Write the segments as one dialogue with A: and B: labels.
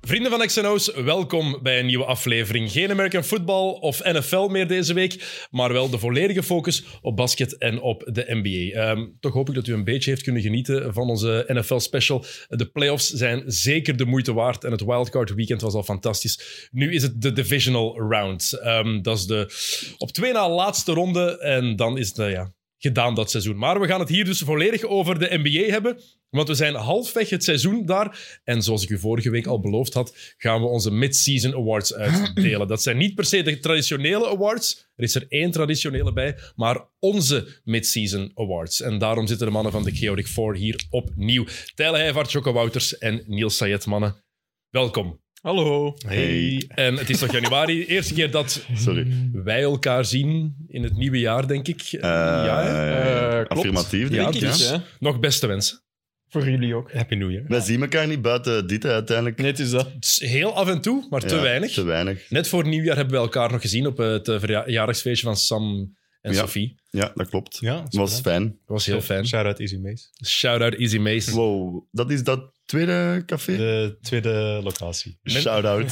A: Vrienden van XNO's, welkom bij een nieuwe aflevering. Geen American Football of NFL meer deze week, maar wel de volledige focus op basket en op de NBA. Ehm, toch hoop ik dat u een beetje heeft kunnen genieten van onze NFL-special. De playoffs zijn zeker de moeite waard en het wildcard weekend was al fantastisch. Nu is het de divisional round. Ehm, dat is de op twee na laatste ronde en dan is het eh, ja, gedaan dat seizoen. Maar we gaan het hier dus volledig over de NBA hebben. Want we zijn halfweg het seizoen daar. En zoals ik u vorige week al beloofd had, gaan we onze mid-season awards uitdelen. Dat zijn niet per se de traditionele awards. Er is er één traditionele bij, maar onze mid-season awards. En daarom zitten de mannen van de Chaotic Four hier opnieuw. Tijl Heijvaart, Jocko Wouters en Niels Sayed, mannen. Welkom.
B: Hallo.
C: Hey.
A: En het is nog januari, eerste keer dat
C: Sorry.
A: wij elkaar zien in het nieuwe jaar, denk ik. Eh, ja, hè?
C: Eh,
B: Eh, klopt.
A: Ja,
C: affirmatief, denk ik.
D: eh,
A: dus-
C: ja.
B: hè?
A: nog beste wensen.
B: Voor jullie ook.
D: Happy New Year.
C: Wij zien elkaar niet buiten dit hè, uiteindelijk.
B: Nee, het is dat.
A: Het is Heel af en toe, maar te
C: Ja,
A: weinig.
C: Te weinig.
A: Net voor nieuwjaar hebben we elkaar nog gezien op het eh, verjaardagsfeestje van Sam en
C: Ja.
A: Sophie.
C: Ja, dat klopt.
D: Ja,
C: Het was fijn.
A: Dat was heel fijn.
D: Shout-out Easy Maze.
A: Shout-out Easy Mace.
C: Wow, dat is dat tweede café?
D: De tweede locatie.
C: Shout-out.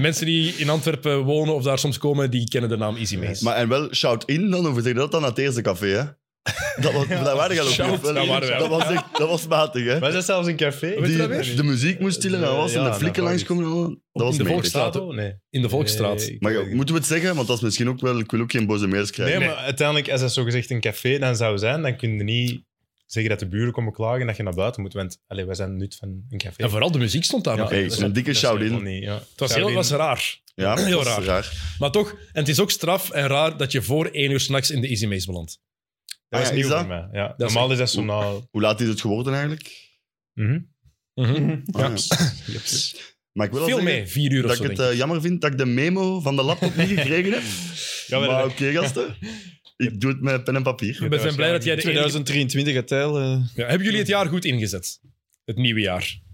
A: Mensen die in Antwerpen wonen of daar soms komen, die kennen de naam Easy Mace.
C: maar en wel shout-in dan, hoe zeg je dat dan, naar het eerste café, hè? Dat, was, dat waren jij ook
A: Shout,
C: niet, of wel?
A: dat waren wij
C: dat,
A: ook.
C: was echt, dat was matig, hè?
D: Wij zijn zelfs een café.
A: Weet je
C: Die-
A: dat weer?
C: de muziek moest stillen, dat was
D: Ja,
C: en de
D: dat
C: flikken
D: was
C: langs
D: iets.
C: komen. en al. Dat was
A: in de
C: mega.
A: Volksstraat. Staat ook?
D: Nee.
A: In de Volksstraat.
D: Nee, ik
C: Maar
D: weet
C: ja,
D: het
C: moeten we het zeggen? Want dat is misschien ook wel... Ik wil ook geen boze mails
D: niet.
C: krijgen.
D: Nee, maar uiteindelijk, als dat zogezegd een café dan zou zijn, dan kun je niet zeggen dat de buren komen klagen en dat je naar buiten moet. Want allee, wij zijn nut van een café.
A: En vooral de muziek stond daar nog.
C: hey,
A: Het
C: een dikke shout-in.
A: was heel was raar.
C: ja,
A: Heel
C: dat is
A: raar.
C: raar.
A: Maar toch, en het is ook straf en raar dat je voor één uur s'nachts in de Easy Mace belandt.
D: Dat
C: Ah,
D: is
C: ja,
D: nieuw
C: is dat?
D: voor mij. Ja.
A: is
D: Normaal is dat zo na...
C: Hoe laat is het geworden eigenlijk?
D: Mhm.
C: Ah,
D: Ja.
C: ja. Maar ik wil
A: Veel
C: wel zeggen-
A: mee, vier uur of
C: dat
A: zo.
C: ik het
A: denk ik.
C: eh, jammer vind dat ik de memo van de laptop niet gekregen heb.
D: Ja, maar
C: maar
D: dat-
C: oké, gasten. Ik doe het met pen en papier.
A: We zijn blij dat jij de enige
B: 2023 het tijl. eh.
A: Ja, hebben jullie het jaar goed ingezet? Het nieuwe jaar.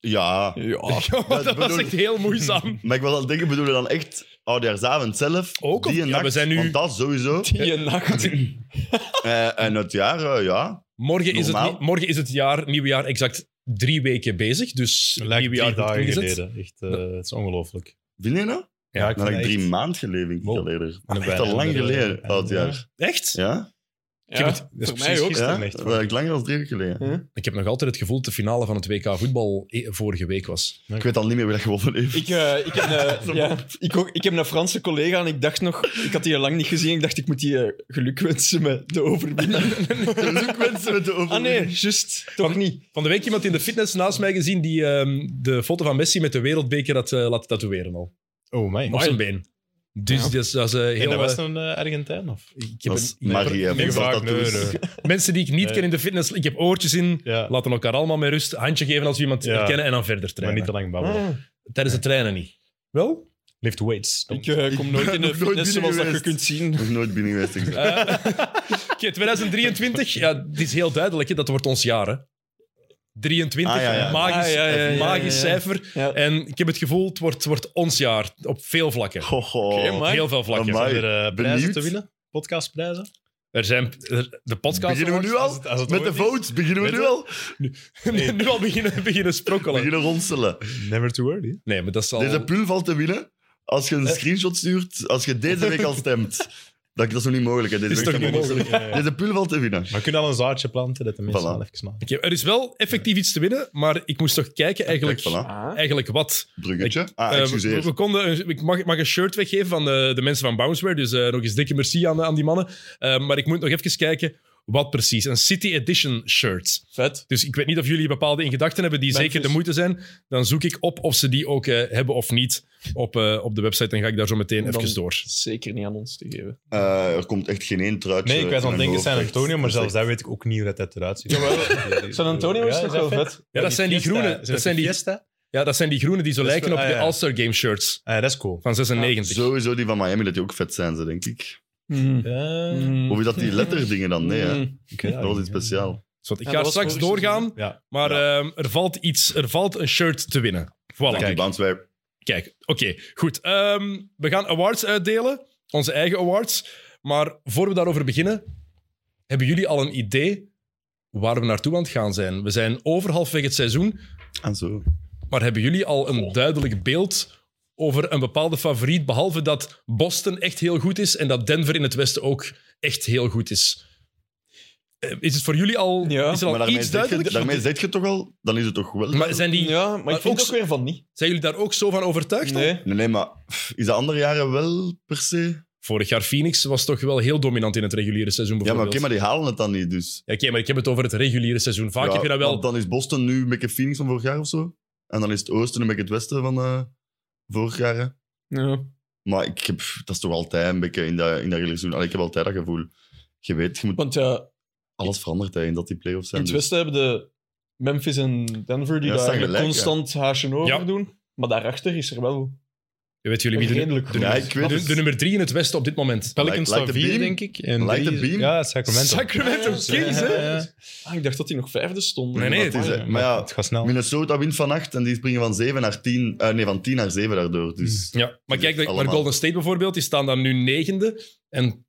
C: Ja.
B: ja.
A: dat was
C: bedoel-
A: echt heel moeizaam.
C: Maar ik wil al denken, bedoelen we dan echt oudejaarsavond zelf?
A: Ook,
C: die
A: of- ja,
C: nacht,
A: we zijn nu-
C: Want dat sowieso.
B: Die nacht.
C: Eh, en het jaar, eh, ja.
A: Morgen is, het,
C: Normaal.
A: nie- morgen is het jaar, nieuwjaar exact drie weken bezig. Dus
D: Het
A: het
D: lijkt
A: nieuwe
D: drie
A: jaar wordt
D: dagen
A: ingezet.
D: geleden. Echt, eh, het is ongelooflijk.
C: Vind je nou?
A: Ja,
D: ik
C: Dan
D: vind
C: heb ik
D: dat
C: drie
D: echt-
C: maanden geleden.
D: Wow.
C: Wow. Geleden.
D: En
C: Echt al
D: bijna-
C: lang
D: en-
C: geleden,
D: en-
C: oudjaar.
A: Echt?
C: Ja?
A: het-
B: Ja,
A: dat is
B: voor mij
A: precies
B: ook.
D: gisteren.
C: ja?
D: echt
C: Dat was echt langer dan drie weken geleden.
A: Ik heb nog altijd het gevoel dat de finale van het WK voetbal e- vorige week was.
C: Ik weet al niet meer wie dat gewonnen heeft.
B: Ik, eh, ik, heb een, ja, ik, ook- ik heb een Franse collega en ik dacht nog... Ik had die al lang niet gezien. Ik dacht, ik moet die eh, geluk wensen met de overwinning.
C: Geluk wensen met de overwinning.
B: Ah nee, juist. Toch niet.
A: Van de week iemand in de fitness naast mij gezien die ehm, de foto van Messi met de wereldbeker had eh, laten tatoeëren al.
D: Oh, my.
A: Op zijn been. Dus
B: Ja.
A: dat is, dat is, eh,
D: En
A: heel...
D: dat was
A: eh,
D: een eh, Argentijn, of?
A: ik heb
C: Dat is
A: een-
C: Marie, hè,
A: Nee,
C: voor
D: vaak,
C: dat
D: nee,
C: tattoos.
D: nee.
A: mensen die ik niet
D: Nee.
A: ken in de fitness, ik heb oortjes in,
D: Ja.
A: laten elkaar allemaal met rust, handje geven als we iemand
D: Ja.
A: herkennen en dan verder
D: Maar
A: trainen.
D: niet te lang
B: Oh, Ah.
D: babbelen.
A: Tijdens het trainen niet. Wel?
D: Lift weights.
B: Ik eh, kom nooit in de
C: Ik ben nog nooit
B: fitness
C: binnen
B: zoals dat je
C: geweest.
B: kunt zien.
C: Nog nooit binnen geweest.
A: Ah,
C: ik.
A: Eh, Oké, 2023, ja, het is heel duidelijk, hè, dat wordt ons jaar. Hè. 23,
C: Ah, ja, ja.
A: magisch,
B: Ah, ja, ja, ja,
A: magisch
B: ja, ja.
A: cijfer.
B: Ja.
A: En ik heb het gevoel, het wordt, wordt ons jaar op veel vlakken.
C: Ho, ho.
B: Oké, maar-
A: Heel veel vlakken.
C: Amai.
D: Zijn er eh, prijzen
C: Benieuwd.
D: te winnen? Podcastprijzen?
A: Er zijn er- de podcast.
C: Beginnen we nu
D: Als
C: al?
D: het- als het
C: Met
D: ooit
C: de
D: is.
C: votes, beginnen we
D: Weet
C: nu
D: je?
C: al?
A: Nee, nu al beginnen, beginnen sprokkelen.
C: Beginnen ronselen.
D: Never too early.
A: Nee, maar dat is al.
C: Deze pul valt te winnen als je een screenshot stuurt, als je deze week al stemt. Dat, dat is nog niet mogelijk. Hè. Deze
A: Is
C: week
A: toch
C: kan
A: niet
C: nog
A: mogelijk?
C: niet. Deze pul valt te winnen.
D: Maar we kunnen al een zaadje planten dat de mensen
C: Voilà.
D: wel even maken.
A: Oké, er is wel effectief iets te winnen, maar ik moest toch kijken eigenlijk,
C: Kijk, voilà.
A: eigenlijk wat.
C: Bruggetje. Ah,
A: Eh,
C: excuseer.
A: we, we konden een- ik mag, ik mag een shirt weggeven van de, de mensen van Bounceware, dus eh, nog eens dikke merci aan, aan die mannen. Eh, maar ik moet nog even kijken wat precies. Een City Edition shirt.
B: Vet.
A: Dus ik weet niet of jullie bepaalde in gedachten hebben die
B: Memphis.
A: zeker de moeite zijn. Dan zoek ik op of ze die ook eh, hebben of niet op, eh, op de website en ga ik daar zo meteen
B: Dan-
A: even door.
B: Zeker niet aan ons te geven.
C: Eh, er komt echt geen één truitje.
D: Nee, ik was aan
C: in
D: het denken
C: mijn
D: San
C: hoofd.
D: Antonio, maar
C: Echt.
D: zelfs daar weet ik ook niet hoe dat, dat eruit ziet.
B: San Antonio is
D: Ja,
B: toch wel
D: dat
B: vet?
A: Ja, dat zijn die
D: Fiesta-
A: groene.
D: zijn
A: Dat zijn die,
D: Fiesta?
A: ja, dat zijn die groene die zo
D: Dat is
A: lijken op
D: wel-
A: de
D: ah, ja.
A: All-Star Game shirts
D: Ah, ja, dat is cool.
A: van 96.
C: Sowieso die van Miami, dat die ook vet zijn, ze, denk ik.
B: Mm.
D: Ja,
B: Mm.
C: Of is dat die letterdingen dan? Nee, hè.
B: Mm.
D: oké.
C: dat was iets speciaals.
A: Zwart, Dus ik
B: Ja,
A: ga
B: dat was
A: straks
B: vorig seizoen.
A: doorgaan,
D: Ja.
A: maar ehm, er, valt iets, er valt een shirt te winnen. Voilà.
C: Kijk, die bounce wij-
A: Kijk, oké, goed. Ehm, we gaan awards uitdelen. onze eigen awards. Maar voor we daarover beginnen, hebben jullie al een idee waar we naartoe aan het gaan zijn? We zijn over halfweg het seizoen,
C: En zo.
A: maar hebben jullie al een duidelijk beeld over een bepaalde favoriet, behalve dat Boston echt heel goed is en dat Denver in het Westen ook echt heel goed is? Eh, Is het voor jullie al,
B: Ja,
A: is er
C: Maar
A: al
C: daarmee
A: iets
C: zeg je,
A: duidelijk?
C: daarmee zeg je toch al, dan is het toch wel.
A: Maar zijn, die,
B: Ja, maar,
A: maar
B: ik vind
A: ook
B: ook
A: zo-
B: weer van niet.
A: zijn jullie daar ook zo van overtuigd? al?
B: Nee.
C: Nee, nee, maar pff, is de andere jaren wel per se?
A: Vorig jaar Phoenix was toch wel heel dominant in het reguliere seizoen
C: Ja, maar
A: bijvoorbeeld.
C: oké, maar die halen het dan niet, dus.
A: Ja, oké, maar ik heb het over het reguliere seizoen. Vaak
C: Ja,
A: heb je dat wel.
C: want Dan is Boston nu een beetje Phoenix van vorig jaar of zo. En dan is het Oosten een beetje het Westen van eh, vorig jaar. hè.
B: Ja.
C: Maar ik heb, pff, dat is toch altijd een beetje in dat, in dat reguliere seizoen. Allee, ik heb altijd dat gevoel. Je weet, je moet,
B: Want eh, ja,
C: alles verandert hè, in dat die playoffs
B: in
C: zijn.
B: het
C: dus-
B: westen hebben de Memphis en Denver die
C: Ja, staan
B: daar
C: gelijk,
B: constant haasje over
A: Ja.
B: doen. Maar daarachter is er wel
A: Weet jullie wie de,
B: redelijk
A: de,
B: goed.
C: Ja, ik weet
A: de-
C: het.
A: de nummer drie in het Westen op dit moment?
C: Like-
D: Pelicans
C: like
D: staan
C: the
D: vier,
C: beam?
D: denk ik. En
C: Like the
D: drie is-
C: beam?
D: Ja, Sacramento.
A: Sacramento
B: Ja, ja,
A: Kings,
B: ja.
A: hè?
D: Ja, ja.
B: Ah, ik dacht dat die nog vijfde Ah, stond.
A: Nee, nee,
C: Het is, hè,
D: Ja,
C: maar ja,
D: Het gaat snel.
C: Minnesota wint vannacht en die springen van 7 naar 10. eh, nee, van 10 naar 7 daardoor. Dus
A: Ja, maar kijk naar- naar
C: Allemaal.
A: Golden State bijvoorbeeld. Die staan dan nu negende. En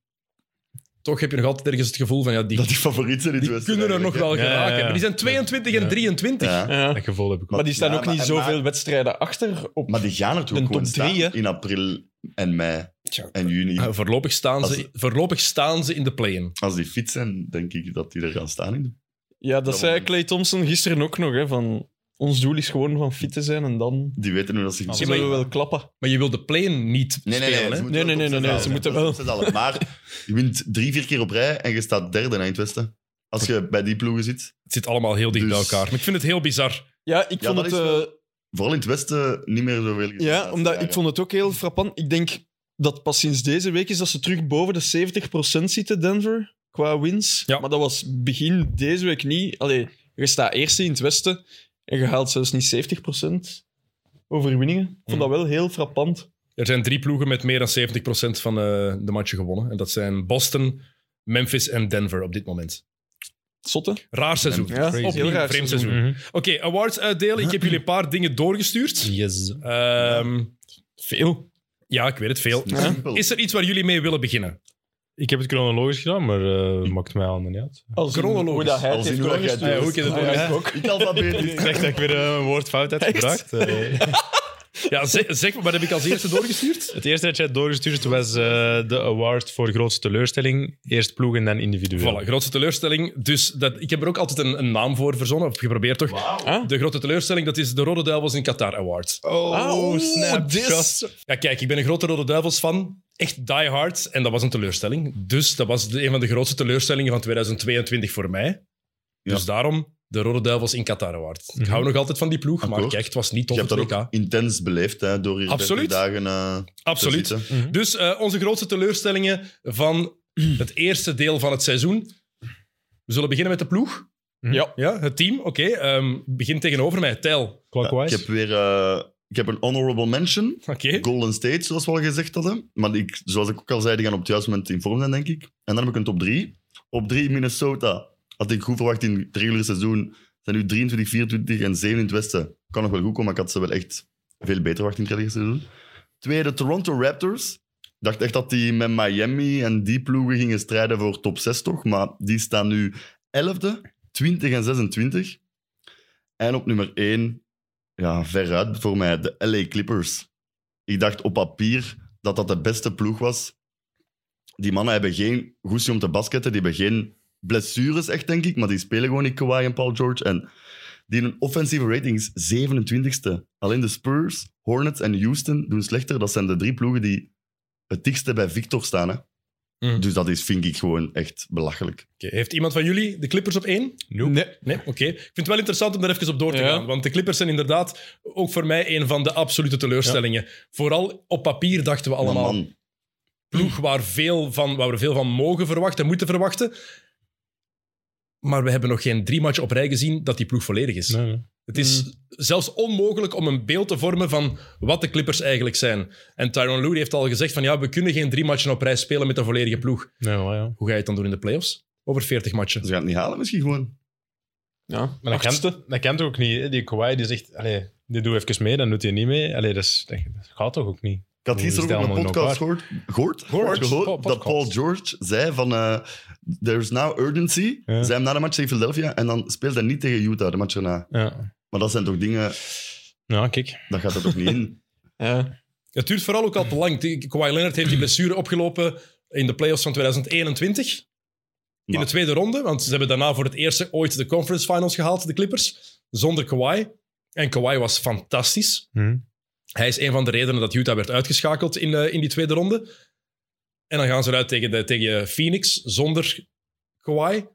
A: toch heb je nog altijd ergens het gevoel van ja, die,
C: dat die favoriet zijn in het
A: die
C: Westen.
A: kunnen er nog
C: eigenlijk,
A: wel
D: Ja, ja,
A: geraken.
D: ja.
A: Maar die zijn 22 en
D: Ja.
A: 23.
C: hè. Ja.
B: Ja.
D: Dat gevoel heb ik ook.
B: Maar die staan
C: Ja,
B: ook
C: maar-
B: niet
C: en
B: zoveel
C: maar-
B: wedstrijden achter op
C: Maar die gaan er toch
B: De
C: ook gewoon
B: top drie,
C: staan
B: hè?
C: in april en mei
A: Tja.
C: en juni.
A: Eh, voorlopig, staan
C: Als-
A: ze, voorlopig staan ze in de play-in.
C: Als die fit zijn, denk ik dat die er gaan staan. In. de-
B: Ja, dat
C: dat
B: zei
C: moment.
B: Clay Thompson gisteren ook nog. Hè, van, ons doel is gewoon van fit te zijn en dan
C: Die weten hoe dat ze
D: Als-
C: Nee,
B: zullen we
A: maar-
B: wel klappen.
A: Maar je wil de play-in niet
C: nee, nee.
A: spelen,
C: ze
A: hè?
C: moeten
B: Nee,
C: wel
B: nee, nee,
C: top
B: nee,
C: zes
B: ze
C: halen.
B: moeten
C: Top
B: wel.
C: zes halen. Maar je wint drie, vier keer op rij en je staat derde hè, in het Westen. Als je bij die ploegen zit.
A: Het zit allemaal heel dicht
C: Dus-
A: bij elkaar. Maar ik vind het heel bizar.
B: Ja, ik
C: Ja,
B: vond
C: dat
B: het,
C: is
B: eh,
C: wel- Vooral in het Westen niet meer zoveel. gezien de
B: ja,
C: laatste
B: omdat
C: jaren.
B: ik vond het ook heel frappant. Ik denk dat pas sinds deze week is dat ze terug boven de 70% zitten, Denver, qua wins.
A: Ja.
B: Maar dat was begin deze week niet. Allee, je staat eerste in het Westen en je haalt zelfs niet 70% overwinningen. Ik vond dat wel heel frappant.
A: Er zijn drie ploegen met meer dan 70% van eh, de matchen gewonnen. En dat zijn Boston, Memphis en Denver op dit moment.
B: Zotte.
A: Raar seizoen.
B: Ja,
D: Crazy.
A: Opnieuw,
B: heel raar
A: vreemd
B: seizoen.
A: seizoen.
D: Mhm.
A: Oké, awards uitdelen. Ik heb jullie een paar dingen doorgestuurd.
D: Yes.
A: Ehm,
B: Veel.
A: ja, ik weet het, veel.
C: Het is simpel.
A: Is er iets waar jullie mee willen beginnen?
D: Ik heb het chronologisch gedaan, maar eh maakt mij allemaal niet uit.
B: Als in
A: Chronologisch.
B: Hoe dat hij het
C: Als in
B: heeft
C: hoe dat jij het
B: doorgestuurd.
A: doet. Ja, hoe ik het
B: Ah, ja,
A: doe,
B: ik ook.
C: Niet alfabetisch.
D: Ik dacht dat ik weer eh, een woord fout had gebracht. Eh,
A: Ja, zeg, zeg maar, wat heb ik als eerste doorgestuurd?
D: het eerste dat jij doorgestuurd was eh, de award voor grootste teleurstelling. Eerst ploeg en dan individueel.
A: Voilà, grootste teleurstelling. Dus dat, ik heb er ook altijd een, een naam voor verzonnen, of geprobeerd toch.
B: Huh?
A: De grote teleurstelling, dat is de Rode Duivels in Qatar Awards.
D: Oh,
B: oeh,
D: snap.
B: this.
D: Just-
A: Ja, kijk, ik ben een grote Rode Duivels fan. Echt die hard. En dat was een teleurstelling. Dus dat was de, een van de grootste teleurstellingen van 2022 voor mij.
C: Ja.
A: Dus daarom de Rode Duivels in Qatar Award. Ik hou nog altijd van die ploeg, maar
C: Akkoord.
A: kijk, het was niet
C: Je
A: tot
C: hebt
A: het
C: dat
A: WK.
C: ook intens beleefd hè, door hier 30
A: Absoluut.
C: dagen eh, te
A: Absoluut.
C: zitten.
A: Dus eh, onze grootste teleurstellingen van het eerste deel van het seizoen. We zullen beginnen met de ploeg.
B: Ja.
A: Ja, het team, oké. Ehm, begin tegenover mij, Tel.
C: Ik
D: Clockwise.
C: heb weer eh, ik heb een honorable mention.
A: Oké.
C: Golden State, zoals we al gezegd hadden. Maar ik, zoals ik ook al zei, die gaan op het juiste moment in vorm zijn, denk ik. En dan heb ik een top 3. Op 3 Minnesota had ik goed verwacht in het reguliere seizoen. Zijn nu 23, 24 en 7 in het Westen. Kan nog wel goed komen, maar ik had ze wel echt veel beter verwacht in het reguliere seizoen. Tweede, Toronto Raptors. Ik dacht echt dat die met Miami en die ploegen gingen strijden voor top 6 toch. Maar die staan nu 11e, 20 en 26. En op nummer 1, ja, veruit voor mij, de LA Clippers. Ik dacht op papier dat dat de beste ploeg was. Die mannen hebben geen goestie om te basketten. Die hebben geen blessures echt, denk ik. Maar die spelen gewoon niet Kawhi en Paul George. En die in een offensieve rating is 27ste. Alleen de Spurs, Hornets en Houston doen slechter. Dat zijn de drie ploegen die het dichtste bij Victor staan. Hè?
A: Mm.
C: Dus dat is, vind ik gewoon echt belachelijk.
A: Oké, Heeft iemand van jullie de Clippers op één?
D: Nope.
B: Nee.
A: Nee, oké. Ik vind het wel interessant om daar even op door te
B: Ja.
A: gaan. Want de Clippers zijn inderdaad ook voor mij een van de absolute teleurstellingen. Vooral op papier dachten we
C: Maar
A: allemaal...
C: man,
A: ploeg waar, veel van, waar we veel van mogen verwachten en moeten verwachten. Maar we hebben nog geen drie matchen op rij gezien dat die ploeg volledig is.
D: Nee, nee.
A: Het is zelfs onmogelijk om een beeld te vormen van wat de Clippers eigenlijk zijn. En Tyrone Lue heeft al gezegd van ja, we kunnen geen drie matchen op rij spelen met een volledige ploeg.
D: Nee, maar ja.
A: Hoe ga je het dan doen in de playoffs? Over 40 matchen.
C: ze gaan het niet halen misschien gewoon.
B: Ja,
D: Maar dat
B: achtste.
D: kan, dat kan toch ook niet? hè? Die Kawhi die zegt, allee, die doe even mee, dan doet hij niet mee. Allee, dat, is- dat- dat gaat toch ook niet?
C: Ik had
D: Hoe is
C: gisteren ook
D: dat
C: op een
D: allemaal in
C: podcast gehoord, gehoord,
A: Gehoord,
C: gehoord
A: po-
C: dat
A: podcast.
C: Paul George zei van... eh, There's now urgency.
D: Ja.
C: Zijn hem na de match tegen Philadelphia en dan speelt hij niet tegen Utah de match erna.
D: Ja.
C: Maar dat zijn toch dingen...
D: Nou, kijk.
C: Dat gaat er toch niet in?
B: Ja.
A: Het duurt vooral ook al te lang. Die- Kawhi Leonard heeft die blessure opgelopen in de playoffs van 2021. In de
C: Maar-
A: tweede ronde, want ze hebben daarna voor het eerst ooit de conference finals gehaald, de Clippers, zonder Kawhi. En Kawhi was fantastisch.
D: Hm.
A: Hij is een van de redenen dat Utah werd uitgeschakeld in, eh, in die tweede ronde. En dan gaan ze eruit tegen, de, tegen Phoenix zonder Kawhi.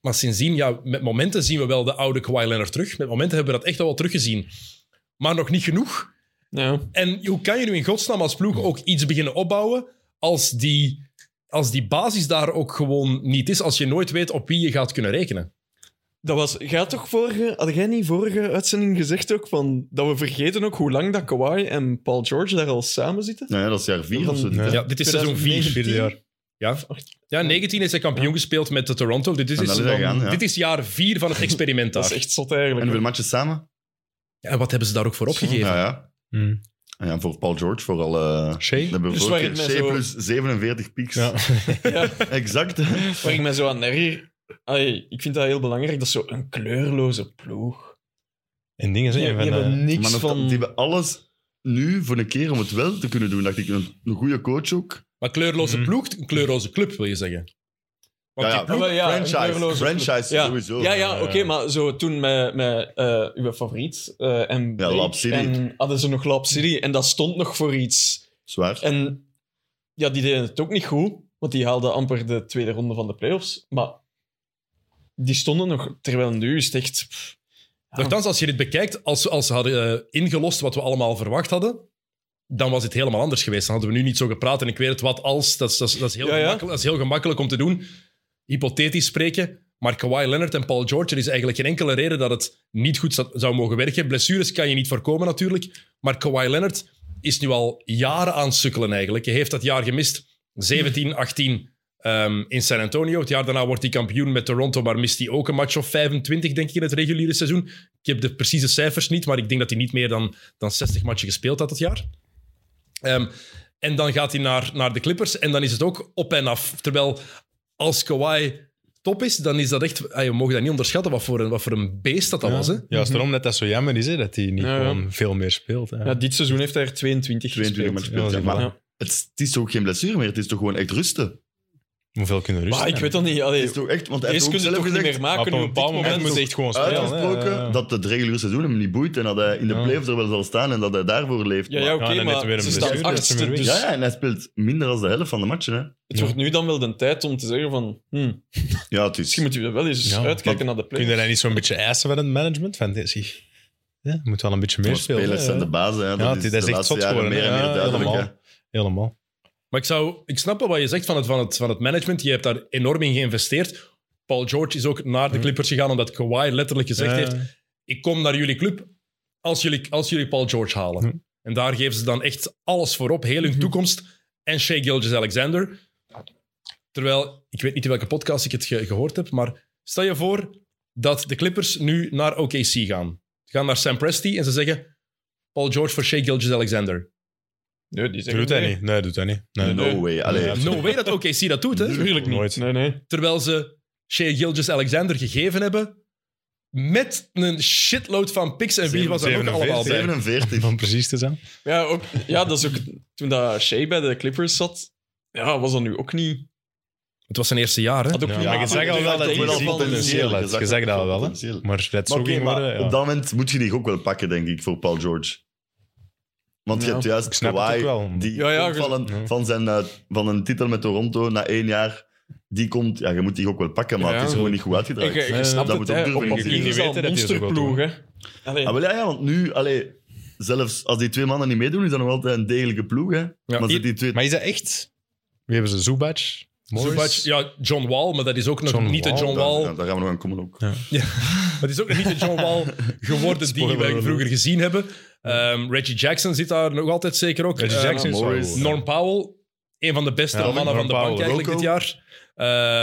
A: Maar sindsdien, ja, met momenten zien we wel de oude Kawhi Leonard terug. Met momenten hebben we dat echt al wel teruggezien. Maar nog niet genoeg.
B: ja.
A: En hoe kan je nu in godsnaam als ploeg ook iets beginnen opbouwen als die, als die basis daar ook gewoon niet is, als je nooit weet op wie je gaat kunnen rekenen?
B: Dat was... Jij had toch vorige... Had jij niet vorige uitzending gezegd ook van... Dat we vergeten ook hoe lang dat Kawhi en Paul George daar al samen zitten?
C: Nou ja, dat is jaar vier of zo.
D: Nee.
A: Ja, dit is seizoen 4.
B: 2019.
D: Vierde jaar.
A: Ja. ja, 19 is hij kampioen gespeeld met de Toronto. Dit is,
C: En dat is hij gaan, ja.
A: dit is jaar 4 van het experiment
B: Dat
A: daar.
B: is echt zot
C: En
B: eigenlijk.
C: hoeveel matches samen?
A: Ja, en wat hebben ze daar ook voor opgegeven?
C: Ja, ja.
D: Hm.
C: En ja, voor Paul George vooral... eh
D: Shea?
C: hebben we
B: Dus
C: vorige
B: waar ik
C: keer
B: mij
C: Shea
B: zo-
C: plus 47 pieks.
D: Ja.
B: Ja.
C: Exact.
B: Waar ik mij zo aan erger... Allee, ik vind dat heel belangrijk, dat is zo een kleurloze ploeg.
D: En dingen
B: Die,
D: zijn
B: die
D: van... eh,
B: hebben niks
C: Maar nog-
B: van...
C: die hebben alles nu voor een keer om het wel te kunnen doen. Dacht ik, een, een goede coach ook.
A: Maar kleurloze
D: Mhm.
A: ploeg, een kleurloze club wil je zeggen. Want die
C: Ja, ja.
A: ploeg-
B: Ah, wel, ja, een
C: franchise.
B: kleurloze club.
C: Franchise
B: Ja.
C: sowieso.
B: Ja, ja,
D: Eh,
B: oké, maar zo toen met, met eh, uw favoriet eh, en, Blake,
C: Lab City.
B: en hadden ze nog Lab City en dat stond nog voor iets.
C: Zwaar.
B: En ja, die deden het ook niet goed, want die haalden amper de tweede ronde van de playoffs. Maar die stonden nog, terwijl nu is het echt. pff,
A: Nochtans, als je dit bekijkt, als, als ze hadden eh, ingelost wat we allemaal verwacht hadden, dan was het helemaal anders geweest. Dan hadden we nu niet zo gepraat en ik weet het wat als. Dat is, dat is, dat is, heel,
B: Ja, ja.
A: gemakkelijk- dat is heel gemakkelijk om te doen. Hypothetisch spreken. Maar Kawhi Leonard en Paul George, er is eigenlijk geen enkele reden dat het niet goed zou- zou mogen werken. Blessures kan je niet voorkomen natuurlijk. Maar Kawhi Leonard is nu al jaren aan het sukkelen eigenlijk. Hij heeft dat jaar gemist. 17, 18 ehm, in San Antonio. Het jaar daarna wordt hij kampioen met Toronto, maar mist hij ook een match of 25, denk ik, in het reguliere seizoen. Ik heb de precieze cijfers niet, maar ik denk dat hij niet meer dan, dan 60 matchen gespeeld had dat jaar. Ehm, en dan gaat hij naar, naar de Clippers en dan is het ook op en af. Terwijl als Kawhi top is, dan is dat echt... ah, We mogen dat niet onderschatten, wat voor een, wat voor een beest dat, dat was. Hè?
D: Juist daarom dat dat zo jammer is, hè, dat hij niet
B: Ja, ja.
D: gewoon veel meer speelt. hè.
B: Ja, dit seizoen heeft hij er 22,
C: 22
B: gespeeld.
C: matches gespeeld.
D: Ja,
C: Ja, maar
B: ja.
C: het, is- het is toch geen blessure meer. Het is toch gewoon echt rusten.
D: Hoeveel kunnen rusten?
B: Maar Ah, ik weet dat niet.
C: Het
B: Allee,
C: is toch echt... Want hij heeft
B: deze
C: ook
B: kun je
C: zelf
B: toch niet
C: gezegd,
B: meer
D: Maar
B: maken.
D: op een
B: nu
D: bepaald
B: dit
D: moment moet hij echt gewoon spelen.
C: uitgesproken,
D: hè.
C: dat het reguliere seizoen hem niet boeit en dat hij in de
D: Ja.
C: playoffs er wel zal staan en dat hij daarvoor leeft.
B: Ja,
C: Maar-
B: ja oké,
D: Ja, Ah, dan net weer
B: maar
D: een
B: ze
D: blessure, dat
B: staan
D: is
B: achtste,
D: weer
B: dus
C: ja, ja, en hij speelt minder dan de helft van de matchen. Hè.
B: het wordt nu dan wel de tijd om te zeggen van... hm,
C: Ja, het is...
B: misschien moeten we wel eens
D: Ja,
B: uitkijken naar de play.
D: Kun je daar niet zo'n beetje eisen van het management? Van, dit is- ja, moet wel een beetje meer
C: Maar
D: spelen.
C: spelers
D: hè.
C: zijn de bazen. Hè. Dat
D: Ja,
C: is,
D: dat
C: de
D: is echt
C: laatste
D: zot
C: jaren
D: geworden.
C: meer en
D: hè.
C: meer
D: Ja,
C: duidelijk. hè.
D: helemaal. helemaal.
A: Maar ik, zou, ik snap wel wat je zegt van het, van, het, van het management. Je hebt daar enorm in geïnvesteerd. Paul George is ook naar de Clippers gegaan omdat Kawhi letterlijk gezegd
D: Ja.
A: heeft... ik kom naar jullie club als jullie, als jullie Paul George halen.
D: Hm.
A: En daar geven ze dan echt alles voor op, heel hun toekomst. En Shea Gilgeous-Alexander. Terwijl, ik weet niet in welke podcast ik het ge- gehoord heb, maar stel je voor dat de Clippers nu naar OKC gaan. Ze gaan naar Sam Presti en ze zeggen Paul George voor Shea Gilgeous-Alexander.
B: Nee, die zeggen
D: Doet hij
B: nee.
D: niet? Nee, doet hij niet. Nee.
B: Nee.
C: No way. Allee,
D: Ja.
A: No way dat OKC dat doet, hè?
B: Tuurlijk niet.
D: Nooit.
B: Nee, nee.
A: Terwijl ze Shea Gilgeous-Alexander gegeven hebben met een shitload van picks. En wie was er ook allemaal bij?
C: 47.
D: Om precies te zijn.
B: Ja, ook, ja, dat is ook... Toen dat Shea bij de Clippers zat, ja, was dat nu ook niet...
A: Het was zijn eerste jaar, hè?
B: Had ook niet
D: Ja, maar je zag al wel dat
B: tegen
D: hij
B: de
D: ziek
B: bal in de
D: potentieel
B: zee.
D: had. Je zag dat al wel, hè. Maar dat
C: Maar
D: zo
C: oké,
D: ging
C: maar
D: worden, ja.
C: op dat moment moet je die ook wel pakken, denk ik, voor Paul George. Want je
B: Ja.
C: hebt
D: Ik
C: juist
D: snap het ook
C: Kawhi,
D: wel.
C: die
B: Ja, ja,
C: komt
B: je-
C: van, een,
D: Ja.
C: van, zijn, eh, van een titel met Toronto na één jaar. Die komt, ja, je moet die ook wel pakken, maar
B: Ja.
C: het is gewoon niet goed
B: En
C: uitgedraaid.
B: je, je
D: Nee,
B: snapt
C: dat
B: het,
C: moet
B: hè.
C: ook
B: Op
C: durven
B: papier
C: zien.
B: is dat
D: Je
B: een
D: weet dat hij het ook wel
B: monsterploeg, hè. Allee,
C: Ah, wel ja, ja, want nu, allee, zelfs als die twee mannen niet meedoen, is dat nog altijd een degelijke ploeg. Hè? maar
A: i-
C: zit die twee
D: Maar is dat echt? Wie hebben ze? Zubac? Morris?
A: Zubac, ja, John Wall, maar dat is ook nog
D: John
A: niet
D: Wall,
A: de John
C: daar,
A: Wall.
C: ja, daar gaan we nog aan komen ook.
A: Dat is ook nog niet de John Wall geworden die
D: Spoiler
A: we
D: alert.
A: vroeger gezien hebben. Ehm, Reggie Jackson zit daar nog altijd zeker ook.
D: Reggie
A: Ehm,
D: Jackson is
C: Eh, Morris.
D: wel-
A: Norm Powell, een van de beste
D: Ja,
A: mannen
D: Norm
A: van de
D: Powell
A: bank eigenlijk
C: ook
A: dit
C: al.
A: jaar.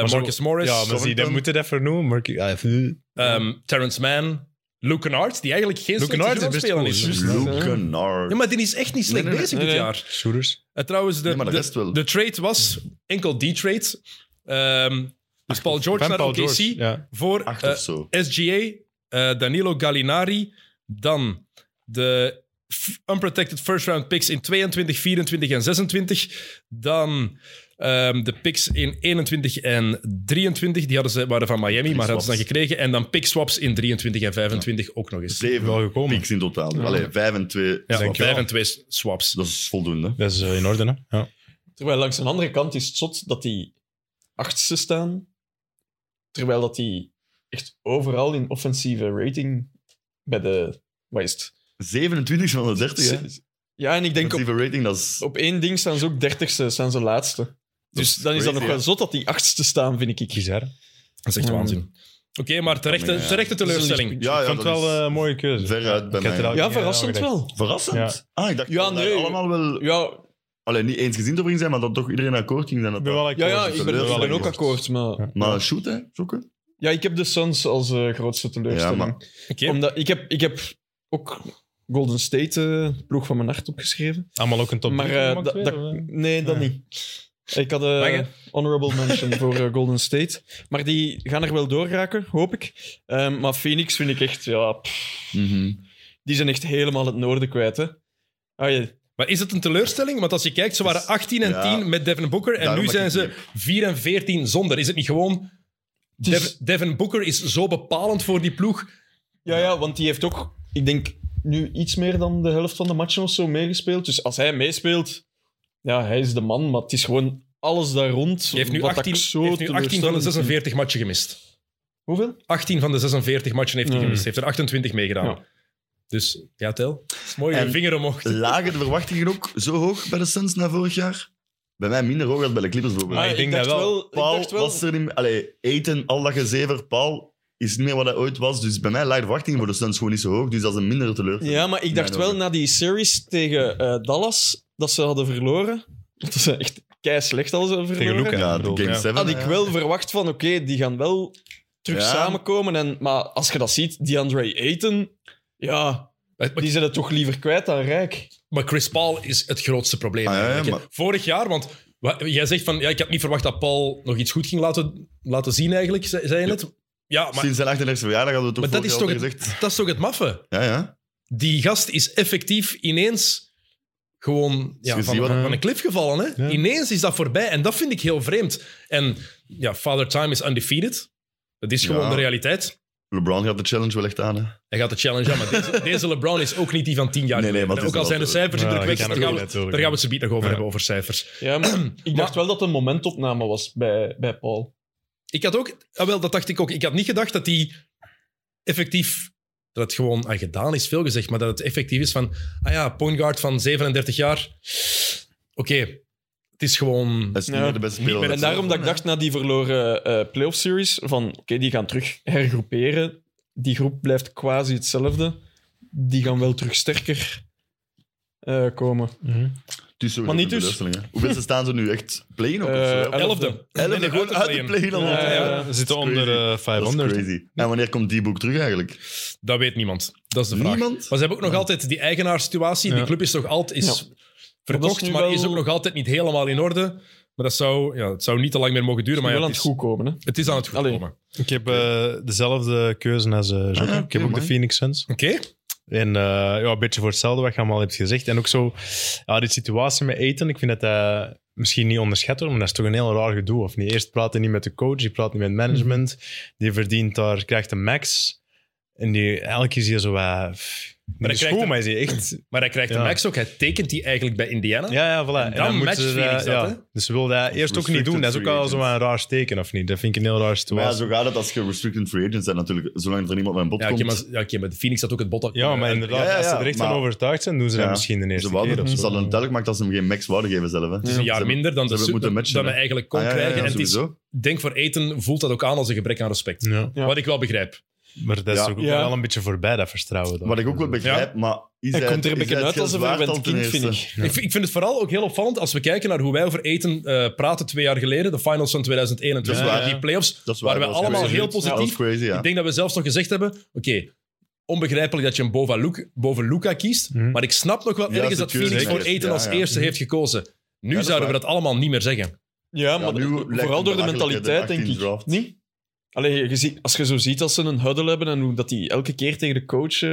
A: Eh,
D: zo-
A: Marcus Morris,
D: Ja, maar zie,
C: Thornton.
D: dat moet je dat vernoemen. Maar ik- ja, Ah, even-
A: ehm, Terrence Mann, Luke Kennard, die eigenlijk geen
D: Luke
A: slechte
D: Kennard is best
A: speler
D: goed,
A: is.
D: juist.
C: Luke Kennard.
A: Ja, maar die is echt niet slecht
C: Nee, nee, nee,
A: bezig
B: nee,
A: dit
B: nee.
A: jaar.
D: Shooters.
A: Eh, trouwens, de,
C: Nee, maar de
A: de,
C: rest wel.
A: de trade was enkel die trade. Ehm, dus Paul George
D: Van
A: naar
D: Paul
A: OKC
D: George, Ja.
A: voor
C: Acht
A: eh,
C: of zo.
A: SGA, eh, Danilo Gallinari, dan de f- unprotected first round picks in 22, 24 en 26. Dan ehm, de picks in 21 en 23. Die hadden ze, waren van Miami, maar hadden ze dan
C: swaps.
A: gekregen. En dan pick swaps in 23 en 25 ook nog eens.
D: Wel
C: Zeven
D: gekomen.
C: picks in totaal. Allee, vijf en twee.
A: Ja,
C: swaps.
A: vijf en twee s- swaps.
C: Dat is voldoende.
D: Dat is eh, in orde, hè? Ja.
B: Terwijl langs een andere kant is het zot dat die achtste staan. Terwijl dat die echt overal in offensieve rating bij de... Wat is het?
C: 27 van de 30, hè?
B: Ja, en ik denk op,
C: Defensieve rating, dat is...
B: op één ding staan ze ook dertigste, staan ze laatste. Dus
C: is
B: dan is
C: crazy,
B: dat nog
C: hè?
B: wel zot dat die achtste staan, vind ik.
D: Bizar.
A: Dat is echt
B: Ja.
A: waanzin. Oké, maar terechte,
C: Ja, ja.
A: terechte teleurstelling.
C: Ja,
D: ik vond
C: ja, dat
D: het wel
C: is
D: eh, een mooie keuze.
C: veruit bij
D: Ik had
C: mij.
D: er al-
B: Ja, verrassend
D: Ja,
B: wel.
C: verrassend.
D: Ja.
C: Ah, ik dacht
B: Ja,
C: dat we daar
B: nee.
C: allemaal wel...
B: Ja,
C: Allee, niet eens gezind over ging zijn, maar dat toch iedereen akkoord ging. zijn
D: Ik ben
C: Dat
D: wel akkoord.
B: ja, ja ik ben, ik ben ook akkoord, maar...
D: Ja.
C: Maar shoot, hè? Zoeken.
B: Ja, ik heb de Suns als eh, grootste teleurstelling.
C: Ja, maar-
A: Oké.
B: Omdat, ik, heb, ik heb ook Golden State, eh, ploeg van mijn hart, opgeschreven.
D: Allemaal ook een top
B: maar
D: drie
B: eh,
D: gemaakt
B: dat-
D: weer,
B: dat-
D: of, eh?
B: nee, dat
D: Ah.
B: niet. Ik had een
A: Mag, hè?
B: honorable mention voor eh, Golden State. Maar die gaan er wel door raken, hoop ik. Ehm, maar Phoenix vind ik echt, ja, pff, Mhm. die zijn echt helemaal het noorden kwijt. Hè. Ah, ja.
A: Maar is het een teleurstelling? Want als je kijkt, ze waren 18 en
C: Ja.
A: 10 met Devin Booker. En
C: Daarom
A: nu
C: dat ik
A: zijn
C: het
A: ze
C: niet
A: 4 en 14 zonder. Is het niet gewoon...
D: Dus-
B: is-
A: Dev- Devin Booker is zo bepalend voor die ploeg.
B: Ja, ja, want die heeft ook, ik denk, nu iets meer dan de helft van de matchen of zo meegespeeld. Dus als hij meespeelt, ja, hij is de man. Maar het is gewoon alles daar rond.
A: Die heeft nu
B: wat ik
A: 18,
B: zo
A: heeft nu 18 van de
B: teleurstellend vind.
A: 46 matchen gemist.
B: Hoeveel?
A: 18 van de 46 matchen heeft hij
B: Mm.
A: gemist. Heeft er 28 meegedaan.
B: Ja.
A: Dus, ja, tel. Dat is mooi, je
C: En- Eh,
A: vinger omhoog.
C: Lagen de verwachtingen ook zo hoog bij de Suns na vorig jaar? Bij mij minder hoog dan bij de Clippers bijvoorbeeld.
D: Maar ik denk
B: dacht
D: dat wel.
B: Ah, ik
C: Paul
B: dacht wel-
C: was er niet meer... Allee, eten, al dat gezever, Paul is niet meer wat hij ooit was. Dus bij mij lagen de verwachtingen voor de Suns gewoon niet zo hoog. Dus dat is een mindere teleurstelling.
B: Ja, maar ik dacht
C: Mijn
B: wel
C: ogen.
B: na die series tegen eh, Dallas dat ze hadden verloren. Dat ze echt kei slecht hadden ze verloren.
D: Luka.
C: Ja, de
D: bedoel,
C: Game
D: ja.
C: 7.
B: Had ik wel verwacht van, oké, die gaan wel terug
C: Ja.
B: samenkomen. En, maar als je dat ziet, DeAndre Ayton, ja,
A: Maar-
B: die zijn het toch liever kwijt dan Rijk.
A: Maar Chris Paul is het grootste probleem.
C: Ah, ja, ja,
A: eigenlijk, hè.
C: maar-
A: Vorig jaar, want wa- jij zegt van... Ja, ik had niet verwacht dat Paul nog iets goed ging laten, laten zien eigenlijk, zei zei je net. Ja, maar,
C: Sinds zijn 38e verjaardag hadden we
A: maar
C: toch
A: dat, is toch
C: vorig jaar
A: het,
C: al gezegd.
A: dat is toch het maffe?
C: Ja, ja.
A: Die gast is effectief ineens gewoon ja, van,
C: je ziet Dus wat-
A: van- van een klif gevallen. Hè?
D: Ja.
A: Ineens is dat voorbij en dat vind ik heel vreemd. En ja, Father Time is undefeated. Dat is gewoon
C: Ja.
A: de realiteit.
C: LeBron gaat de challenge wel echt aan, hè.
A: Hij gaat de challenge aan, maar deze, deze LeBron is ook niet die van tien jaar
C: Nee, nee,
A: geleden.
C: maar het
A: Ook
C: is
A: al
C: wel-
A: zijn de cijfers
D: Ja,
A: indrukwekkend,
D: die
A: daar
D: gaan
A: gaan
D: ook
A: we-
D: natuurlijk,
A: daar gaan we
D: ja.
A: het zo nog over
D: Ja.
A: hebben, over cijfers.
B: Ja, maar ik dacht wel dat het een momentopname was bij, bij Paul.
A: Ik had ook, ah, wel, dat dacht ik ook. Ik had niet gedacht dat die effectief, dat het gewoon ah, gedaan is, veel gezegd, maar dat het effectief is van, ah ja, point guard van 37 jaar. Oké, het is gewoon.
C: Hij is niet
B: Ja.
C: meer de beste speler.
A: meer
C: van
B: En
C: de
B: daarom dat ik dacht na die verloren eh playoff series van oké, die gaan terug hergroeperen. Die groep blijft quasi hetzelfde. Die gaan wel terug sterker eh, komen.
D: Mhm.
C: Het is sowieso
B: Maar niet
C: een
B: dus.
C: teleurstelling, hè. Hoeveel staan ze nu echt? Playen op? of zo,
B: Eh,
C: hè?
B: elf-
A: Elfde.
C: Elfde,
A: Nee,
C: gewoon
A: uit de
C: uit de
A: play-in.
C: play-in al.
B: Ja, ja, ja.
D: We zitten
C: Dat is
D: onder eh,
C: Dat is
D: 500.
C: crazy. En wanneer komt die boek terug eigenlijk?
A: Dat weet niemand. Dat is de vraag.
C: Niemand?
A: Maar ze hebben ook nog altijd die eigenaarssituatie. Die
D: Ja.
A: club is toch altijd is
B: Ja.
A: verkocht,
B: is nu
A: maar
B: wel-
A: is ook nog altijd niet helemaal in orde. Maar dat zou, ja, het zou niet te lang meer mogen duren. Maar
B: wel
A: ja,
B: aan
A: het, is,
B: het goed komen. Hè?
A: het is aan het goed
B: Allee.
A: komen.
D: Ik heb eh, dezelfde keuze als eh Jacques.
C: Ah,
D: ik heb
C: oké,
D: ook de
C: man.
D: Phoenix Suns.
A: Oké,
D: En eh, ja, een beetje voor hetzelfde wat je allemaal hebt gezegd. En ook zo, ja, die situatie met Eten, ik vind dat dat misschien niet onderschat wordt, maar dat is toch een heel raar gedoe. Of niet? Eerst praat hij niet met de coach, die praat niet met management.
A: Mhm.
D: Die verdient daar, krijgt een max. En die, elke keer is hij zo wat... Maar
A: hij
D: is
A: krijgt
D: goed,
A: een-
D: maar is hij echt...
A: maar hij krijgt de
D: Ja.
A: max ook. Hij tekent die eigenlijk bij Indiana.
D: Ja, ja, voilà. En
A: dan
D: moeten
A: match
D: ze
A: Phoenix dat, hè?
D: Dus ze wil dat eerst ook niet doen. Dat is ook al
C: Restricted
D: zo'n
C: free agent.
D: raar teken, of niet? Dat vind ik een heel raar
C: Maar ja,
D: situatie.
C: zo gaat het als je restricted free agent bent natuurlijk. Zolang er niemand met een bod
A: Ja, oké,
C: komt.
A: maar, ja, oké, maar Phoenix had ook het bot. al-
D: Ja, maar inderdaad,
C: Ja, ja,
D: als ze
C: ja,
D: er echt
C: maar-
D: van overtuigd zijn, doen ze dat
C: Ja,
D: misschien de eerste
C: Ze wouden,
D: keer of
C: ze
D: zo.
C: hadden het duidelijk gemaakt dat ze hem geen max wouden geven zelf. Hè.
A: Het is een
C: Ze
A: jaar
C: hebben-
A: minder dan, de
C: ze hebben
A: super-
C: moeten matchen,
A: dan we
C: hè.
A: eigenlijk kon
C: Ah, ja, ja, ja,
A: krijgen. en het is,
C: sowieso.
A: denk voor eten voelt dat ook aan als een gebrek aan respect.
D: Ja.
B: Ja.
A: Wat ik wel begrijp.
D: Maar dat is
C: Ja.
D: toch ook
B: Ja.
D: wel een beetje voorbij, dat vertrouwen. dan.
C: Wat ik ook wel begrijp, maar is
B: Hij komt er een
C: is
B: beetje
C: hij
B: uit
C: het
B: als een
C: geld waard
B: verwend
C: al ten
B: kind, vind
C: eerste?
B: ik.
A: Ik, vind- ik vind het vooral ook heel opvallend als we kijken naar hoe wij over eten eh, praten twee jaar geleden. De finals van 2021,
C: Dat is waar,
A: die
D: ja.
A: playoffs,
C: Dat is waar,
A: waren we
C: dat was
A: allemaal
C: crazy.
A: heel
C: Dat was
A: positief.
C: crazy, ja.
A: Ik denk dat we zelfs nog gezegd hebben, oké, onbegrijpelijk dat je hem boven, Luca, boven Luca kiest.
D: Mhm.
A: Maar ik snap nog wel
C: Ja,
A: ergens
C: de
A: dat
C: keuze
A: Phoenix voor
C: zeker.
A: eten
C: Ja,
A: als
C: ja.
A: eerste heeft gekozen. Nu
C: dat is
A: zouden we
C: waar.
A: dat allemaal niet meer zeggen.
B: Ja,
C: Ja,
B: maar eh,
C: nu lijkt het
B: vooral door de
C: belachelijk, hè, de
B: mentaliteit, denk
C: 18
B: ik.
C: draft.
B: Niet? Allee, je ziet, als je zo ziet als ze een huddle hebben en hoe dat die elke keer tegen de coach... eh,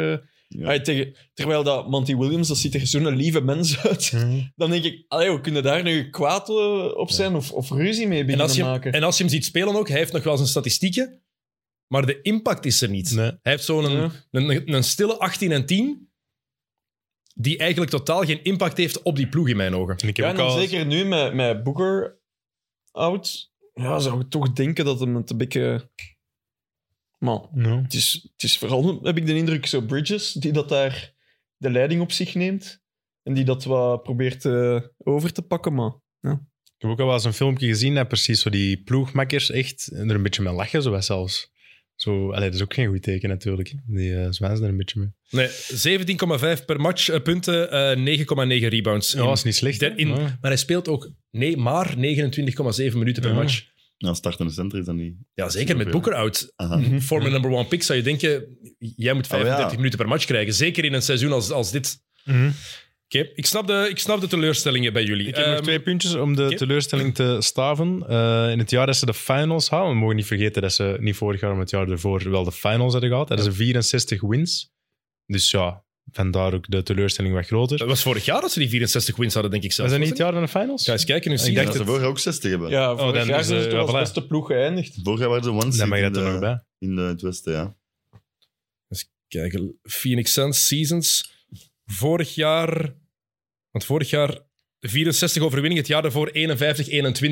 C: Ja.
B: allee, tegen, terwijl dat Monty Williams, dat ziet er zo'n lieve mens uit. Dan denk ik, allee, we kunnen daar nu kwaad eh, op zijn of, of ruzie mee
A: En
B: beginnen
A: als, je, hem-
B: maken.
A: en als je hem ziet spelen ook, hij heeft nog wel zijn statistieken, maar de impact is er niet.
D: Nee.
A: Hij heeft zo'n
B: Ja.
A: een, een stille 18 en 10, die eigenlijk totaal geen impact heeft op die ploeg in mijn ogen.
D: En ik heb
B: Ja, en
D: ook
B: dan
D: al...
B: zeker nu met, met Booker out. Ja, zou ik toch denken dat hem het een beetje... Man,
D: No.
B: het is, het is vooral, heb ik de indruk, zo Bridges, die dat daar de leiding op zich neemt. En die dat wat probeert eh, over te pakken, maar...
D: Ik heb ook al wel eens een filmpje gezien dat precies zo die ploegmakkers echt er een beetje mee lachen, zo wat zelfs. Zo, allee, dat is ook geen goed teken natuurlijk. hè. Die eh zwijzen er een beetje mee.
A: Nee, 17,5 per match eh, punten, eh, 9,9 rebounds.
D: Ja,
A: in-
D: dat is niet slecht. hè.
A: der- in-
D: Ja.
A: Maar hij speelt ook nee, maar 29,7 minuten per
D: Ja.
A: match.
C: Ja, Nou, startende center is dat niet.
A: Ja, zeker met Booker out.
C: Aha.
D: Mhm.
A: Voor mijn number one pick zou je denken, jij
D: Ah,
A: moet 35
C: ja.
A: minuten per match krijgen. Zeker in een seizoen als, als dit.
D: Mhm.
A: Oké, ik, snap de, ik snap de teleurstellingen bij jullie.
D: Ik heb nog
A: Ehm,
D: twee puntjes om de
A: oké.
D: teleurstelling te staven. Eh, in het jaar dat ze de finals halen, we mogen niet vergeten dat ze niet vorig jaar, maar het jaar ervoor wel de finals hadden gehad. Dat is 64 wins. Dus ja, vandaar ook de teleurstelling wat groter.
A: Dat was vorig jaar dat ze die 64 wins hadden, denk ik
D: Was
A: zelf.
D: dat niet het jaar van de finals?
A: Ga eens kijken, nu zie
D: Ik
A: je
D: dacht
C: dat
A: dat.
C: ze vorig jaar ook 60 hebben.
B: Ja, vorig
D: dan
B: jaar
D: is,
B: zijn ze
D: eh,
B: toch als
D: ja, voilà.
B: beste ploeg geëindigd.
C: Vorig jaar waren ze one
D: Dan
C: seed
D: mag je
C: in,
D: dat er nog
C: de,
D: bij.
C: in de, het westen, ja.
A: Kijken, Phoenix Suns, Seasons. Vorig jaar... Want vorig jaar 64 overwinning, het jaar daarvoor 51-21.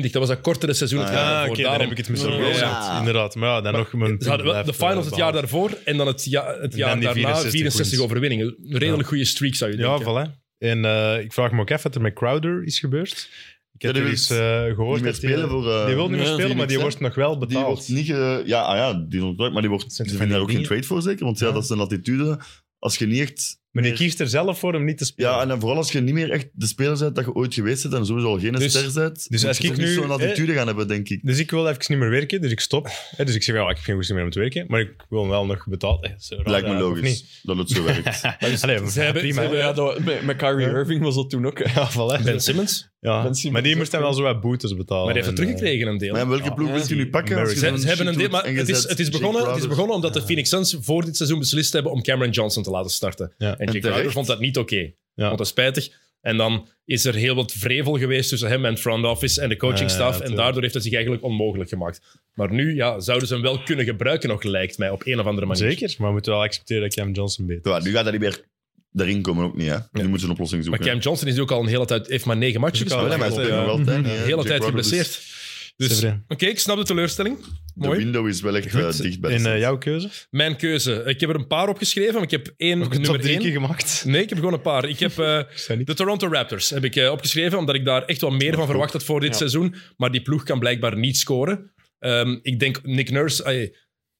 A: Dat was dat kortere seizoen het
C: Ah,
A: jaar
D: Ah,
A: daarvoor.
D: oké, daar
A: Daarom-
D: heb ik het mis
C: Ja.
D: over.
C: Ja.
D: Inderdaad, maar ja, dan nog... Mijn
A: Ze hadden wel de finals het jaar
D: daarvoor.
A: daarvoor en dan het, ja, het
D: En
A: jaar
D: dan die
A: daarna 64,
D: 64 wins.
A: overwinningen. Een redelijk goede streak, zou je
D: Ja,
A: denken.
D: voilà. En eh, ik vraag me ook af wat er met Crowder is gebeurd. Ik
C: Ja,
D: heb
C: die
D: er
C: wil
D: eens eh, gehoord
C: Niet meer
D: dat die-
C: spelen voor... eh,
D: die wil niet meer
B: Ja,
D: spelen, maar die
C: Phoenix,
D: wordt nog wel
C: die
D: betaald.
C: wordt niet... ge- ja, ah ja, die is ontdekt, maar die wordt, ze
D: zijn
C: vinden
D: van die
C: daar ook geen
D: dingen.
C: trade voor, zeker. Want ja,
D: Ja.
C: dat is een attitude. Als je niet echt...
D: Maar die
C: meer-
D: kiest er zelf voor om niet te spelen.
C: Ja, en dan vooral als je niet meer echt de speler bent dat je ooit geweest bent en sowieso al geen
D: Dus-
C: ster bent,
D: dus
C: moet
D: als
C: je
D: ik
C: toch niet
D: nu,
C: zo'n attitude gaan hebben, denk ik.
D: Dus ik wil even niet meer werken, dus ik stop. Hè, dus ik zeg, ja, ik heb geen goesting meer om te werken, maar ik wil wel nog betaald. Hè, dat is raar,
C: Lijkt me
D: hè, of niet?
C: logisch dat het zo werkt.
D: Allee,
A: ze hebben-
D: prima.
A: ze hebben-
B: Ja, dat, met, met Kyrie
D: Ja.
B: Irving was dat toen ook. hè.
D: ja, voilà.
A: Ben Simmons.
D: Ja.
B: Ben Simmons
D: Maar die
B: ook,
D: moest dan
B: hè.
D: wel zo wat boetes betalen.
A: Maar die heeft het
D: En,
A: teruggekregen, een deel.
C: maar ja, welke ploeg wil je nu pakken? als je
D: Ze-
A: Ze,
C: zo'n
A: ze hebben een
C: shit
A: deel,
C: doet
A: maar
C: en je
A: het is,
C: zet
A: het, is
C: Jake
A: begonnen, het is
C: Crowder-
A: begonnen omdat de Phoenix Suns voor dit seizoen beslist hebben om Cameron Johnson te laten starten.
D: eh, Ja.
A: En
C: En
A: Jake Crowder
C: terecht.
A: vond dat niet oké.
D: Ja.
A: Vond dat spijtig. En dan is er heel wat vrevel geweest tussen hem en front office en de coachingstaf.
D: Ja, ja,
A: en
D: tuurlijk.
A: daardoor heeft het zich eigenlijk onmogelijk gemaakt. Maar nu ja, zouden ze hem wel kunnen gebruiken nog, lijkt mij, op een of andere
D: eh,
A: manier.
D: Zeker, maar we moeten wel accepteren dat Cam Johnson beter
C: Ja, nu gaat dat niet meer daarin komen, ook niet. Hè? Nu moeten ze een oplossing
A: Maar
C: zoeken.
A: Cam Johnson is ook al een hele tijd, heeft maar negen matchen
D: Dus ik
A: gespeeld.
D: wou
C: Ja, maar hij
D: Ja, ja.
C: speelt nog wel tijd, hè.
A: De hele
C: Jake
A: tijd
C: Crowder dus is-
A: geblesseerd. Dus,
D: Severin.
A: oké, ik snap de teleurstelling.
C: De
A: Mooi.
C: window is wel echt eh,
D: Goed,
C: dicht bij de
D: En eh,
C: Suns.
D: jouw keuze?
A: Mijn keuze. Ik heb er een paar opgeschreven, maar ik heb één
D: Ook een top
A: nummer
D: drie
A: één.
D: keer gemaakt.
A: Nee, ik heb gewoon een paar. Ik heb eh,
D: Ik zei niet-
A: de Toronto Raptors heb ik, eh, opgeschreven, omdat ik daar echt wel meer van verwacht had voor dit
B: Ja.
A: seizoen. Maar die ploeg kan blijkbaar niet scoren. Ehm, ik denk, Nick Nurse, ey,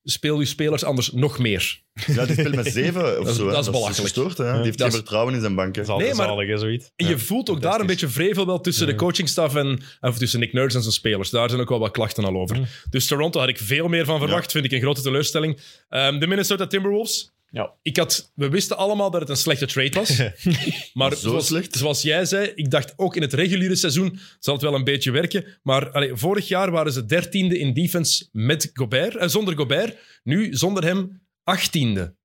A: speel uw spelers anders nog meer.
C: Ja, die speelt met zeven of
A: Dat is-
C: zo. hè.
A: dat is belachelijk.
C: verstoord, hè. Die heeft
A: Dat
C: geen
A: is-
C: vertrouwen in zijn banken.
D: Dat is altijd
A: Nee, maar-
D: zalig, hè, zoiets.
A: En je voelt ook daar een beetje vrevel wel tussen de coachingstaf en of tussen Nick Nurse en zijn spelers. Daar zijn ook wel wat klachten al over. Dus Toronto had ik veel meer van verwacht. Vind ik een grote teleurstelling. Ehm, de Minnesota Timberwolves.
B: Ja.
A: Ik had, we wisten allemaal dat het een slechte trade was. maar
C: Zo
A: zoals,
C: slecht?
A: zoals jij zei, ik dacht ook in het reguliere seizoen zal het wel een beetje werken. Maar allee, vorig jaar waren ze dertiende in defense met Gobert, eh, zonder Gobert. Nu zonder hem achttiende.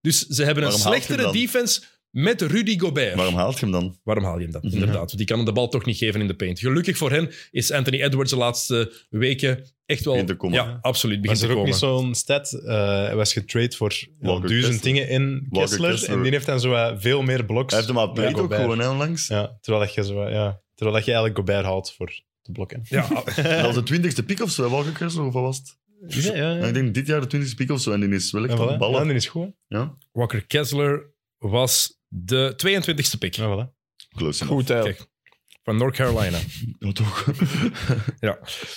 A: Dus ze hebben een
C: Waarom haalt je hem
A: slechtere
C: dan?
A: defense met Rudy Gobert.
C: Waarom haalt je hem dan?
A: Waarom haal je hem dan? Inderdaad, want die kan hem de bal toch niet geven in de paint. Gelukkig voor hen is Anthony Edwards de laatste weken echt wel...
C: Begint te komen.
A: Ja, absoluut. Begint
D: Was
A: te
D: er ook
A: komen.
D: niet zo'n stat? eh, Hij was getrade voor wel
C: Walker
D: duizend
C: Kessler.
D: dingen in
C: Walker
D: Kessler, En
C: Kessler.
D: die heeft dan zo eh, veel meer bloks.
C: Hij heeft hem al
D: dan
C: played ook
D: Gobert.
C: gewoon, hè, onlangs.
D: Ja, terwijl, dat je zo, eh, ja, terwijl dat je eigenlijk Gobert haalt voor te blokken.
A: Ja,
C: Dat was de twintigste pick of zo, Walker Kessler, of wat was het?
D: Ja, ja, ja.
C: Ja, ik denk dit jaar de twintigste pick of zo, en die is wel echt
D: En
C: aan
D: voilà.
C: de
D: Ja,
C: ballen.
D: die is goed.
C: Ja,
A: Walker Kessler was de 22e pick
D: hè. Ja, voilà.
C: close enough.
B: Goed, hè.
A: Kijk. van North Carolina.
C: Ja, toch.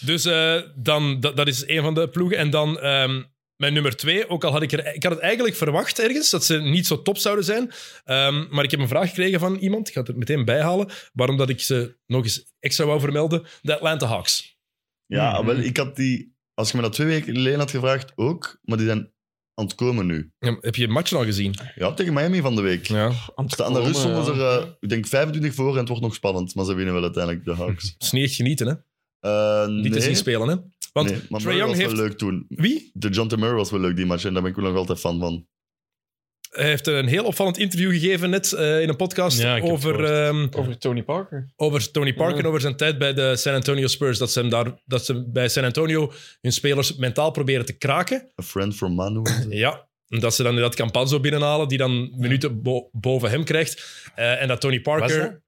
A: Dus eh, dan, dat, dat is een van de ploegen. En dan ehm, mijn nummer twee. Ook al had ik er... Ik had het eigenlijk verwacht ergens, dat ze niet zo top zouden zijn. Ehm, maar ik heb een vraag gekregen van iemand. Ik ga het er meteen bijhalen. Waarom dat ik ze nog eens extra wou vermelden. De Atlanta Hawks. Hmm.
C: Ja, wel, ik had die... Als je me dat twee weken geleden had gevraagd, ook. Maar die zijn aan het komen nu.
A: Ja, heb je matchen al gezien?
C: Ja, tegen Miami van de week.
A: Ja.
B: Aan het
C: Ze Aan de
B: komen,
C: rust stonden ze
B: ja.
C: er, eh, ik denk, 25 voor en het wordt nog spannend. Maar ze winnen wel uiteindelijk de Hawks.
A: Sneeuwt genieten, hè?
C: Eh,
A: Niet
C: nee,
A: te zien spelen, hè? Want
C: nee, maar
A: Trae
C: Murray
A: Young
C: was
A: heeft...
C: wel leuk toen.
A: Wie?
C: De John T. Murray was wel leuk die match en daar ben ik nog altijd fan van.
A: Hij heeft eh, een heel opvallend interview gegeven net eh, in een podcast
D: Ja, ik heb het
A: over, ehm,
B: Over Tony Parker.
A: over Tony Parker en over zijn tijd bij de San Antonio Spurs. Dat ze, hem daar, dat ze bij San Antonio hun spelers mentaal proberen te kraken.
C: A friend from Manu.
D: Eh,
A: Ja, dat ze dan dat Campanzo binnenhalen, die dan minuten bo- boven hem krijgt. Eh, en dat Tony
D: Was dat?
A: Parker...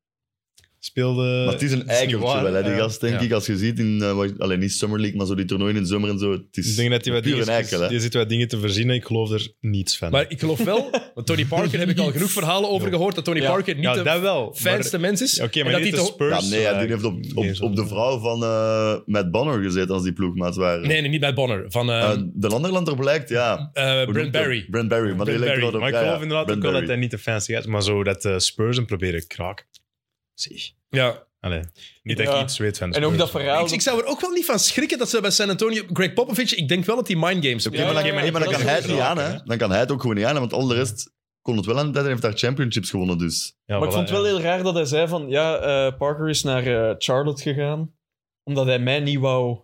D: Speelde...
C: maar het is een
D: dat is
C: eigen
D: niet waar,
C: wel, hè, die
D: ja.
C: gast, denk
D: Ja.
C: ik. Als je ziet in, eh, wat- alleen niet Summer League, maar zo die toernooien in de zomer en zo. Het is
D: Ik denk dat hij wat
C: puur
D: dingen,
C: een eikel, hè.
D: die zit wat dingen te verzinnen. Ik geloof er niets van.
A: Maar ik geloof wel, want Tony Parker heb ik al genoeg verhalen over gehoord, dat Tony
B: Ja.
A: Parker niet
D: ja,
A: de
D: dat wel. maar-
A: fijnste mens is.
D: Oké,
A: en
D: maar
A: dat
D: niet
A: hij
D: de
A: toch-
D: Spurs.
C: Ja, nee, ja, die heeft op, op,
D: Nee, zo.
C: op de vrouw van eh Matt Bonner gezeten als die ploegmaat waren.
A: Nee, nee, niet bij Bonner. Van
D: Ah,
A: eh,
D: ehm,
C: Eh, de Landerlander blijkt, ja.
A: eh, Brent
C: Brent
A: Barry.
C: Brent Barry, maar die
A: Brent
C: lijkt
A: Barry.
C: er wel op.
D: Maar ik
C: ja, ja,
D: geloof inderdaad
C: Brent
D: ook wel dat
C: Barry.
D: hij niet de fancy is. Maar zo dat de Spurs hem proberen kraken. Zie.
A: Ja.
D: Allee, niet dat ik
B: Ja.
D: iets weet van de
B: En ook
D: Spurs,
B: dat
D: maar-
B: verhaal.
A: Ik, ik zou er ook wel niet van schrikken dat ze bij San Antonio... Greg Popovich, ik denk wel dat die mindgames...
C: Oké, maar, dan-
B: Ja, ja, ja,
C: oké, maar dan
B: dat
C: kan
B: is
C: hij
B: ook
C: het niet aan,
D: raak,
C: hè?
D: hè.
C: Dan kan hij het ook gewoon niet aan, hè, want al de rest kon het wel aan. Hij heeft daar championships gewonnen, dus.
D: Ja,
B: maar ik
D: voilà,
B: vond het
D: ja.
B: wel heel raar dat hij zei van... Ja, eh, Parker is naar eh, Charlotte gegaan. Omdat hij mij niet wou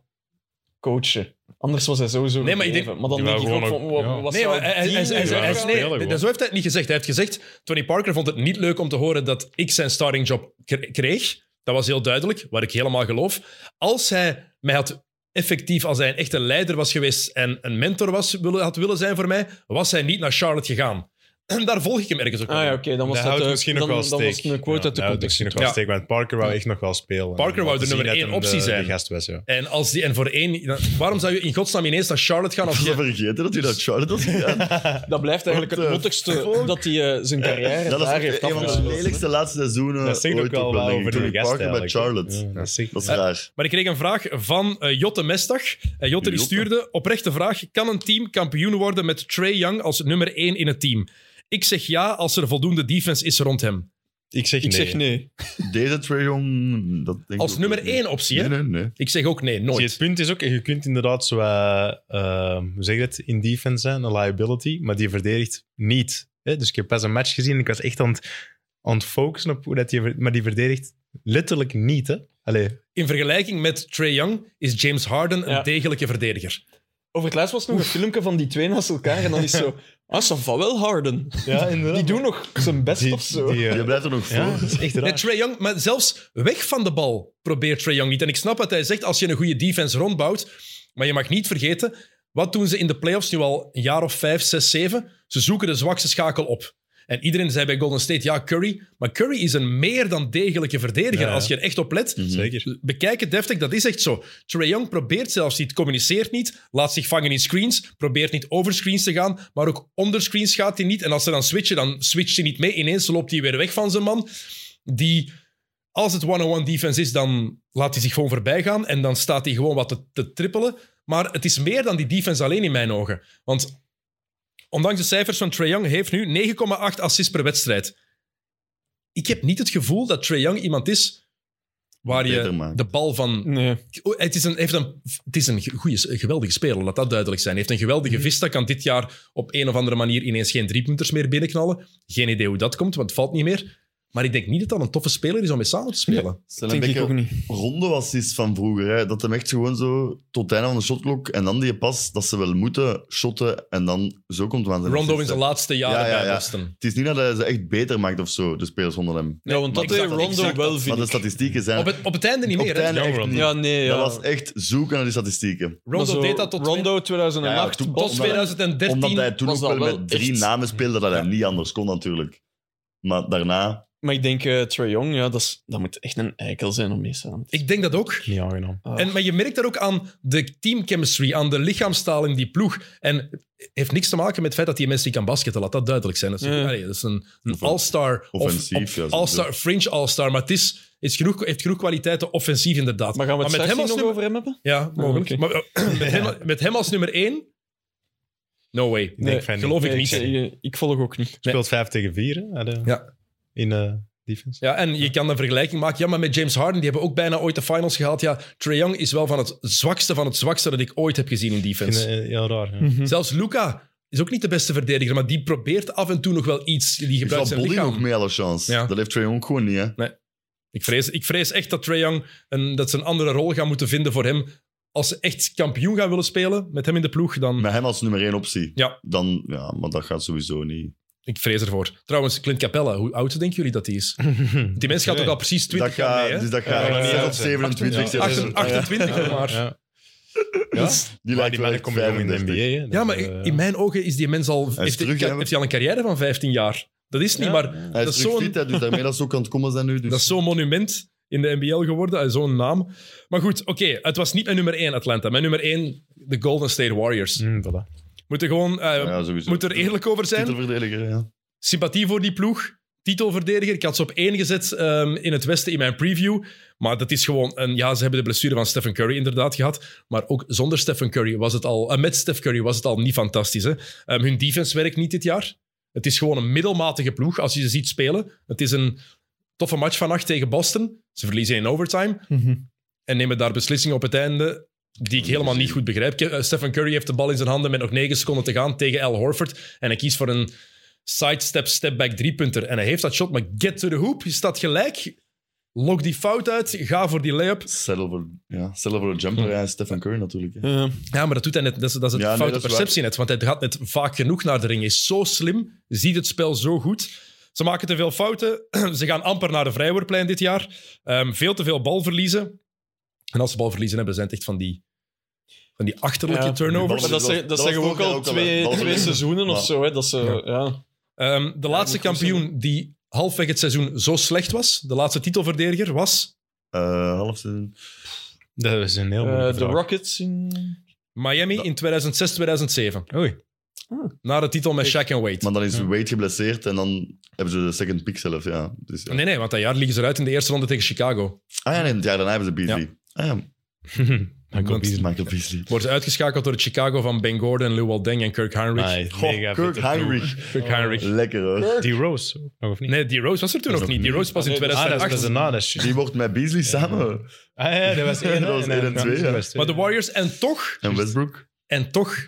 B: coachen. Anders was hij sowieso
A: Nee, maar ik
B: gebleven.
A: denk-
B: Maar dan
D: die
B: denk ik
D: wou
B: ook van...
D: gewoon
B: wa-
D: ook- ja.
B: Wat
A: Nee,
B: zou
A: maar hij, hij,
B: die
A: hij, hij-
B: nu
A: hij- hij-
B: doen?
A: nee,
D: spelen gewoon.
A: dat- zo heeft hij het niet gezegd. Hij heeft gezegd, Tony Parker vond het niet leuk om te horen dat ik zijn starting job kre- kreeg. Dat was heel duidelijk, wat ik helemaal geloof. Als hij mij had effectief, als hij een echte leider was geweest en een mentor was, willen, had willen zijn voor mij, was hij niet naar Charlotte gegaan. En daar volg ik hem ergens ook
B: Ah ja,
A: op.
B: oké, dan was
D: Dat
B: dat,
D: houdt
B: eh,
D: misschien
B: dan,
D: ook wel
B: dan
D: steek.
B: was het een quote
D: Ja,
B: uit de
D: dat houdt
B: context.
D: misschien ook wel
A: Ja.
D: steek, want Parker wou echt nog wel spelen.
A: Parker
D: En
A: wou
D: laten
A: de nummer
D: zien dat
A: één
D: hem
A: optie
D: de-
A: zijn.
D: De gast was, ja.
A: En, als die, en voor één... dan- Waarom zou je in godsnaam ineens naar Charlotte gaan als
C: Ze
A: je...
C: vergeten dat hij dat Charlotte had gedaan.
B: Dat blijft eigenlijk
C: What
D: eh,
B: het
C: the
B: nottigste
C: fuck?
B: dat hij eh, zijn carrière
C: Dat is
B: daar
C: echt
B: heeft
C: een van de
B: afgesloten.
C: lelijkste laatste seizoenen
D: Dat zegt ook
C: ooit
D: wel
C: ook wel,
D: wat over
C: denk ik.
D: de
C: Tony
D: gast
C: Parker bij
D: eigenlijk, hè.
C: Charlotte.
D: Ja, dat zegt
C: Dat is
A: Eh,
C: raar.
A: Maar ik kreeg een vraag van eh, Jotte Mestag. Eh, Jotte die
C: Jotte.
A: stuurde, oprechte vraag, kan een team kampioen worden met Trey Young als nummer 1 in het team? Ik zeg ja als er voldoende defense is rond hem.
D: Ik zeg
B: Ik
D: nee.
B: zeg nee.
C: Deze Trae Young, dat denk ik
A: Als
C: ook
A: nummer
C: niet. Nee.
A: 1 optie, hè?
C: Nee, nee, nee.
A: Ik zeg ook nee,
D: Zie, het
A: nooit.
D: punt is ook, Dus je kunt inderdaad zo, eh, eh, hoe zeg je het, in defense zijn, een liability, maar die verdedigt niet. Hè? Dus ik heb pas een match gezien en ik was echt aan het, aan het focussen op hoe dat die, ver- maar die verdedigt letterlijk niet. Hè? Allee,
A: In vergelijking met Trey Young is James Harden een
B: Ja.
A: degelijke verdediger.
B: Over het laatst was nog een filmpje van die twee naast elkaar en dan is zo... Ah, ça va wel Harden.
D: ja, inderdaad.
B: Die doen nog zijn best
D: Die-
B: of zo.
D: die, eh,
C: Je blijft er nog voor.
D: ja, dat is echt
A: Nee,
D: raar.
A: Trae Young, maar zelfs weg van de bal probeert Trae Young niet. En ik snap wat hij zegt als je een goede defense rondbouwt. Maar je mag niet vergeten, wat doen ze in de playoffs nu al een jaar of vijf, zes, zeven? Ze zoeken de zwakste schakel op. En iedereen zei bij Golden State, ja, Curry. Maar Curry is een meer dan degelijke verdediger.
D: Ja, ja.
A: Als je er echt op let,
C: Mhm.
D: Zeker.
A: bekijk het deftig, dat is echt zo. Trae Young probeert zelfs niet, communiceert niet, laat zich vangen in screens, probeert niet over screens te gaan, maar ook onder screens gaat hij niet. En als ze dan switchen, dan switcht hij niet mee. Ineens loopt hij weer weg van zijn man. Die, als het one-on-one defense is, dan laat hij zich gewoon voorbij gaan en dan staat hij gewoon wat te, te trippelen. Maar het is meer dan die defense alleen in mijn ogen. Want ondanks de cijfers van Trae Young heeft nu 9,8 assists per wedstrijd. Ik heb niet het gevoel dat Trae Young iemand is waar
C: Beter
A: je
C: maakt.
A: de bal van...
B: Nee.
A: Oh, Het is een, heeft een, het is een goeie, een geweldige speler, laat dat duidelijk zijn. Hij heeft een
C: Mhm.
A: geweldige vista, kan dit jaar op een of andere manier ineens geen driepunters meer binnenknallen. Geen idee hoe dat komt, want het valt niet meer. Maar ik denk niet dat dat een toffe speler is om mee samen te spelen.
C: Ze zijn een
B: Denk ik
C: beetje
B: ook niet.
C: ronde assist van vroeger. Hè? Dat hem echt gewoon zo tot het einde van de shotklok en dan die pas dat ze wel moeten shotten en dan zo komt het aan zijn
A: Rondo in
C: assist,
A: zijn
C: hè.
A: laatste jaren
C: Ja, ja,
A: bij
C: ja.
A: Boston.
C: Het is niet dat hij ze echt beter maakt of zo, de spelers onder hem.
B: Ja, want
A: maar
B: dat deed
A: ik zag dat- ik
B: Rondo
A: zag
B: wel,
C: Maar
B: vind
C: de
B: ik.
C: statistieken zijn...
A: Op het, op het einde niet
C: op
A: meer,
C: het
A: hè?
C: einde
D: Jammer,
C: echt
D: Rondo.
C: niet.
B: Ja, nee, ja.
C: Dat was echt zoeken naar die statistieken.
B: Maar
A: Rondo
B: zo,
A: deed dat tot,
B: Rondo 2008,
C: Ja, toen-
A: tot
B: Boston.
C: omdat-
A: 2013.
C: Omdat hij toen
B: was
C: ook
B: dat
C: wel
B: wel
C: met drie
B: echt-
C: namen speelde, dat hij niet anders kon natuurlijk. Maar daarna...
B: Maar ik denk, eh Trae Young, ja, dat, is, dat moet echt een eikel zijn om mee samen te
A: Ik denk dat ook.
D: Niet aangenaam.
B: Ah.
A: En, maar je merkt dat ook aan de teamchemistry, aan de lichaamstaal in die ploeg. En heeft niks te maken met het feit dat die mensen niet kan basketten, laat dat duidelijk zijn. Dat is,
B: Ja.
A: allee, dat is een, een
C: Of-
A: all-star, of,
C: offensief,
A: of
C: ja, zo-
A: all-star, fringe all-star, maar het is, is genoeg, heeft genoeg kwaliteiten offensief inderdaad.
B: Maar gaan we het
A: met
B: straks
A: hem
B: nog
A: als nummer-
B: over hem hebben?
A: Ja, mogelijk.
B: oké.
A: Maar, eh, met, hem, met hem als nummer één? No way.
D: Ik denk van niet.
A: geloof ik niet.
B: Ik, ik volg ook niet.
D: Speelt 5 tegen 4 hè, de-
A: Ja.
D: in eh defense.
A: Ja, en je kan een vergelijking maken. Ja, maar met James Harden, die hebben ook bijna ooit de finals gehaald. Ja, Trae Young is wel van het zwakste van het zwakste dat ik ooit heb gezien in
D: Ik vind
A: defense.
C: Hm.
D: het eh, heel raar. ja.
A: Zelfs Luca is ook niet de beste verdediger, maar die probeert af en toe nog wel iets. Die
C: Is
A: gebruikt
C: dat
A: zijn
C: Bolly
A: lichaam.
C: nog mee alle chance?
A: Ja.
C: Dat heeft Trae Young gewoon niet, hè?
A: Ik vrees, ik vrees echt dat Trae Young een, dat ze een andere rol gaan moeten vinden voor hem. Als ze echt kampioen gaan willen spelen met hem in de ploeg, dan...
C: Met hem als nummer één optie.
A: Ja.
C: Dan, ja, maar dat gaat sowieso niet.
A: Ik vrees ervoor. Trouwens, Clint Capella, hoe oud denken jullie dat hij is? Die mens gaat
D: Nee.
A: toch al precies 20
C: Dat gaat,
A: jaar mee, hè?
C: dus dat
D: Ja,
C: gaat
D: dat
C: zes
D: gaat
C: op
D: niet
C: 27
B: uit, hè.
C: zitten.
A: 28, 28 nog maar. Ja.
D: Ja. Ja?
C: Die
D: Maar
C: lijkt
D: die
C: wel
D: mannen
C: echt
D: komen jong in de
C: 35.
D: NBA. hè. Dus,
A: maar
D: eh,
A: in mijn ogen is die mens al...
C: Hij is
A: Heeft, hij-
C: terug, hè?
A: heeft hij al een carrière van 15 jaar? Dat is niet,
B: Ja.
A: maar
C: Hij
A: Dat
C: is
A: is
C: terug
A: zo'n-
C: fit, hè, dus daarmee dat ze ook aan het komen zijn nu. Dus.
A: dat is zo'n monument in de NBL geworden. eh, Zo'n naam. Maar goed, oké. het was niet mijn nummer 1, Atlanta. Mijn nummer 1, de Golden State Warriors.
D: mm, voilà.
A: Moeten gewoon... eh
C: ja, dus- sowieso.
A: Moet er eerlijk over zijn.
C: Titelverdediger, ja.
A: sympathie voor die ploeg. Titelverdediger. Ik had ze op één gezet ehm, in het Westen in mijn preview. Maar dat is gewoon een. Ja, ze hebben de blessure van Stephen Curry inderdaad gehad. Maar ook zonder Stephen Curry was het al. eh, met Stephen Curry was het al niet fantastisch. Hè? Ehm, hun defense werkt niet dit jaar. Het is gewoon een middelmatige ploeg als je ze ziet spelen. Het is een toffe match vannacht tegen Boston. Ze verliezen in overtime
B: Mhm. Eh,
A: en nemen daar beslissingen op het einde die ik helemaal niet goed begrijp. Ke- eh, Stephen Curry heeft de bal in zijn handen met nog 9 seconden te gaan tegen Al Horford. En hij kiest voor een sidestep, stepback driepunter. En hij heeft dat shot, maar get to the hoop. Je staat gelijk. Lok die fout uit. Ga voor die layup.
C: Settle voor, ja, settle voor een jumper, ja, Stephen Curry natuurlijk. Hè.
B: Eh,
A: Ja, maar dat doet hij net. Dat is, dat is het
C: Ja, nee,
A: foute
C: dat is
A: perceptie net. Want hij gaat net vaak genoeg naar de ring. Hij is zo slim. Ziet het spel zo goed. Ze maken te veel fouten. Ze gaan amper naar de vrijwoordplein dit jaar. Ehm, veel te veel balverliezen. En als ze balverliezen hebben, zijn het echt van die, van die achterlijke
B: Ja.
A: turnovers.
B: maar dat zeggen dat
C: was
B: zeggen we ook
C: vorig jaar
B: al
C: ook al,
B: twee,
C: hè. Dat
B: twee
C: was-
B: seizoenen
C: Ja.
B: of zo. Hè, dat ze,
A: Ja.
B: ja.
A: Ehm, de laatste
B: moet goed
A: kampioen die halfweg het seizoen zo slecht was, de laatste titelverdediger, was
C: Eh, half seizoen.
D: Dat is een heel
B: Eh,
D: mooie
B: de
D: vraag.
B: Rockets in...
A: Miami in 2006-2007.
D: Oei.
A: Na de titel met Shaq en Wade.
C: Ah. Maar dan is Wade geblesseerd en dan hebben ze de second pick zelf, ja. Dus, ja.
A: Nee, nee, want dat jaar liggen ze eruit in de eerste ronde tegen Chicago.
C: Ah ja, nee, het jaar daarna hebben ze Beasley. Ah ja,
D: Michael
A: Want-
D: Beasley.
C: Michael Beasley.
A: Wordt uitgeschakeld door het Chicago van Ben Gordon, Lou Waldeng en Kirk Heinrich.
D: Amai,
C: Goh,
D: mega
C: Oh, Kirk
D: vette ploeg.
C: Heinrich.
A: Kirk Heinrich.
C: Lekker
B: Eh,
C: hoor.
D: Die Rose, ook, of niet?
A: Nee, die Rose was er toen
C: Dat is
A: nog
C: nog
A: niet. Die
C: niet.
A: Rose pas in
B: Ah, nee, dat is-
D: Ah, dat is-
A: 2008.
D: dat is daarna. dat is-
C: Die wordt met Beasley samen.
D: Ah ja, dat was één.
C: Dat was één en twee, ja.
A: Maar de Warriors, en toch,
C: En Westbrook.
A: en toch,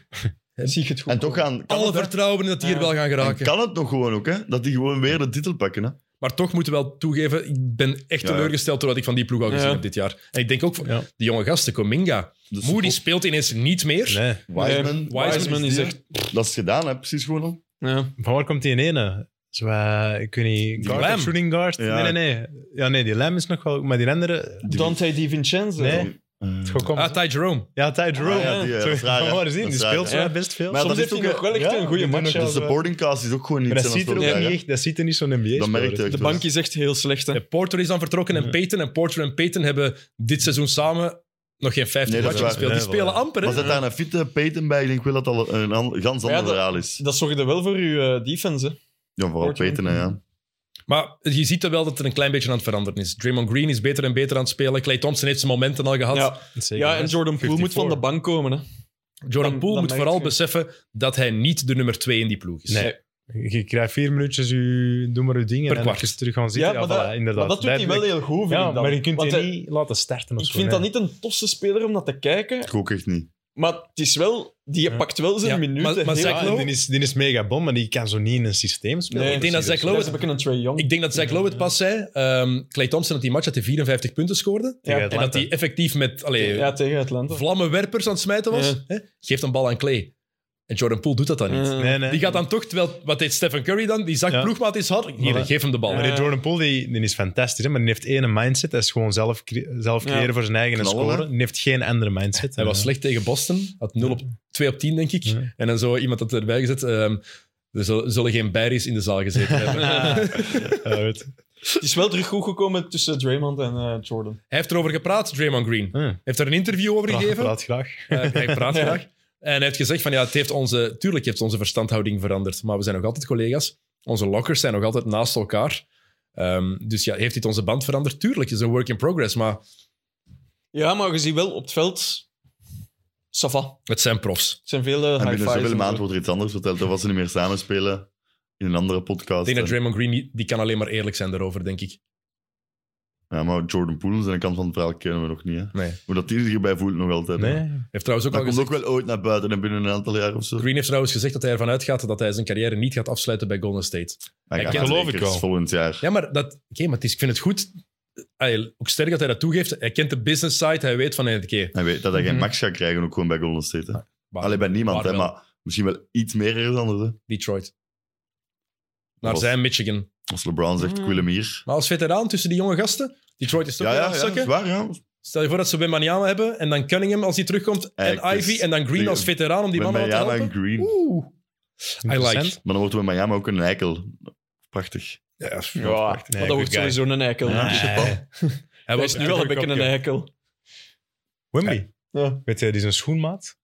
B: Zie ik het goed.
C: En toch gaan... Kan,
A: alle
C: het, hè?
A: vertrouwen in dat die hier
B: Ja.
A: wel gaan
C: En
A: geraken.
C: kan het nog gewoon ook, hè? Dat die gewoon weer de titel pakken, hè?
A: Maar toch moeten we wel toegeven, ik ben echt
C: Ja.
A: teleurgesteld door wat ik van die ploeg al gezien
B: Ja.
A: heb dit jaar. En ik denk ook, van
D: Ja.
A: de jonge gasten, Cominga.
C: Dus
A: Moody speelt ineens niet meer.
D: Nee.
C: Wiseman.
B: Nee,
A: Wiseman
B: Eh, Wiseman
C: die
B: is
C: er-
B: echt...
C: Dat is gedaan, hè? Precies gewoon al.
B: Ja.
D: Van waar komt die ene? Zo, eh, ik weet niet. Guard of
A: Lam.
D: Shooting guard?
C: Ja.
D: Nee, nee, nee. Ja, nee, die Lam is nog wel... Maar die andere...
B: Dante DiVincenzo.
D: Nee.
C: Die- Eh,
D: het gewoon
A: Ah,
D: komt-
A: Ty Jerome.
D: Ja, Ty Jerome.
B: Ah, ja,
C: die, eh,
D: Sorry,
C: dat is raar, hè?
D: van waar is die?
C: Dat
D: Die
C: is
D: speelt
C: raar,
D: zo
B: hè?
D: best veel.
C: Maar
B: Soms
C: dat is
B: heeft hij
C: ook
B: nog wel echt
D: ja,
B: een goede
D: die doen
B: match.
D: ook
C: De
B: als, eh,
C: supporting cast is ook gewoon niet
D: Maar dat
C: hetzelfde
D: ziet er
C: als
D: ook
C: vorig
D: niet
C: jaar,
D: echt... Dat ziet er niet zo'n NBA
C: hè. Dat merkte ik.
B: De bank is echt heel slecht. Hè.
A: En Porter is dan vertrokken en
D: Ja.
A: Peyton. En Porter en Peyton hebben dit seizoen samen nog geen 15
C: Nee, dat
A: matchen
C: is waar.
A: gespeeld. die
D: Nee, wel,
A: spelen
D: ja.
A: amper,
C: Maar
A: hè?
C: zet daar een fitte Peyton bij, ik denk wel dat dat al een an- gans ander
B: Ja, dat-
C: verhaal is.
B: Dat zorgde wel voor uw eh, defense. Hè.
C: Ja, vooral
B: Portland.
C: Peyton, hè, ja.
A: Maar je ziet er wel dat het een klein beetje aan het veranderen is. Draymond Green is beter en beter aan het spelen. Clay Thompson heeft zijn momenten al gehad.
B: Ja. ja, en Jordan Poole moet van de bank komen. Hè.
A: Jordan
B: Dan-
A: Poole
B: dan
A: moet
B: merk
A: vooral
B: je-
A: beseffen dat hij niet de nummer 2 in die ploeg is.
D: Nee. Je krijgt vier minuutjes, je, doe maar je dingen.
A: Per
D: en
A: kwart.
D: even terug gaan zitten. Ja, voilà, inderdaad.
B: maar dat doet hij wel
D: Duidelijk.
B: heel goed, vind
D: Ja,
B: ik dan.
D: maar je kunt
B: Want
D: die
B: hij-
D: niet laten starten of
B: Ik
D: zo,
B: vind dat
D: nee.
B: niet een toffe speler om naar te kijken.
C: Ik ook echt niet.
B: Maar het is wel... Die
D: Ja.
B: pakt wel zijn
A: Ja,
B: minuten.
A: maar- maar
B: heel
A: Zach
B: goed.
A: Lowe-
D: Ja, en die is, die is mega bom, maar die kan zo niet in een systeem spelen.
B: Nee, ik
A: denk dat Zach Lowe-
B: Dat is een beetje een Trae Young.
A: Ik denk dat Zach Lowe het pas zei. Ehm Clay Thompson dat die match dat hij 54 punten scoorde.
B: ja,
A: En dat hij effectief met allee,
B: ja, tegen Atlanta.
A: vlammenwerpers aan het smijten was.
B: Ja.
A: Hè? Geeft een bal aan Clay. En Jordan Poole doet dat dan niet.
B: Eh,
D: Nee, nee.
A: Die gaat dan toch, terwijl wat deed Stephen Curry dan? Die zag
D: Ja.
A: ploegmaat is hard. Hier,
D: Voilà.
A: geef hem de bal.
D: Maar die Jordan Poole die, die is fantastisch, hè? maar die heeft één mindset. Dat is gewoon zelf, cre- zelf
B: Ja.
D: creëren voor zijn eigen en
C: Knallen,
D: scoren.
C: hè?
D: Die heeft geen andere mindset.
A: Hij was slecht tegen Boston. Had 0 op, 2 op 10, denk ik.
D: Ja.
A: En dan zo iemand had erbij gezet. ehm, er zullen, zullen geen Barry's in de zaal gezeten hebben.
B: Ah.
D: Ja, weet.
B: Het is wel terug goed gekomen tussen Draymond en eh, Jordan.
A: Hij heeft erover gepraat, Draymond Green.
D: Hm.
A: Heeft er een interview over
D: Praat,
A: gegeven.
D: praat graag.
A: Eh, hij praat graag. En hij heeft gezegd van ja, het heeft onze, tuurlijk heeft onze verstandhouding veranderd, maar we zijn nog altijd collega's. Onze lockers zijn nog altijd naast elkaar. Ehm, dus ja, heeft dit onze band veranderd? Tuurlijk, het is een work in progress, maar
B: Ja, maar je ziet wel op het veld... Safa. Het
A: het zijn profs.
B: zijn veel eh,
C: En
B: high
C: binnen zoveel
B: fives. en
C: maand
B: zo.
C: wordt er iets anders verteld. Dat was ze niet meer samen spelen in een andere
A: Ik
C: podcast.
A: denk dat
C: En-
A: Draymond Green, niet- die kan alleen maar eerlijk zijn daarover, denk ik.
C: Ja, maar Jordan Poole, zijn kant van het verhaal kennen we nog niet. Hè.
A: Nee.
C: Hoe dat hij zich erbij voelt nog altijd. hè.
D: Nee.
A: Heeft trouwens ook
C: Dat
A: al
C: komt
A: gezegd,
C: ook wel ooit naar buiten en binnen een aantal jaar of zo.
A: Green heeft trouwens gezegd dat hij ervan uitgaat dat hij zijn carrière niet gaat afsluiten bij Golden State.
C: Hij
A: Dat
C: gaat
D: geloof
C: zeker
D: ik wel.
C: Volgend jaar.
A: Ja, maar, dat, oké, maar het is, ik vind het goed. Ay, ook sterk dat hij dat toegeeft. Hij kent de business side. Hij weet van, nee, oké,
C: Hij weet dat hij geen
B: Mhm.
C: max gaat krijgen, ook gewoon bij Golden State. Hè.
A: waar-
C: Alleen bij niemand,
A: waar
C: hè,
A: wel?
C: maar misschien wel iets meer ergens anders. Hè.
A: Detroit. Naar
C: Of-
A: zijn Michigan.
C: Als LeBron zegt, ik wil hem hier.
A: Maar als veteraan tussen die jonge gasten, Detroit is toch
C: Ja,
A: wel
C: ja,
A: aan
C: ja,
A: het
C: dat
A: zakken.
C: is waar. Ja.
A: Stel je voor dat ze Wembanyama hebben en dan Cunningham als hij terugkomt en
C: Eigenlijk is-
A: Ivy en dan Green
C: die-
A: als veteraan om die
C: Met
A: mannen wat te
C: Miami
A: helpen.
C: en Green.
A: Oeh. I like.
D: Interessant.
C: Maar dan wordt we in Miami ook een eikel. Prachtig.
A: Ja,
B: Ja, maar dat
D: good
B: wordt
D: guy.
B: sowieso een eikel.
D: Nee.
B: Shit, man.
A: Hij
B: Hij is nu wel een beetje een eikel.
D: Wimby.
B: Ja.
D: Weet je, die is een schoenmaat.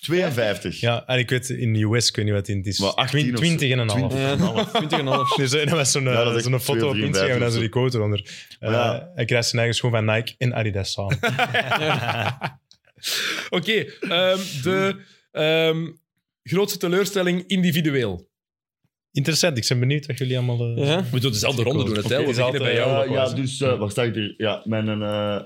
C: 52.
D: Ja, en ik weet in de US, ik weet niet wat het is.
C: Maar 18 of zo.
D: 20 en een half.
B: Ja, 20,5.
D: Dus eh, dat was zo'n
C: Ja, dat
D: eh,
C: is
D: zo'n
C: echt
D: foto op
C: 2,53
D: Instagram en dan
C: of
D: zo
C: zo.
D: die quote eronder. Eh,
C: Ja.
D: Hij krijgt zijn eigen schoen van Nike en Adidas samen.
A: Oké, ehm, de ehm, grootste teleurstelling individueel.
D: Interessant, ik ben benieuwd wat jullie allemaal... eh,
B: Ja.
A: We doen dezelfde ronde doen, het
C: dus
D: Oké,
A: hè? We
D: is
A: beginnen bij
D: altijd-
A: jou.
C: Ja,
D: Paul
C: ja,
D: Lacroix.
C: dus eh waar sta ik hier? Ja, mijn eh,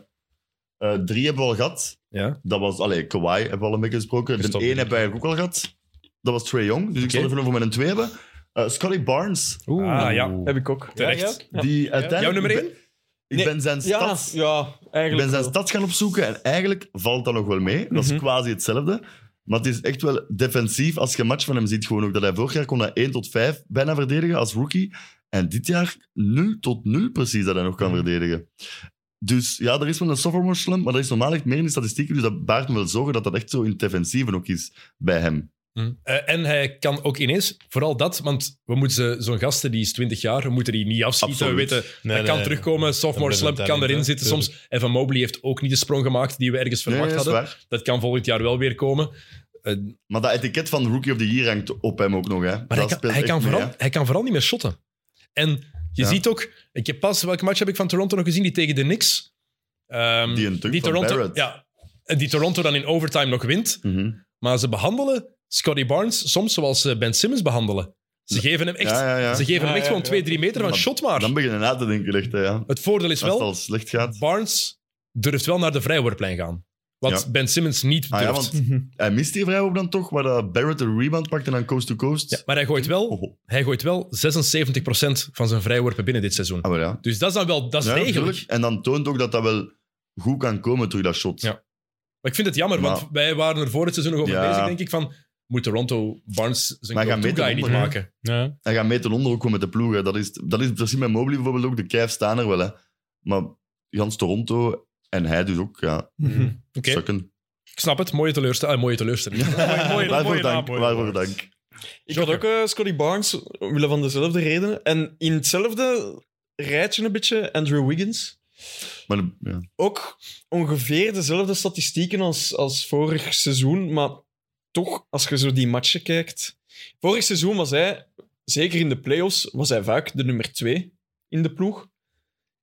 C: eh, drie hebben we al gehad.
A: Ja.
C: Dat was, allee, Kawhi hebben we al een beetje gesproken. De
D: Gestopt.
C: één hebben we eigenlijk ook al gehad. Dat was Trey Young. Dus ik zal
A: Oké.
C: even over mijn twee hebben. Eh, Scotty Barnes,
D: Oeh.
A: Ah, ja.
B: Heb ik ook.
A: Terecht.
B: Ja, jij ook?
C: die uiteindelijk...
A: Jouw nummer één?
C: Ik
B: Nee.
C: ben zijn
B: Ja,
C: stats...
B: ja,
C: Ik ben
B: eigenlijk.
C: zijn
B: wel.
C: stad gaan opzoeken en eigenlijk valt dat nog wel mee. Dat is
B: Mhm.
C: quasi hetzelfde. Maar het is echt wel defensief. Als je een match van hem ziet, gewoon ook dat hij vorig jaar kon dat 1 tot 5 bijna verdedigen als rookie. En dit jaar 0 tot 0 precies dat hij nog kan verdedigen. Dus ja, er is wel een sophomore slump, maar dat is normaal echt meer in de statistieken. Dus dat baart me wel zorgen dat dat echt zo in het defensieve ook is bij hem.
A: Eh, en hij kan ook ineens, vooral dat, want we moeten ze- zo'n gasten, die is 20 jaar, we moeten die niet afschieten.
C: Absoluut.
A: We weten,
D: Nee,
A: hij
D: nee.
A: kan terugkomen, sophomore
D: Dan
A: slump
D: blijft het
A: kan erin
D: talent, hè?
A: zitten soms. En Van Mobley heeft ook niet de sprong gemaakt die we ergens verwacht
C: dat is
A: hadden.
C: waar.
A: Dat kan volgend jaar wel weer komen. Eh,
C: Maar dat etiket van Rookie of the Year hangt op hem ook nog. Hè.
A: maar hij
C: dat
A: kan,
C: speelt
A: hij,
C: echt
A: kan
C: mee,
A: vooral,
C: hè.
A: hij kan vooral niet meer shotten. En je
C: Ja.
A: ziet ook, ik heb pas, welke match heb ik van Toronto nog gezien? Die tegen de Knicks. Ehm,
C: Die een dunk van
A: Toronto,
C: Barrett.
A: ja, en die Toronto dan in overtime nog wint.
C: Mhm.
A: Maar ze behandelen Scotty Barnes soms zoals ze Ben Simmons behandelen. Ze geven hem echt,
C: Ja, ja, ja.
A: Ze geven hem
B: Ja,
A: echt
B: ja,
A: gewoon
B: ja.
A: 2, 3 meter van
C: Maar
A: shot maar.
C: Dan begin je na te denken, echt. Hè, ja.
A: Het voordeel is
C: Als het
A: wel,
C: al slecht gaat.
A: Barnes durft wel naar de vrijworplijn gaan. Wat
C: Ja.
A: Ben Simmons niet
C: Ah,
A: durft.
C: ja, want
A: Mhm.
C: Hij mist die vrijwoord dan toch, waar dat Barrett een rebound pakt en dan coast to coast.
A: Ja, maar hij gooit wel,
C: Oh, oh.
A: hij gooit wel 76% van zijn vrijworpen binnen dit seizoen.
C: Ah, maar ja.
A: Dus dat is dan wel dat is
C: Ja,
A: degelijk.
C: natuurlijk. En dan toont ook dat dat wel goed kan komen terug, dat shot.
A: Ja. Maar ik vind het jammer, want
C: Maar-
A: wij waren er voor het seizoen nog over
C: Ja.
A: bezig, denk ik, van moet Toronto Barnes
C: Maar
A: zijn
C: hij gaat
A: go-to
C: mee
A: guy niet
C: eronder, hè?
A: maken?
D: Ja.
C: Hij gaat mee ten onder ook gewoon met de ploegen. Dat is, dat is precies met Mobley bijvoorbeeld ook. De Cavs staan er wel, hè. Maar Jans Toronto en hij dus ook, ja.
B: Mhm.
A: Oké,
C: Sukken.
A: ik snap het. Mooie teleurstelling. Ah, mooie teleurstelling. mooie, mooie,
C: waarvoor
A: mooie naam,
C: dank,
A: mooie
C: waarvoor
A: naam.
C: dank.
B: Ik had ook eh, Scotty Barnes, omwille van dezelfde redenen. En in hetzelfde rijtje een beetje Andrew Wiggins.
C: Maar ja.
B: Ook ongeveer dezelfde statistieken als, als vorig seizoen. Maar toch, als je zo die matchen kijkt... Vorig seizoen was hij, zeker in de playoffs, was hij vaak de nummer twee in de ploeg.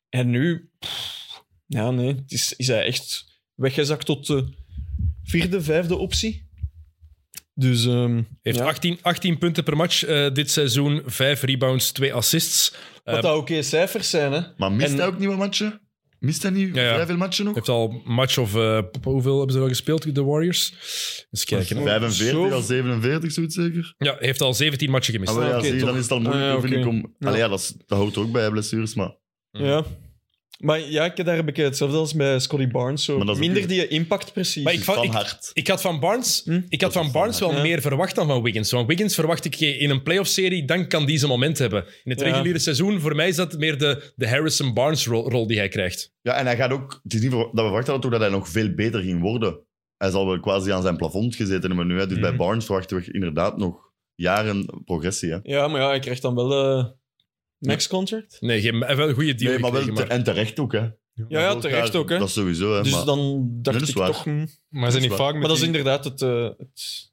B: En nu... pff, ja, nee. het Is, is hij echt weggezakt tot de vierde, vijfde optie. Dus... ehm,
A: Heeft
B: ja.
A: 18, 18 punten per match eh, dit seizoen. 5 rebounds, 2 assists. Eh,
B: Wat dat oké cijfers zijn, hè?
C: Maar mist
B: En-
C: hij ook nieuwe matchen? Mist hij niet
A: Ja, ja.
C: vrij veel matchen nog?
A: heeft al een match of... eh, hoeveel hebben ze wel gespeeld, de Warriors? Eens kijken. hè.
C: 45
B: Zo-
C: al 47, zoiets zeker?
A: Ja, heeft al 17 matchen gemist.
C: Ah, wel, ja,
B: oké,
C: zie je,
B: toch.
C: dan is het al moeilijk,
B: Ah, ja,
C: vind
B: oké.
C: ik, om...
B: Ja.
C: Allee, ja, dat, is- dat houdt er ook bij, hè, blessures, maar...
B: Ja. Maar ja, ik heb daar een beetje hetzelfde als bij Scotty Barnes. Zo.
C: Maar dat is ook
B: Minder
C: niet-
B: die impact precies.
A: Maar ik,
C: Van
A: van, ik,
C: hart.
A: ik had van Barnes,
B: Hm?
A: ik
C: Dat
A: had
C: is
A: van
C: wel
A: Barnes wel
B: hard. Ja.
A: meer verwacht dan van Wiggins. Want Wiggins verwacht ik in een playoff-serie, dan kan die zijn moment hebben. In het
B: Ja.
A: reguliere seizoen, voor mij is dat meer de, de Harrison Barnes-rol rol die hij krijgt.
C: Ja, en hij gaat ook... Het is niet voor- dat we verwachten hadden ook dat hij nog veel beter ging worden. Hij zal wel quasi aan zijn plafond gezeten hebben nu. Hè. Dus
A: Mhm.
C: bij Barnes verwachten we inderdaad nog jaren progressie. Hè.
B: Ja, maar ja, hij krijgt dan wel de max contract.
A: Nee, geen, hij heeft wel een goede deal
C: Nee, maar wel
A: gekregen,
C: te- en terecht ook, hè.
B: Ja, ja terecht ook. Hè.
C: Dat sowieso, hè.
B: dus
C: maar
B: dan dacht
C: dat is
B: ik
C: waar.
B: toch... hm.
D: Maar zijn niet
C: waar.
D: vaak met
B: Maar dat is
D: die-
B: inderdaad het, eh, het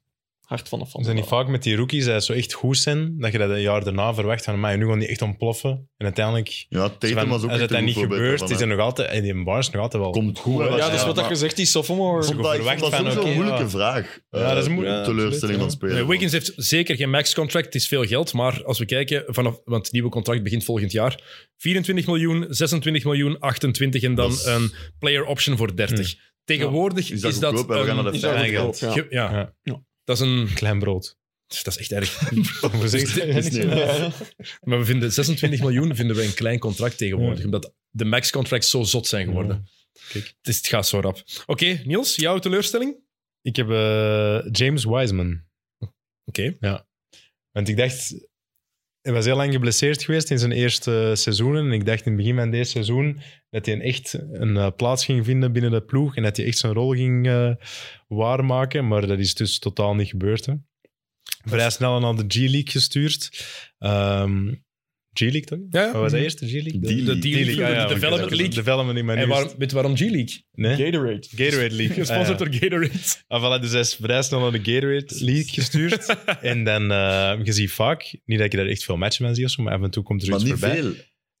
B: Hart van de fan.
D: Is dat niet vaak met die rookies dat ze zo echt goed zijn, dat je dat een jaar daarna verwacht van, maar nu gaan die echt ontploffen. En uiteindelijk,
C: Ja, Tatum
D: van,
C: was ook
D: als het
C: echt een
D: dan
C: goed
D: niet
C: voorbeeld
D: gebeurt,
C: daarvan,
D: is
C: hè.
D: er nog altijd, en die bars nog altijd wel
C: Komt goed, hè.
D: hè.
B: Ja, dat is wat
C: Ja,
B: dat
C: maar-
B: je zegt, die sophomore.
D: Zo
C: Vond dat- ik
D: verwacht
C: vond dat
D: van,
C: sowieso een
D: oké,
C: moeilijke
D: ja.
C: vraag.
D: Ja, dat is
C: Eh,
D: moe- ja,
C: teleurstelling
D: absoluut,
C: van
D: ja.
C: spelen.
A: Nee, Wiggins heeft zeker geen max-contract, het is veel geld. Maar als we kijken, vanaf, want het nieuwe contract begint volgend jaar. 24 miljoen, 26 miljoen, 28 en dan
C: Dat is- Hmm.
A: een player option voor 30. Tegenwoordig
C: Is
A: is
C: dat
A: dat...
C: goedkoop? hè? We gaan naar de
B: is dat
C: vijf.
D: eigenlijk
B: goedkoop, ja.
A: ge- ja.
D: Ja.
B: Ja.
A: Dat is een...
D: klein brood.
A: Dat is echt erg.
D: Voorzichtig.
C: is niet-
B: Ja.
A: Maar we vinden 26 miljoen vinden we een klein contract tegenwoordig,
D: Ja.
A: omdat de max-contracts zo zot zijn geworden.
D: Kijk.
A: Het, is, het gaat zo rap. Oké, Niels, jouw teleurstelling?
D: Ik heb eh, James Wiseman.
A: Oké.
C: Oh,
D: Want ik dacht, hij was heel lang geblesseerd geweest in zijn eerste seizoenen. En ik dacht in het begin van deze seizoen dat hij een echt een eh, plaats ging vinden binnen de ploeg. En dat hij echt zijn rol ging eh, waarmaken. Maar dat is dus totaal niet gebeurd. Hè. Vrij snel naar de G-League gestuurd. Ehm, G-League toch?
A: Ja, ja.
D: Wat was dat eerst? De G-League?
C: Die-
A: De
C: League.
A: D-League,
D: ja, ja,
A: de Development
D: oké,
A: League.
D: Development in mijn
A: En
D: nieuws.
A: waarom, weet je waarom G-League?
D: Nee?
B: Gatorade.
D: Gatorade League.
A: Gesponsord
D: Ah, ja.
A: door Gatorade.
D: Ah, voilà, dus hij is vrij snel naar de Gatorade League gestuurd. en dan, eh je ziet vaak, niet dat ik daar echt veel matchen van zie of zo, maar af en toe komt er
C: Maar
D: iets
C: niet
D: voorbij.
C: veel.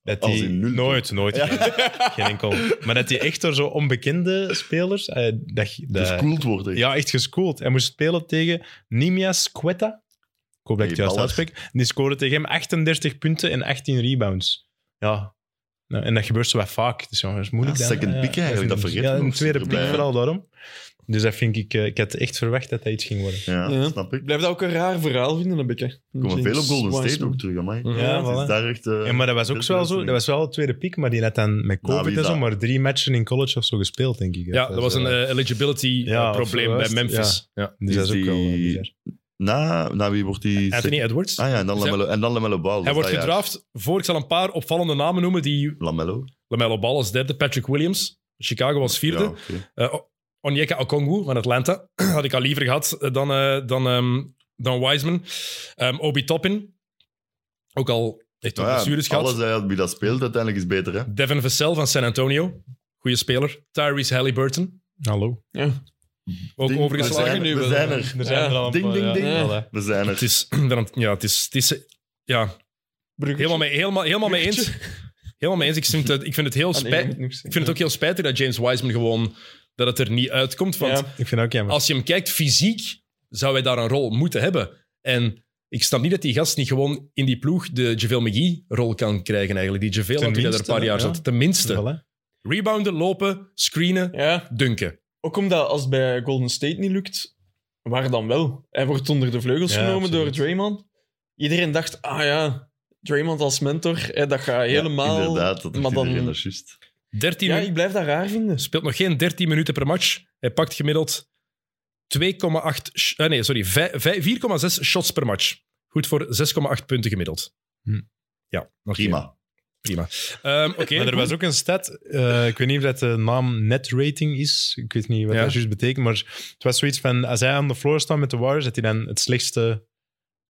D: Dat
C: Als
D: die,
C: in nul,
D: nooit, nooit. Geen, geen enkel. Maar dat hij echt door zo onbekende spelers... eh, dat, dat-
C: Gescoeld Dus worden.
D: ja, echt gescoold. Hij moest spelen tegen Nimias Quetta. Ik hoop dat ik het
C: Die
D: juist
C: baller.
D: uitspreek. Die scoorde tegen hem 38 punten en 18 rebounds. Ja. Nou, en dat gebeurt zo wat vaak. Dus ja, dat is moeilijk.
C: Ja,
D: dan.
C: second pick eigenlijk, dat vergeten
D: Ja,
C: we
D: een
C: nog
D: tweede
C: erbij,
D: pick
C: hè.
D: vooral daarom. Dus dat vind ik... eh, ik had echt verwacht dat dat iets ging worden.
C: Ja,
B: Ja.
C: snap ik.
B: Ik blijf dat ook een raar verhaal vinden, een beetje.
C: Er komen veel op Golden State ook terug, amai.
A: Ja,
C: Het is
D: voilà.
C: daar echt... eh,
D: Ja, maar dat was ook wel zo. Dat was wel de tweede pick, maar die had dan met
C: Nou,
D: COVID
C: wie
D: en zo
C: dat?
D: maar drie matchen in college of zo gespeeld, denk ik.
A: Ja, dat was een
D: eh,
A: eh,
D: Ja,
A: eligibility-probleem bij
D: juist,
A: Memphis. Ja.
D: dus dat is ook
C: die-
D: wel eh, bizar.
C: Na, na wie wordt die...
A: Anthony Edwards.
C: Ah ja, en dan
A: Dus hij-
C: Lamello, en dan Lamello Ball.
A: Hij
C: dat
A: wordt
C: jaar.
A: gedraft voor, ik zal een paar opvallende namen noemen, die
C: Lamello.
A: Lamelo Ball als derde, Patrick Williams, Chicago als vierde,
C: Ja, oké.
A: Eh, O- Onyeka Okongwu van Atlanta. Had ik al liever gehad eh, dan, eh, dan, ehm, dan Wiseman. Ehm, Obi Toppin. Ook al echt wat
C: Nou ja,
A: blessures gehad.
C: alles hij had, wie dat speelt uiteindelijk is beter, hè.
A: Devin Vassell van San Antonio. Goeie speler. Tyrese Halliburton.
D: Hallo.
A: Ook
C: Ding,
A: overgeslagen.
C: we zijn er,
B: nu
C: we
B: wel.
C: zijn er.
D: Er zijn er al een
C: Ding,
D: paar,
C: ding,
D: ja.
C: ding.
D: Voilà.
C: We zijn
A: Het
C: er.
A: is, ja, het is, het is ja, helemaal, mee, helemaal, helemaal mee eens. Helemaal mee eens. Ik vind het, ik vind het heel
D: Ah,
B: Ah,
A: spijtig. Ik vind het ook heel spijtig dat James Wiseman gewoon dat het er niet uitkomt. Want
B: Ja.
D: Ik vind dat ook jammer.
A: als je hem kijkt, fysiek zou hij daar een rol moeten hebben. En ik snap niet dat die gast niet gewoon in die ploeg de JaVale McGee-rol kan krijgen eigenlijk. Die JaVale, want die er een
D: Tenminste,
A: paar jaar
D: ja.
A: zat. Tenminste.
D: Voilà.
A: Rebounden, lopen, screenen,
B: Ja,
A: dunken.
B: ook omdat als het bij Golden State niet lukt, waar dan wel? Hij wordt onder de vleugels
D: Ja,
B: genomen door
D: absoluut.
B: Draymond. Iedereen dacht, ah ja, Draymond als mentor, hè, dat gaat
C: Ja,
B: helemaal...
C: Inderdaad, dat
B: maar
C: is
B: dan-
C: iedereen, dat is juist.
A: 13
B: Ja,
A: minuten-
B: ik blijf dat raar vinden.
A: speelt nog geen 13 minuten per match. Hij pakt gemiddeld 2,8... sh- eh, nee, sorry. vij- vij- 4,6 shots per match. Goed voor 6,8 punten gemiddeld.
D: Hm.
A: Ja, nog geen-
C: Prima.
A: Ehm, Oké.
D: Maar er was ook een stat, eh, ik weet niet of dat de naam net rating is, ik weet niet wat
A: Ja.
D: dat juist betekent, maar het was zoiets van, als hij aan de floor staat met de Warriors, dat hij dan het slechtste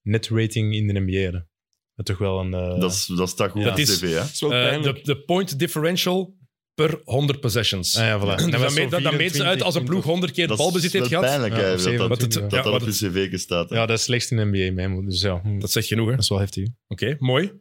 D: net rating in de NBA had. Dat toch wel een... eh,
C: Dat, is, dat staat goed
D: Ja.
C: op
A: Dat is-
C: tv, hè.
B: Dat is wel
A: Eh,
B: pijnlijk.
A: de, de point differential per 100 possessions.
D: Ah ja, voilà.
A: Dus dat,
D: was zo
A: meet, dat, dat meet ze uit als een
D: 24,
A: ploeg 100 keer het
C: Dat
A: balbezit
C: is
A: heeft
C: wel
A: gehad.
C: pijnlijk,
D: Ja,
C: hè,
D: op zeven,
C: dat dat,
A: want het-
C: dat,
A: ja,
C: dat
A: want
C: op
A: het-
C: de cv staat. hè.
D: Ja, dat is slechtst in de NBA, man. Dus ja, hm,
A: Dat zegt genoeg, hè?
D: dat is wel heftig.
A: Oké, mooi.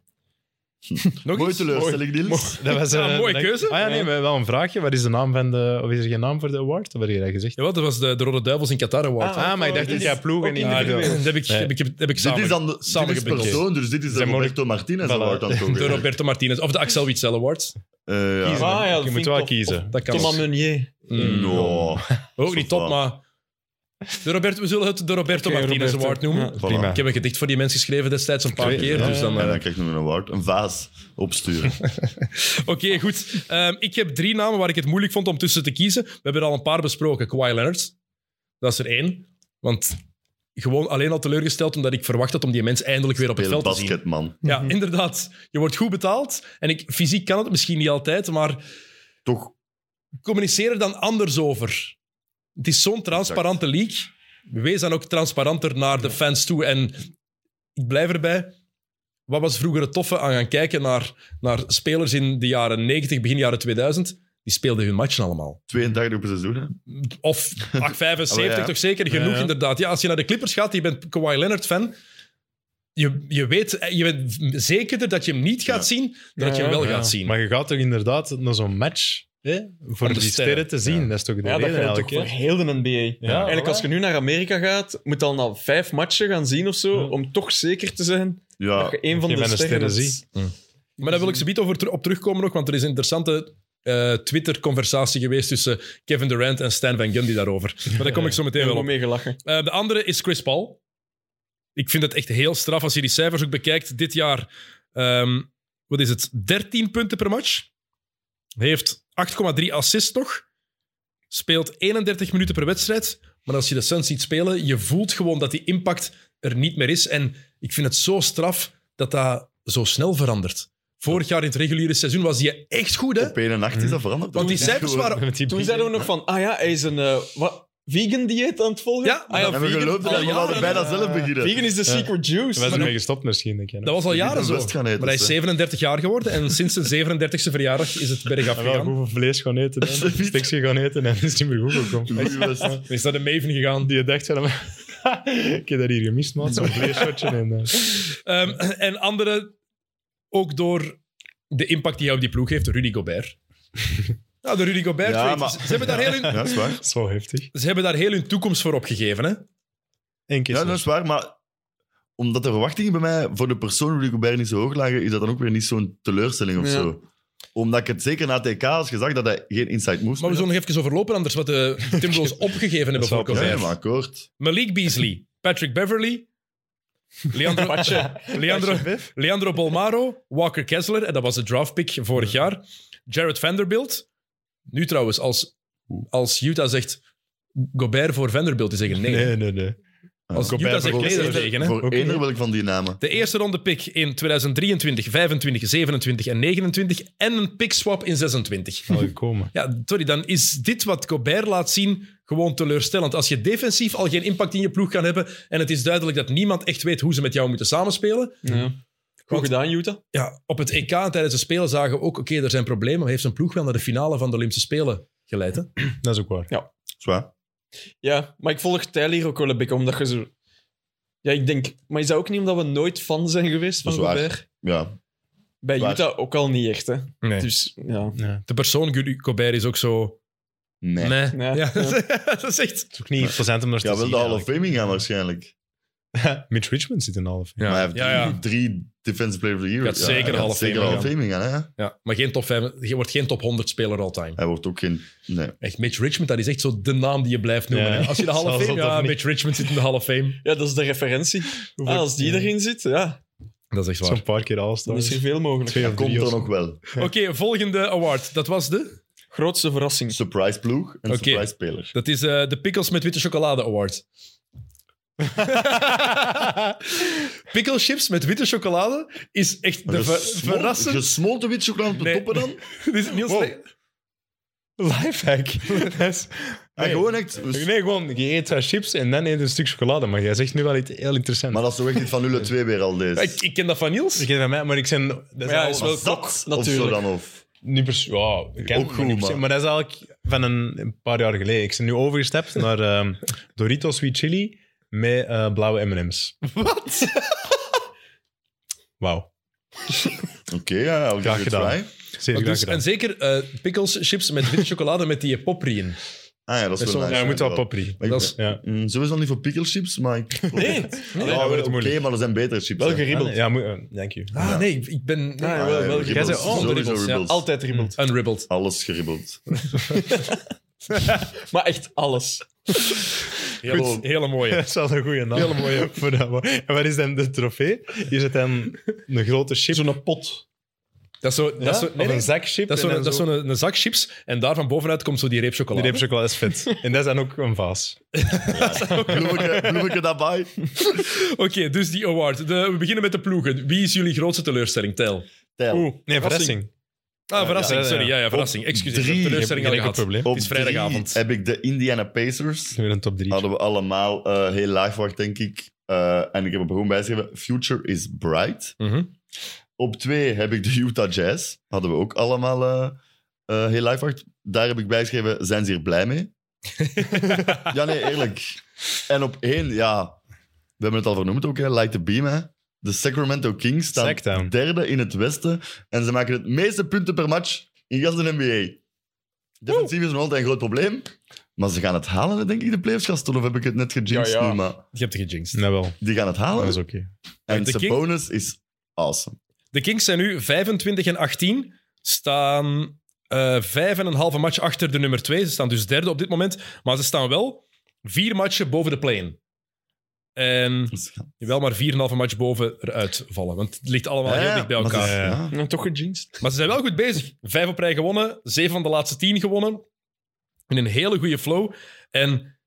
A: Nog
C: Hm. Mooie
A: iets?
C: teleurstelling, Niels.
D: Dat was
A: Ja,
D: eh,
A: mooie
D: dat-
A: keuze.
D: Ah ja, nee, maar wel een vraagje. Wat is de naam van de... Of is er geen naam voor de award? Wat heb je dat gezegd?
A: Jawel, dat was de, de Rode Duivels in Qatar Award.
B: Ah,
D: maar ik dacht dat jij ploeg en
A: Ja,
D: individueel.
A: dat heb ik,
D: Nee.
A: heb ik, heb ik
C: Dit
A: samen.
C: is dan de dit is
A: samengebukt.
C: persoon, dus dit is de
D: Zijn mooi-
C: Roberto Martinez
D: Voilà.
C: Award dan toch?
A: de
C: hè?
A: Roberto Martinez. Of de Axel Witsel Award.
C: Eh, ja.
D: Kiezen.
B: Ah, ja, dat
D: je
B: vind
D: moet
B: ik
D: wel
B: tof.
D: kiezen.
A: Dat kan
B: Thomas
A: ook.
B: Meunier.
A: Mm.
C: No.
A: Ook niet top, maar... De Roberto, we zullen het de Roberto
B: Oké,
A: Martinez
B: Roberto.
A: Award noemen.
B: Ja.
C: Voilà.
D: Prima.
A: Ik heb een gedicht voor die mensen geschreven destijds, een paar
D: weet-
A: keer.
D: ja,
A: Dus dan,
D: ja,
A: eh,
C: En dan krijg je nog een award. Een vaas opsturen.
A: Oké, goed. Ehm, ik heb drie namen waar ik het moeilijk vond om tussen te kiezen. We hebben er al een paar besproken. Kawhi Leonard. Dat is er één. Want gewoon alleen al teleurgesteld omdat ik verwacht had om die mens eindelijk weer op het
C: Heel
A: veld te zien.
C: basketman.
A: Ja,
B: Mhm.
A: inderdaad. Je wordt goed betaald. En ik, fysiek kan het misschien niet altijd, maar
C: Toch
A: communiceer er dan anders over. Het is zo'n transparante league. Wees dan ook transparanter naar de fans toe. En ik blijf erbij. Wat was vroeger het toffe aan gaan kijken naar, naar spelers in de jaren 90, begin jaren 2000, Die speelden hun matchen allemaal.
C: 32 per seizoen, hè.
A: Of 875
C: Allee, ja.
A: toch zeker genoeg,
D: Ja, ja.
A: inderdaad. Ja, als je naar de Clippers gaat, je bent Kawhi Leonard fan. Je, je, weet, eh, je bent zekerder dat je hem niet gaat zien dan dat je hem
B: Ja,
A: wel
D: Ja.
A: gaat zien.
D: Maar je gaat toch inderdaad naar zo'n match hè? voor
A: de
D: die
A: sterren.
D: sterren te zien.
A: Ja.
D: Dat is toch de
B: Ja, dat
D: reden
B: geldt toch
D: eigenlijk.
B: voor
D: hè?
B: heel de NBA. Eigenlijk,
D: voilà.
B: als je nu naar Amerika gaat, moet je al na vijf matchen gaan zien of zo,
D: Ja.
B: om toch zeker te zijn dat
C: Ja,
B: je een van
D: je
B: de
D: bent een
B: sterren
D: sterren
B: is.
A: Maar daar wil ik zo biedt over ter- op terugkomen nog, want er is een interessante eh, Twitter-conversatie geweest tussen Kevin Durant en Stan Van Gundy daarover. Maar daar kom ik zo meteen
B: Daar
A: wel
B: wel
A: op.
B: mee gelachen.
A: Eh, de andere is Chris Paul. Ik vind het echt heel straf als je die cijfers ook bekijkt. Dit jaar, ehm, wat is het, 13 punten per match. Hij heeft 8,3 assists nog. Speelt 31 minuten per wedstrijd. Maar als je de Suns ziet spelen, je voelt gewoon dat die impact er niet meer is. En ik vind het zo straf dat dat zo snel verandert. Vorig jaar in het reguliere seizoen was hij echt goed, hè?
C: op één nacht is dat veranderd.
A: Want die
C: Toen-
A: cijfers
C: Gewoon-
A: waren...
D: Met die
B: Toen zeiden we nog van, ah ja, hij is een eh, wat, vegan dieet aan het volgen.
A: Ja,
B: ah,
C: En we
B: vegan-
C: geloofden dat
B: Ah,
C: we
B: ja,
C: hadden bijna zelf beginnen.
B: Vegan is de
D: Ja.
B: secret
D: We
B: juice.
D: zijn
B: Maar
D: ermee gestopt misschien, denk ik.
A: Dat was al jaren
C: Die
A: zo.
C: zijn best gaan eten,
A: Maar hij is
C: hè.
A: 37 jaar geworden en sinds zijn 37e verjaardag is het bergaf
D: En wel
A: gegaan.
D: goed voor vlees gaan eten. hè.
C: Alsjeblieft.
D: Stikje gaan eten en het is niet meer goed gekomen.
C: Goeie les.
A: Is dat de Maven gegaan?
D: Die dacht van... ik heb dat hier gemist, man. Zo'n vleesshotje. En, eh,
A: Ehm, en andere, ook door de impact die hij op die ploeg heeft, Rudy Gobert. Nou, de Rudy Gobert
C: Ja,
A: trade.
C: maar-
A: Ze, hebben daar heel hun,
C: Ja, dat is waar.
D: zo heftig.
A: ze hebben daar heel hun toekomst voor opgegeven. Hè?
D: Eén keer
C: Ja, dat is waar, maar omdat de verwachtingen bij mij voor de persoon Rudy Gobert niet zo hoog lagen, is dat dan ook weer niet zo'n teleurstelling of
B: Ja.
C: zo. Omdat ik het zeker na TK als gezag dat hij geen inside
A: Maar
C: moves
A: we
C: meer
A: zullen nog even overlopen anders wat de Timberwolves opgegeven hebben voor
D: wel
C: had. Ja,
A: Gobert.
C: maar akkoord.
A: Malik Beasley, Patrick Beverly, Leandro, Leandro, Leandro Bolmaro, Walker Kessler, en dat was de draftpick vorig jaar. Jared Vanderbilt. Nu trouwens, als, als Utah zegt Gobert voor Vanderbilt, die zeggen nee.
D: Nee, nee, nee.
A: Als
D: Gobert
A: Utah zegt
D: voor
A: nee,
D: Kessler.
A: dat tegen. Hè?
C: Voor
D: Ook
C: eender
D: niet.
C: wil ik van die namen.
A: De eerste ronde pick in 2023, 25, 27 en 29 en een pick swap in 26.
D: Al gekomen.
A: Ja, sorry, dan is dit wat Gobert laat zien gewoon teleurstellend. Als je defensief al geen impact in je ploeg kan hebben en het is duidelijk dat niemand echt weet hoe ze met jou moeten samenspelen.
B: Ja. Goed gedaan, Utah.
A: Ja, op het EK en tijdens de Spelen zagen we ook, oké, er zijn problemen, maar heeft zijn ploeg wel naar de finale van de Olympische Spelen geleid, hè?
D: Dat is ook waar.
C: Zwaar.
B: Ja, maar ik volg Tyler hier ook wel een beetje, omdat je zo... Ja, ik denk... Maar is dat ook niet omdat we nooit fan zijn geweest van
C: Dat is waar.
B: Gobert?
C: Ja.
B: Bij
C: Waar.
B: Utah ook al niet echt, hè. Dus, ja.
D: Ja.
A: De persoon Gu- Gobert is ook zo...
C: Nee.
A: Nee.
B: Nee.
A: Ja, dat is echt...
D: Het is ook niet plezant om naar te
C: Ja, wil
D: zien.
C: de Hall of
D: eigenlijk.
C: Fame ingaan waarschijnlijk.
D: Mitch Richmond zit in de Hall of Fame.
C: Maar hij heeft drie, drie Defensive Player of the Year.
A: Gaat zeker
C: hij
A: de
C: gaat
A: Hall of
C: zeker
A: Fame
C: de Hall of Fame ingaan. Hè?
A: Ja, maar geen top 5, je wordt geen top 100 speler all-time.
C: Hij wordt ook geen... Nee.
A: Echt, Mitch Richmond, dat is echt zo de naam die je blijft noemen.
D: Ja.
A: hè. Als je de Hall of
D: Zelfs
A: Fame...
D: dat
A: Ja,
D: niet.
A: Mitch Richmond zit in de Hall of Fame.
B: ja, dat is de referentie. Ah, als die erin zit, ja,
A: Dat is echt waar.
D: Zo'n paar keer
B: dan
D: All-Star.
B: is er veel mogelijk.
D: Twee of
C: Dat komt
D: drie
C: er
D: of zo.
C: nog wel.
A: Oké, volgende award. Dat was de?
B: Grootste verrassing.
C: Surprise ploeg en
A: Oké.
C: surprise speler.
A: Dat is eh, de Pickles met witte chocolade award. Pickle chips met witte chocolade is echt de ver-
C: Gesmol-
A: verrassend...
C: Gesmolten wit chocolade op de
A: Nee.
C: toppen dan?
A: Dit is Niels...
D: Wow.
A: Nee.
D: Lifehack. Dat is-
C: En gewoon echt...
D: Nee, gewoon, je eet wat chips en dan eet je een stuk chocolade. Maar jij zegt nu wel iets heel interessants.
C: Maar dat is toch echt niet van 0 2 weer al deze.
A: Ik, ik ken dat van Niels.
D: Ik ken van mij, maar ik zijn... Dat is
B: ja,
D: al-
B: is wel
C: Was
B: klok,
C: dat
B: natuurlijk.
C: Of zo dan of...
D: niet pers- ja, ik ken
C: Ook
D: het, maar
C: goed,
D: niet per se.
C: maar-
D: Maar dat is eigenlijk van een, een paar jaar geleden. Ik ben nu overgestapt naar ehm, Doritos Sweet Chili met eh, blauwe M&M's. Wat? Wauw.
C: Oké, ja, I'll
D: Graag
C: give it a
D: gedaan.
C: try.
D: Zeer
A: Maar
D: graag
A: dus-
D: gedaan.
A: en zeker eh, pickles, chips met witte chocolade met die popri in.
C: Ah ja, dat is wel nice.
D: ja, je moet wel
C: ja.
D: popri.
C: Maar ik-
A: Dat is-
D: Ja.
C: Mm, sowieso niet voor pikkelchips, maar ik...
B: Nee,
C: Ja,
D: dat wordt het
C: Oké,
D: moeilijk.
C: maar er zijn betere chips.
B: wel
C: hè.
B: geribbeld.
D: Ja, moet- eh, thank you.
A: Ah, nee, ik- ik ben... nee.
B: Ah,
C: Ah,
B: wel,
C: ja,
B: wel
C: geribbeld.
D: Jij zei, oh,
C: Sowieso
A: ribbels, ja.
C: ribbels.
B: Altijd ribbeld.
A: Unribbled.
C: Alles geribbeld.
B: Maar echt alles.
A: Hele, hele mooie.
D: Dat is wel een goede naam. Hele mooie. Voor dat, maar- en wat is dan de trofee? Hier zit dan een grote chip. Zo'n pot.
A: Dat is zo... Dat
D: Ja?
A: is zo nee,
D: of
A: nee.
D: een zak chip.
A: Dat is zo'n
D: en dan
A: dat is zo'n- een zak chips en daar van bovenuit komt zo die reep
D: Die
A: chocolade.
D: reep chocolade is vet. en dat is dan ook een vaas.
C: Bloemetje bloemetje daarbij.
A: Oké, dus die award. De- we beginnen met de ploegen. Wie is jullie grootste teleurstelling? Tel.
C: Tijl.
D: Nee, verrassing.
A: Ah, verrassing.
D: ja, ja, ja.
A: Sorry, ja, ja, verrassing. Excuseer,
C: drie.
A: ik heb
D: Ik
A: teleurstelling al
D: heb geen
A: gehad.
D: probleem.
A: Het is vrijdagavond.
C: drie heb ik de Indiana Pacers.
D: Weer een top 3.
C: Hadden we allemaal eh, heel laag verwacht, denk ik. Eh, en ik heb er gewoon bijgeschreven, Future is bright.
A: Mhm.
C: Op twee heb ik de Utah Jazz. Hadden we ook allemaal eh, eh heel Lifeguard, daar heb ik bijgeschreven, zijn ze hier blij mee? ja, nee, eerlijk. En op één, ja, we hebben het al vernoemd ook, hè, Light the Beam, hè. De Sacramento Kings staan
D: Sack down.
C: derde in het Westen en ze maken het meeste punten per match in gans de NBA. Defensief is nog altijd een groot probleem, maar ze gaan het halen, denk ik, de playoffs, gasten. Of heb ik het net gejinxed
B: Ja, ja.
C: nu, maar
A: Je hebt het gejinxed.
D: Nou wel,
C: die gaan het halen.
D: dat is oké.
C: En
A: De Kings-
C: Sabonis is awesome.
A: De Kings zijn nu 25 en 18, staan eh vijf en een halve match achter de nummer 2. Ze staan dus derde op dit moment, maar ze staan wel vier matchen boven de play-in. En
C: Dus ja.
A: wel maar 4,5 match boven eruit vallen. Want het ligt allemaal heel
C: Ja,
A: dicht bij
C: maar
A: elkaar.
C: ze-
D: elkaar.
C: ja.
B: Ja, toch gejinxed.
A: Maar ze zijn wel goed bezig. Vijf op rij gewonnen, zeven van de laatste tien gewonnen. In een hele goede flow. En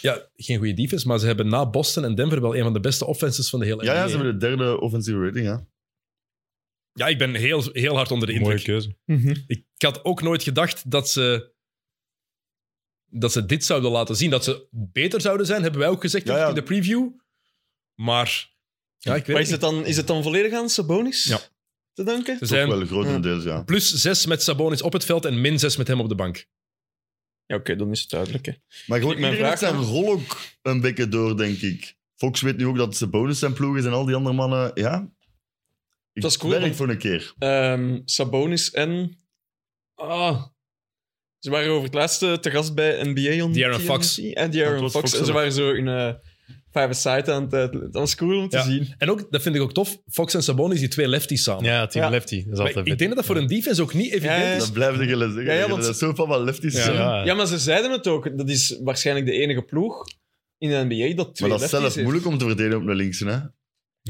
A: ja, geen goede defense, maar ze hebben na Boston en Denver wel een van de beste offenses van de hele
C: Ja, ja,
A: NBA.
C: ze hebben de derde offensieve rating, ja.
A: Ja, ik ben heel, heel hard onder de indruk.
D: Mooie keuze.
A: Ik had ook nooit gedacht dat ze, dat ze dit zouden laten zien. Dat ze beter zouden zijn, hebben wij ook gezegd
C: Ja, ja.
A: in de preview. Maar ja, ik weet
B: Maar is
A: het
B: het, dan, is het dan volledig aan Sabonis
A: Ja. Dus-
B: te
A: niet.
B: danken?
A: Ze
C: Toch
A: zijn
C: wel grotendeels, ja.
A: plus zes met Sabonis op het veld en min zes met hem op de bank.
B: Ja, oké, dan is het duidelijk. Hè.
C: Maar gewoon
B: Ik mijn
C: iedereen heeft
B: vraag
C: zijn rol ook een beetje door, denk ik. Fox weet nu ook dat ze bonus zijn ploeg is en al die andere mannen, ja. Ik
B: Dat is cool,
C: werk
B: want-
C: voor een keer.
B: Ehm, Sabonis en... Ah. Ze waren over het laatste te gast bij NBA on
A: De'Aaron
B: TNT.
A: Fox.
B: En
C: Dat
B: Ah, De'Aaron
C: was
B: Fox.
C: Fox
B: En ze
C: zelf.
B: waren zo in eh five-a-side aan het... eh, Dat was cool om te
A: Ja.
B: zien.
A: En ook, dat vind ik ook tof, Fox en Sabonis, die twee lefties samen.
D: Ja, Team
B: Ja.
D: Lefty. Dat is
A: Maar
D: altijd
A: ik denk dat dat voor een defense ook niet evident
B: Ja, ja, ja.
A: is.
C: Dat blijft ik willen zeggen.
B: Ja, ja,
C: dat
B: want-
C: is zo van wat lefties
D: Ja,
C: zijn.
D: ja.
B: Ja, maar ze zeiden het ook. Dat is waarschijnlijk de enige ploeg in de NBA dat twee
C: Maar dat is
B: lefties
C: zelf
B: heeft.
C: moeilijk om te verdedigen op de linkse. Hè?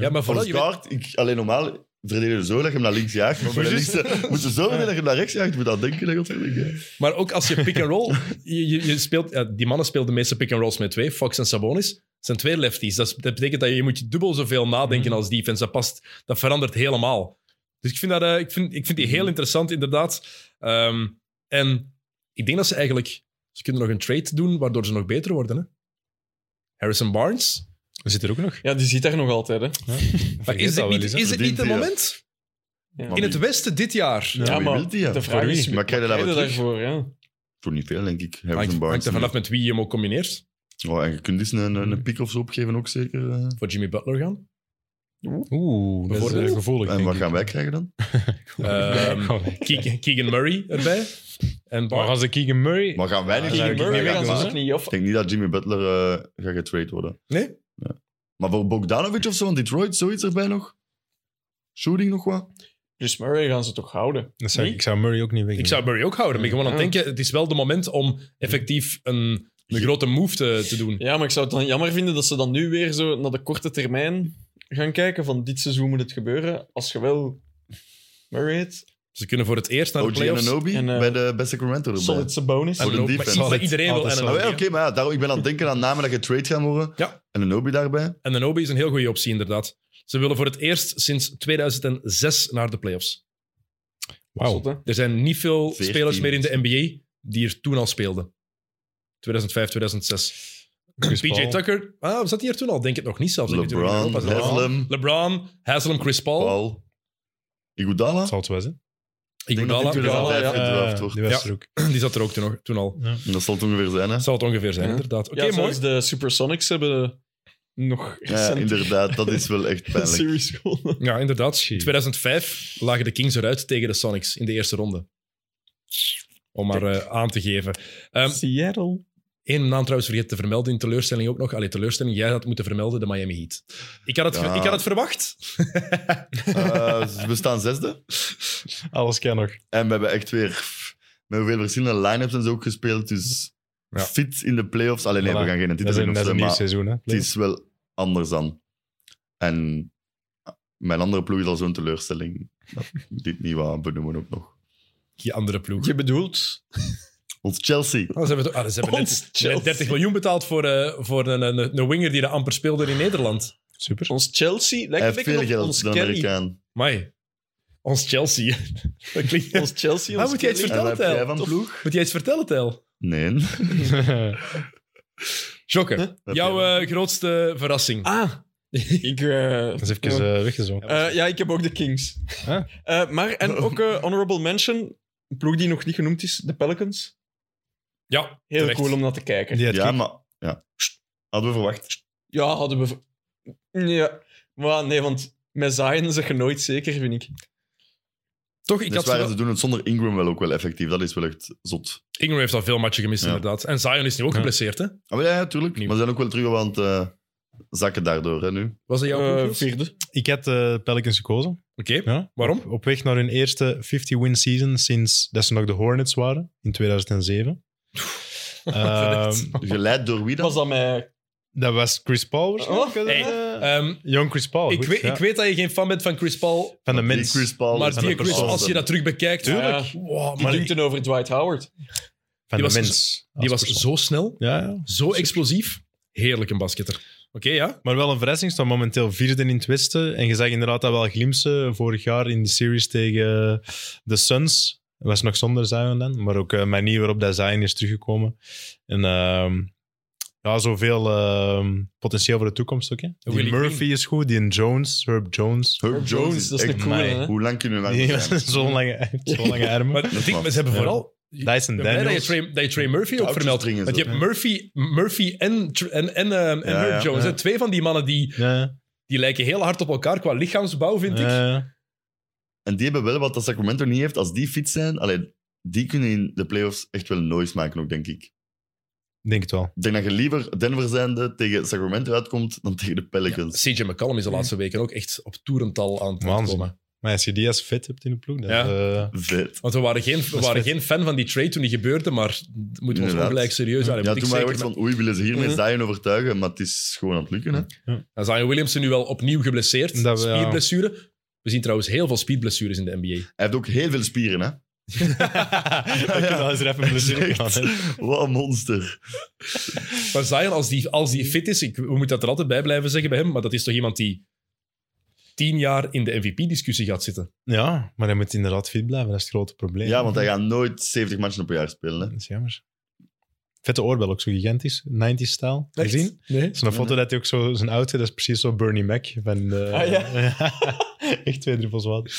A: Ja, maar vooral...
C: Als
A: Je weet-
C: guard, ik, alleen normaal verdedigen we zo dat je hem naar links jaagt. Maar bij de linkse moet je zo verdedigen dat je hem naar rechts jaagt. Je moet dat denken, dat je op de links jaagt.
A: maar ook als je pick-and-roll... je, je, je speelt, ja, die mannen spelen de meeste pick-and-rolls met twee, Fox en Sabonis. Dat zijn twee lefties. Dat, is- dat betekent dat je, je moet je dubbel zoveel nadenken
D: Mm.
A: als defense. Dat, past, dat verandert helemaal. Dus ik vind, dat, eh, ik vind, ik vind die
D: Mm.
A: heel interessant, inderdaad. Ehm, en ik denk dat ze eigenlijk... Ze kunnen nog een trade doen, waardoor ze nog beter worden. Hè? Harrison Barnes.
D: Zit er ook nog?
B: Ja, die zit daar nog altijd, hè.
A: Maar is
D: Vergeet dat
A: dit
D: wel
A: niet,
D: eens, hè.
A: is dit niet het
C: Verdient die,
A: moment?
B: Ja.
A: In het Westen dit jaar.
D: Ja.
C: Ja,
B: Ja,
C: wie
B: maar
C: wil die, ja?
B: de
C: Voor
B: vraag
C: wie?
B: is...
C: Maar krijg je dat wel terug?
B: daarvoor, ja.
C: Voor niet veel, denk ik.
A: Hangt,
C: Harrison
A: hangt
C: Barnes.
A: er vanaf met wie je hem ook combineert.
C: Oh, en je kunt eens een, een pick of zo opgeven ook zeker. eh.
A: Voor Jimmy Butler gaan.
D: Oeh, dat is eh,
A: Bijvoorbeeld.
D: gevoelig.
C: En
D: denk
C: wat
D: ik.
C: gaan wij krijgen dan?
A: Ehm, Keegan, Keegan Murray erbij. En
D: Maar
A: Barnes.
D: als de Keegan Murray...
C: Maar gaan wij niet
D: Ja,
C: krijgen?
B: Tegen
D: Keegan
B: Murray
D: Murray
B: gaan
D: kan
B: ze
D: wel,
B: ook niet af.
C: Ik denk niet dat Jimmy Butler eh, gaat getrade worden.
A: Nee?
C: Ja. Maar voor Bogdanovic of zo, in Detroit, zoiets erbij nog? Shooting nog wat?
B: Dus Murray gaan ze toch houden.
D: Dat zou,
B: Nee?
D: ik zou Murray ook niet wegdoen.
A: Ik zou Murray ook houden. Maar ik ben gewoon aan het
B: Ja.
A: denken, het is wel de moment om effectief een, een grote move te, te doen.
B: Ja, maar ik zou het dan jammer vinden dat ze dan nu weer zo naar de korte termijn gaan kijken van dit seizoen moet het gebeuren. Als je wel Murray hebt,
A: Ze kunnen voor het eerst naar de
C: OG en
A: playoffs.
C: Anobi
B: En, eh,
C: bij, de, bij Sacramento erbij.
B: solid Sabonis.
C: Voor de
A: Anobi-
C: defense.
A: Maar iedereen wil
D: Altijd
A: en
C: Nou ja,
A: Anobi.
C: oké, maar ja, daarom, ik ben aan het denken aan namen dat je trade gaan worden.
A: Ja.
C: En Anobi daarbij.
A: En Anobi is een heel goede optie, inderdaad. Ze willen voor het eerst sinds 2006 naar de playoffs.
D: Wauw.
B: Zot, hè?
A: Er zijn niet veel
C: 14.
A: spelers meer in de NBA die er toen al speelden. 2005, 2006.
D: Chris
A: PJ
D: Paul.
A: Tucker, ah, zat hij er toen al? Denk het nog niet zelfs. Ik weet niet hoe die in
C: LeBron,
A: Europa zat.
C: Haslam,
A: LeBron, Haslam, Chris Paul,
C: Paul. Iguodala?
D: Dat zal het wel zijn.
C: Ik denk dat
A: Iguodala.
C: die
A: Iguodala,
B: Iguodala,
C: 2005
B: ja.
C: gedraft
D: Eh,
C: wordt.
D: Die was er ook.
A: Die zat er ook toen, nog- toen al.
C: En Dat zal het ongeveer zijn, hè?
A: Dat zal het ongeveer zijn,
B: Ja.
A: inderdaad. Oké,
B: ja,
A: mooi.
B: zelfs de Supersonics hebben nog
C: Ja,
B: recent
C: inderdaad. Dat is wel echt
B: een
C: pijnlijk.
B: series gewonnen.
A: Ja, inderdaad.
D: Gee.
A: 2005 lagen de Kings eruit tegen de Sonics in de eerste ronde. Om maar eh, aan te geven. Ehm
B: Seattle.
A: Eén naam trouwens vergeten te vermelden in teleurstelling ook nog. Allee, teleurstelling, jij had moeten vermelden, de Miami Heat. Ik had het, ver-
C: Ja.
A: ik had het verwacht.
C: Eh, we staan zesde.
D: Alles kan nog.
C: En we hebben echt weer pff, met hoeveel verschillende line-ups en zo ook gespeeld. Dus
D: Ja.
C: fit in de playoffs. Alleen nee,
D: Voilà.
C: we gaan geen
D: Dat
C: titel
D: is een,
C: winnen
D: dat
C: of
D: is
C: zo,
D: een nieuw
C: maar
D: seizoen, hè?
C: het is wel anders dan. En mijn andere ploeg is al zo'n teleurstelling. Dat ik dit niet wou benoemen ook nog.
A: Die andere ploeg.
B: Je bedoelt?
C: Ons Chelsea.
A: Oh, ze hebben, het- ah, ze hebben
B: Ons
A: net,
B: Chelsea.
A: net 30 miljoen betaald voor, eh, voor een, een, een winger die er amper speelde in Nederland.
D: Super.
B: Ons Chelsea?
C: Hij
B: Lijkt een
C: heeft
B: beetje
C: veel
B: op ons
C: geld, de
B: Kelly.
C: Amerikaan.
A: Mai. Ons Chelsea. Dat
D: Eh,
A: klinkt...
B: Ons Chelsea,
A: Ah,
B: ons
A: moet jij iets
B: Kelly.
A: vertellen?
C: En wat heb
A: Vertel het, Tel.
C: jij van ploeg?
A: Moet jij iets vertellen, Tel?
C: Nee. Wat
A: Jokke,
C: heb
A: jouw
C: jij van-
A: eh, grootste verrassing.
B: Ah, ik... eh,
D: Dat is even eh, weggezongen.
B: Eh, ja, ik heb ook de Kings.
D: Huh?
B: Eh, maar, en ook eh, honorable mention, een ploeg die nog niet genoemd is, de Pelicans.
A: Ja,
B: Heel
A: terecht.
B: cool om naar te kijken.
A: eh,
D: Die had
C: Ja,
D: ik-
C: maar... Ja. Hadden we verwacht.
B: Ja, hadden we... Ja, maar nee, want met Zion zeg je nooit zeker, vind ik.
A: Toch, ik
C: Dus
A: had
C: waren
A: wel...
C: ze doen het zonder Ingram wel ook wel effectief. Dat is wel echt zot.
A: Ingram heeft al veel matchen gemist,
C: Ja.
A: inderdaad. En Zion is nu ook
D: Ja.
A: geblesseerd, hè?
C: Ah, maar ja, ja, tuurlijk.
A: Nieuw.
C: Maar ze zijn ook wel terug aan het eh, zakken daardoor, hè, nu.
A: Was dat jouw
B: Eh,
A: ploeg, Niels?
B: vierde.
D: Ik had de Pelicans gekozen.
A: Oké,
D: Ja.
A: waarom?
D: Op weg naar hun eerste 50-win season sinds dat ze nog de Hornets waren in 2007. Ehm,
C: Geleid door wie dan?
B: Was dat met...
D: dat was Chris Paul waarschijnlijk.
B: Oh,
A: hey.
D: Eh,
A: Ehm,
D: Young Chris Paul.
A: ik,
D: Oh, goed,
A: weet,
D: ja.
A: ik weet dat je geen fan bent van Chris Paul,
D: Van de
C: Die
D: mens.
C: Chris Paul
A: maar
C: is
A: die
C: een
A: Chris,
C: persoon.
A: als je dat terug bekijkt...
B: Tuurlijk.
A: Wow,
B: Die
A: maar die,
B: dunkten over Dwight Howard.
D: Van
A: die
D: de
A: was-
D: mens.
A: die was
D: als persoon.
A: zo snel,
D: Ja, ja.
A: zo explosief. Heerlijk een basketter. Oké, ja.
D: Maar wel een verrassing. Ze Staan momenteel vierde in het Westen. En je zag inderdaad dat wel glimpsen vorig jaar in de series tegen eh, de Suns. Dat was nog zonder Zion dan. Maar ook de manier waarop dat Zion is teruggekomen. En ehm, ja, zoveel ehm, potentieel voor de toekomst ook. Hè? Die
A: Willie
D: Murphy
A: Green.
D: is goed. Die en Jones, Herb Jones.
C: Herb Jones,
B: dat is
C: echt
B: een coole,
D: mij.
B: hè?
C: Hoe lang kunnen we
D: Die
C: lang
D: heeft
C: zijn?
D: Zo'n lange, zo'n lange armen.
A: Maar ik denk, ze hebben
D: Ja.
A: vooral...
D: Dyson
A: Ik ben blij dat je
D: Daniels.
A: Trey, dat je Trey Murphy ook
C: Touwtjes
A: vermeldt.
C: dringen
A: Want
C: zo.
A: je hebt Murphy, Murphy en, Tr- en, en, ehm, en
C: Ja,
A: Herb
C: ja.
A: Jones. hè.
D: Ja.
A: Twee van die mannen die,
D: Ja,
A: die lijken heel hard op elkaar qua lichaamsbouw, vind ik.
D: ja.
C: En die hebben wel wat dat Sacramento niet heeft. Als die fit zijn, allee, die kunnen in de playoffs echt wel noise maken ook, denk ik.
D: Ik denk het wel.
C: Ik denk dat je liever Denver zijnde tegen Sacramento uitkomt dan tegen de Pelicans.
A: CJ McCollum is de laatste weken ook echt op toerental aan het
D: Waanzin.
A: komen.
D: Maar als je die als vet hebt in de ploeg, dan...
A: Ja.
D: eh,
C: Vet.
A: Want we waren, geen, we
D: is
A: waren
D: vet.
A: geen fan van die trade toen die gebeurde, maar moeten we ons
C: Inderdaad.
A: wel gelijk serieus aan
C: Ja, toen waren we echt van, oei, willen ze hiermee Zion overtuigen? Maar het is gewoon aan het lukken, hè?
A: Dan zijn Williamson nu wel opnieuw geblesseerd.
D: Dat we- ja.
A: Spierblessure. We zien trouwens heel veel spierblessures in de NBA.
C: Hij heeft ook heel veel spieren, hè?
D: We kunnen wel eens er even een plezier op
C: Echt,
D: gaan, hè.
C: wat een monster.
A: Maar Zion, als die, als die fit is, ik, we moeten dat er altijd bij blijven zeggen bij hem, maar dat is toch iemand die tien jaar in de MVP-discussie gaat zitten.
D: Ja, maar hij moet inderdaad fit blijven. Dat is het grote probleem.
C: Ja, want hij gaat nooit 70 matchen per jaar spelen, hè?
D: Dat is jammer. Vette oorbel ook zo gigantisch. 90-stijl. Gezien?
B: Nee.
D: Zo'n foto dat hij ook zo... Zijn outfit, dat is precies zo Bernie Mac. Van, eh,
B: Ah,
D: Echt twee druppels water.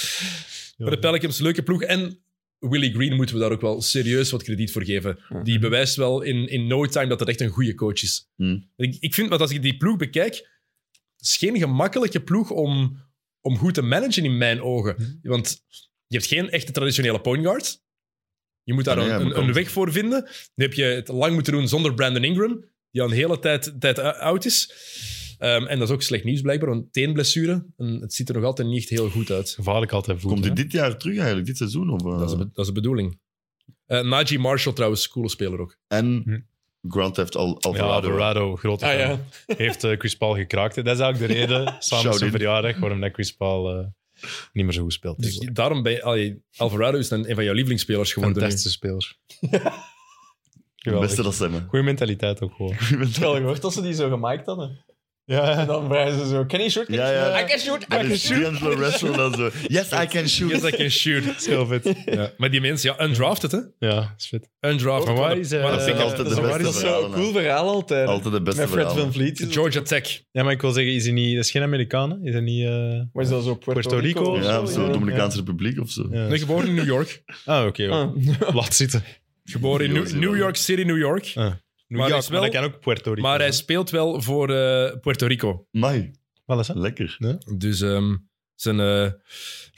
D: Ja.
A: Maar de Pelicans, leuke ploeg. En Willie Green moeten we daar ook wel serieus wat krediet voor geven. Die bewijst wel in, in no time dat dat echt een goede coach is.
C: Hmm.
A: Ik, ik vind, want als ik die ploeg bekijk, het is geen gemakkelijke ploeg om, om goed te managen in mijn ogen. Want je hebt geen echte traditionele point guard. Je moet daar
C: Nee,
A: een,
C: ja,
A: een,
C: bekend.
A: een weg voor vinden. Nu heb je het lang moeten doen zonder Brandon Ingram, die al een hele tijd, tijd o- oud is. Ehm, en dat is ook slecht nieuws blijkbaar, want teenblessure. En het ziet er nog altijd niet echt heel goed uit.
D: Gevaarlijk altijd voet.
C: Komt hij
D: hè?
C: dit jaar terug eigenlijk, dit seizoen? Of, eh?
A: Dat, is de, be- dat is de bedoeling. Eh Najee Marshall trouwens, coole speler ook.
C: En
D: Hm.
C: Grand Theft Al
D: Ja,
C: Alvarado.
D: Alvarado. Grote
B: Ah
D: fan.
B: ja.
D: Heeft eh, Chris Paul gekraakt. hè. Dat is eigenlijk de reden, samen met
C: Shout
D: zijn
C: in.
D: verjaardag, waarom dat Chris Paul eh, niet meer zo goed speelt.
A: Dus daarom ben je, allee, Alvarado is dan een van jouw lievelingsspelers geworden. nu.
D: Fantastische speler.
C: De
D: Geweldig.
C: beste dat ze hebben.
D: Goeie mentaliteit ook gewoon.
B: Wel gehoord als ze die zo gemaakt hadden. En
D: Ja,
B: dan waren ze zo, can you shoot? Can you
C: Ja,
B: shoot?
C: ja.
B: I can shoot, I
C: Dat
B: can
C: is
B: shoot.
C: D'Angelo Russell dan zo. Yes, I can shoot.
A: Yes, I can shoot.
D: heel vet.
A: Ja, maar die mensen, ja, undrafted, hè?
D: Ja, is vet.
A: Undrafted.
D: Maar waar
A: Wat een-
D: is, eh,
A: wat een
C: Dat vind ik
A: pick-up.
C: altijd
B: Dat
C: de
B: is
C: beste
B: ook- dat is zo'n
C: verhalen.
B: cool verhaal altijd.
C: Altijd de beste
B: Met Fred
C: verhalen.
B: Van Vliet. is
A: Georgia Tech.
D: Ja, maar ik wil zeggen, is hij niet, dat is geen Amerikaan, hè? is hij niet... eh,
B: dat- Waar is dat zo? Puerto,
D: Puerto Rico
B: Rico?
D: of
C: Ja,
D: zo,
C: of zo,
D: ja.
C: Dominicaanse Republiek of zo.
D: ja.
A: Nee, geboren in New York.
D: Ah, oké. ja.
B: Ah.
D: Laat zitten.
A: Geboren in
C: Ja,
A: New,
C: zie je
A: New
C: wel.
A: York City, New York.
D: New
A: Maar hij
D: York,
A: is wel-
D: maar dat kan ook Puerto Rico.
A: Maar hij speelt wel voor eh, Puerto Rico.
C: Mai,
D: Wel eens, hè?
C: lekker.
A: Dus ehm, zijn, eh,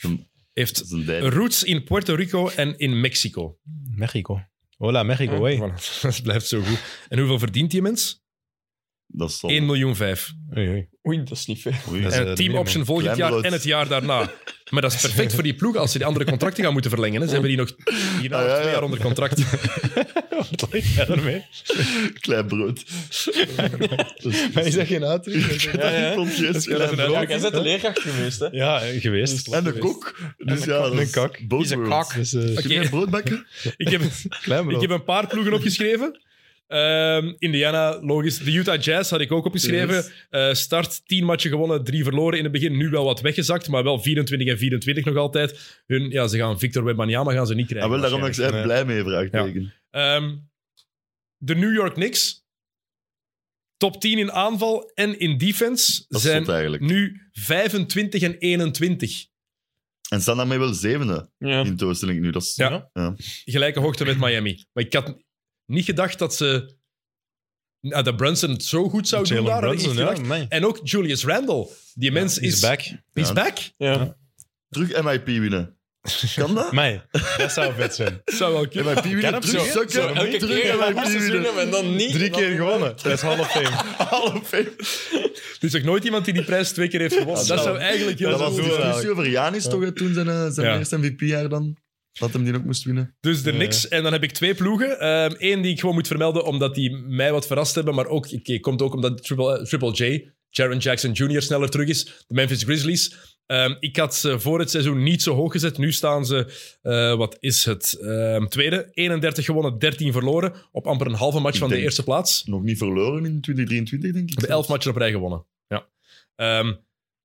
C: Een-
A: heeft
C: Dat is een dijk.
A: roots in Puerto Rico en in Mexico.
D: Mexico. Hola, Mexico, hey.
A: Voilà, Dat blijft zo goed. En hoeveel verdient die mens?
C: Dat zal.
A: 1 miljoen 5.
D: Oei, oei.
B: Oei, dat is niet veel.
C: Oei.
D: Dat is-
A: En
D: eh,
A: een
D: de
A: team option
D: minimum.
A: volgend jaar
C: Klein
A: en
C: brood.
A: het jaar daarna. Maar dat is perfect voor die ploeg als ze die andere contracten gaan moeten verlengen. Hè. Ze hebben die nog hierna
C: Ah,
A: nog
C: ja,
A: twee
C: ja.
A: jaar onder contract.
D: Wat ligt jij daarmee?
C: Klein brood.
D: Maar is dat geen uitdruk?
B: Ja, ja.
A: een
B: Ja,
A: brood.
B: jij bent de leerkracht geweest, hè?
D: Ja, eh, geweest.
C: En de kok. Dus ja, dat
D: Een
C: is
D: kak.
C: both
B: Is een
C: worlds.
B: kak.
D: Dus, eh,
C: Kun je
A: Oké.
C: een brood bakken?
A: Ik heb,
D: klein
A: ik
D: brood.
A: heb een paar ploegen opgeschreven. Ehm, Indiana, logisch. De Utah Jazz had ik ook opgeschreven. Eh, start, 10 matchen gewonnen, 3 verloren in het begin. Nu wel wat weggezakt, maar wel 24 en 24 nog altijd. Hun, ja, ze gaan Victor Wembanyama gaan ze niet
C: Ja,
A: krijgen.
C: Ah, wel, daarom dat ik
A: waarschijnlijk.
C: zei,
D: Nee.
C: blij mee, vraagteken.
A: Ehm, de New York Knicks. Top 10 in aanval en in defense
C: Dat is
A: zijn
C: zot eigenlijk.
A: nu 25 en 21.
C: En staan daarmee wel zevende
B: Ja.
C: in Toostelink nu. Dat is,
A: Ja.
C: ja.
A: Gelijke hoogte met Miami. Maar ik had niet gedacht dat ze... ah, dat Brunson het zo goed zou doen
D: Jalen
A: daar. had ik
D: Brunson,
A: echt
D: ja,
A: gedacht.
D: man.
A: En ook Julius Randle. Die mens
D: He's
A: is...
D: back.
A: Is
C: Ja.
A: back.
B: Ja.
C: Terug MIP winnen. Kan dat?
D: Mij, dat zou vet zijn.
A: Zou wel kunnen.
C: MIP
D: Kan
C: winnen,
D: hem
C: terug
D: zo.
C: sukken.
D: Zo,
B: Elke
C: terug
B: keer een goed
C: MIP
B: seizoen
C: winnen.
B: hebben en dan niet.
D: Drie keer gewonnen. Dat is Hall of Fame.
C: Hall of Fame.
A: Er is nog nooit iemand die die prijs twee keer heeft gewonnen.
C: Ja,
A: dat
C: dat
A: zou eigenlijk heel
C: Dat
A: goed
C: was de
A: zijn.
C: discussie over Janis toch, hè, toen zijn, eh, zijn
A: Ja.
C: eerste MVP-jaar dan. Dat hem die ook moest winnen.
A: Dus de
D: Ja.
A: Knicks. En dan heb ik twee ploegen. Eén die ik gewoon moet vermelden, omdat die mij wat verrast hebben. Maar ook, oké, komt ook omdat Triple, eh, Triple J, Jaron Jackson Jr. sneller terug is. De Memphis Grizzlies. Ehm, ik had ze voor het seizoen niet zo hoog gezet. Nu staan ze, eh, wat is het, Ehm, tweede. 31 gewonnen, 13 verloren. Op amper een halve match
C: Ik
A: van de
C: denk-
A: eerste plaats.
C: Nog niet verloren in 2023, denk ik.
A: De elf matchen op rij gewonnen. Ja. Ehm,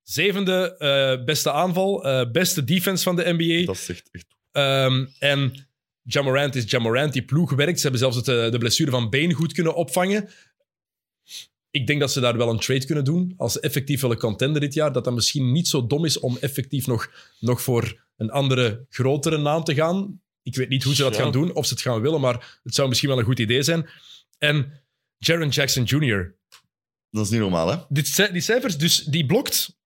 A: zevende eh, beste aanval, eh, beste defense van de NBA.
C: Dat is echt, echt
A: Ehm, en Jamorant is Jamorant. Die ploeg werkt. Ze hebben zelfs het, eh, de blessure van Been goed kunnen opvangen. Ik denk dat ze daar wel een trade kunnen doen. Als ze effectief willen contender dit jaar, dat dat misschien niet zo dom is om effectief nog, nog voor een andere, grotere naam te gaan. Ik weet niet hoe ze dat
B: Ja.
A: gaan doen, of ze het gaan willen, maar het zou misschien wel een goed idee zijn. En Jaron Jackson Jr.,
C: Dat is niet normaal, hè?
A: dit, ci- die cijfers, dus die blokt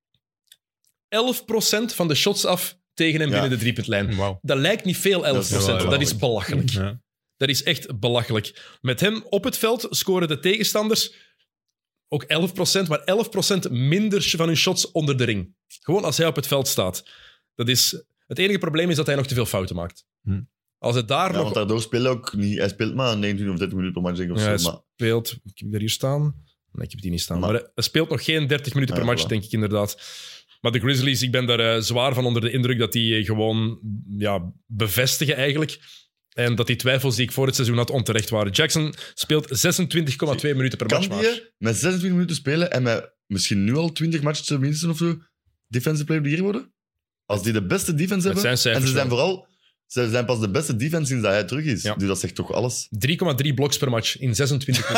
A: 11% van de shots af tegen en
C: Ja.
A: binnen de driepuntlijn.
D: Wauw.
A: Dat lijkt niet veel, 11%.
C: Dat is wel
A: Dat is,
C: belachelijk.
A: belachelijk.
D: Ja.
A: Dat is echt belachelijk. Met hem op het veld scoren de tegenstanders ook 11%, maar 11% minder van hun shots onder de ring. Gewoon als hij op het veld staat. Dat is, het enige probleem is dat hij nog te veel fouten maakt.
D: Hm.
A: Als het daar
C: Ja,
A: nog
C: want daardoor speelt hij ook niet. Hij speelt maar 19 of 30 minuten per match, denk ik. Of
A: Ja, hij
C: zo, maar
A: speelt. Ik heb die er hier staan. Nee, ik heb die niet staan.
C: Maar-
A: Maar, hij speelt nog geen 30 minuten
C: Ah,
A: per match,
C: voilà.
A: denk ik inderdaad. Maar de Grizzlies, ik ben daar eh, zwaar van onder de indruk dat die eh, gewoon ja, bevestigen eigenlijk. En dat die twijfels die ik voor het seizoen had onterecht waren. Jackson speelt 26,2 minuten per
C: kan
A: match.
C: die
A: maar.
C: hè, met 26 minuten spelen en met misschien nu al 20 matches tenminste of zo defensive player of the year worden? Als die de beste defense
A: Dat
C: hebben.
A: zijn cijfers.
C: en ze zijn
A: wel.
C: vooral. Ze zijn pas de beste defense sinds dat hij terug is.
A: Ja.
C: Dus dat zegt toch alles.
A: 3,3 bloks per match in 26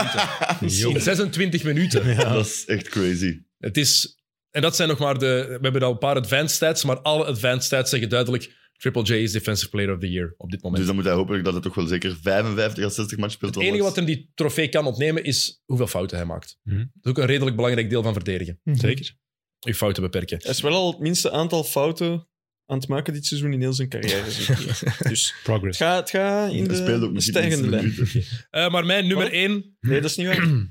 A: minuten. in 26 minuten.
D: Ja.
C: Dat is echt crazy.
A: Het is, en dat zijn nog maar de. We hebben al een paar advanced stats, maar alle advanced stats zeggen duidelijk: Triple J is Defensive Player of the Year op dit moment.
C: Dus dan moet hij hopelijk dat hij toch wel zeker 55 à 60 matches speelt.
A: het enige wat hem die trofee kan ontnemen is hoeveel fouten hij maakt.
D: Mhm.
A: Dat is ook een redelijk belangrijk deel van verdedigen.
D: Zeker.
A: Uw fouten beperken.
B: Hij is wel al het minste aantal fouten aan het maken dit seizoen in heel zijn carrière. zie ik hier. dus het
D: Progress.
B: gaat het gaat in
C: Hij speelt ook
B: de
C: misschien
B: stijgende lijn.
C: minuten.
A: Eh, maar mijn nummer
B: Wat?
A: 1,
B: Nee, dat is niet waar.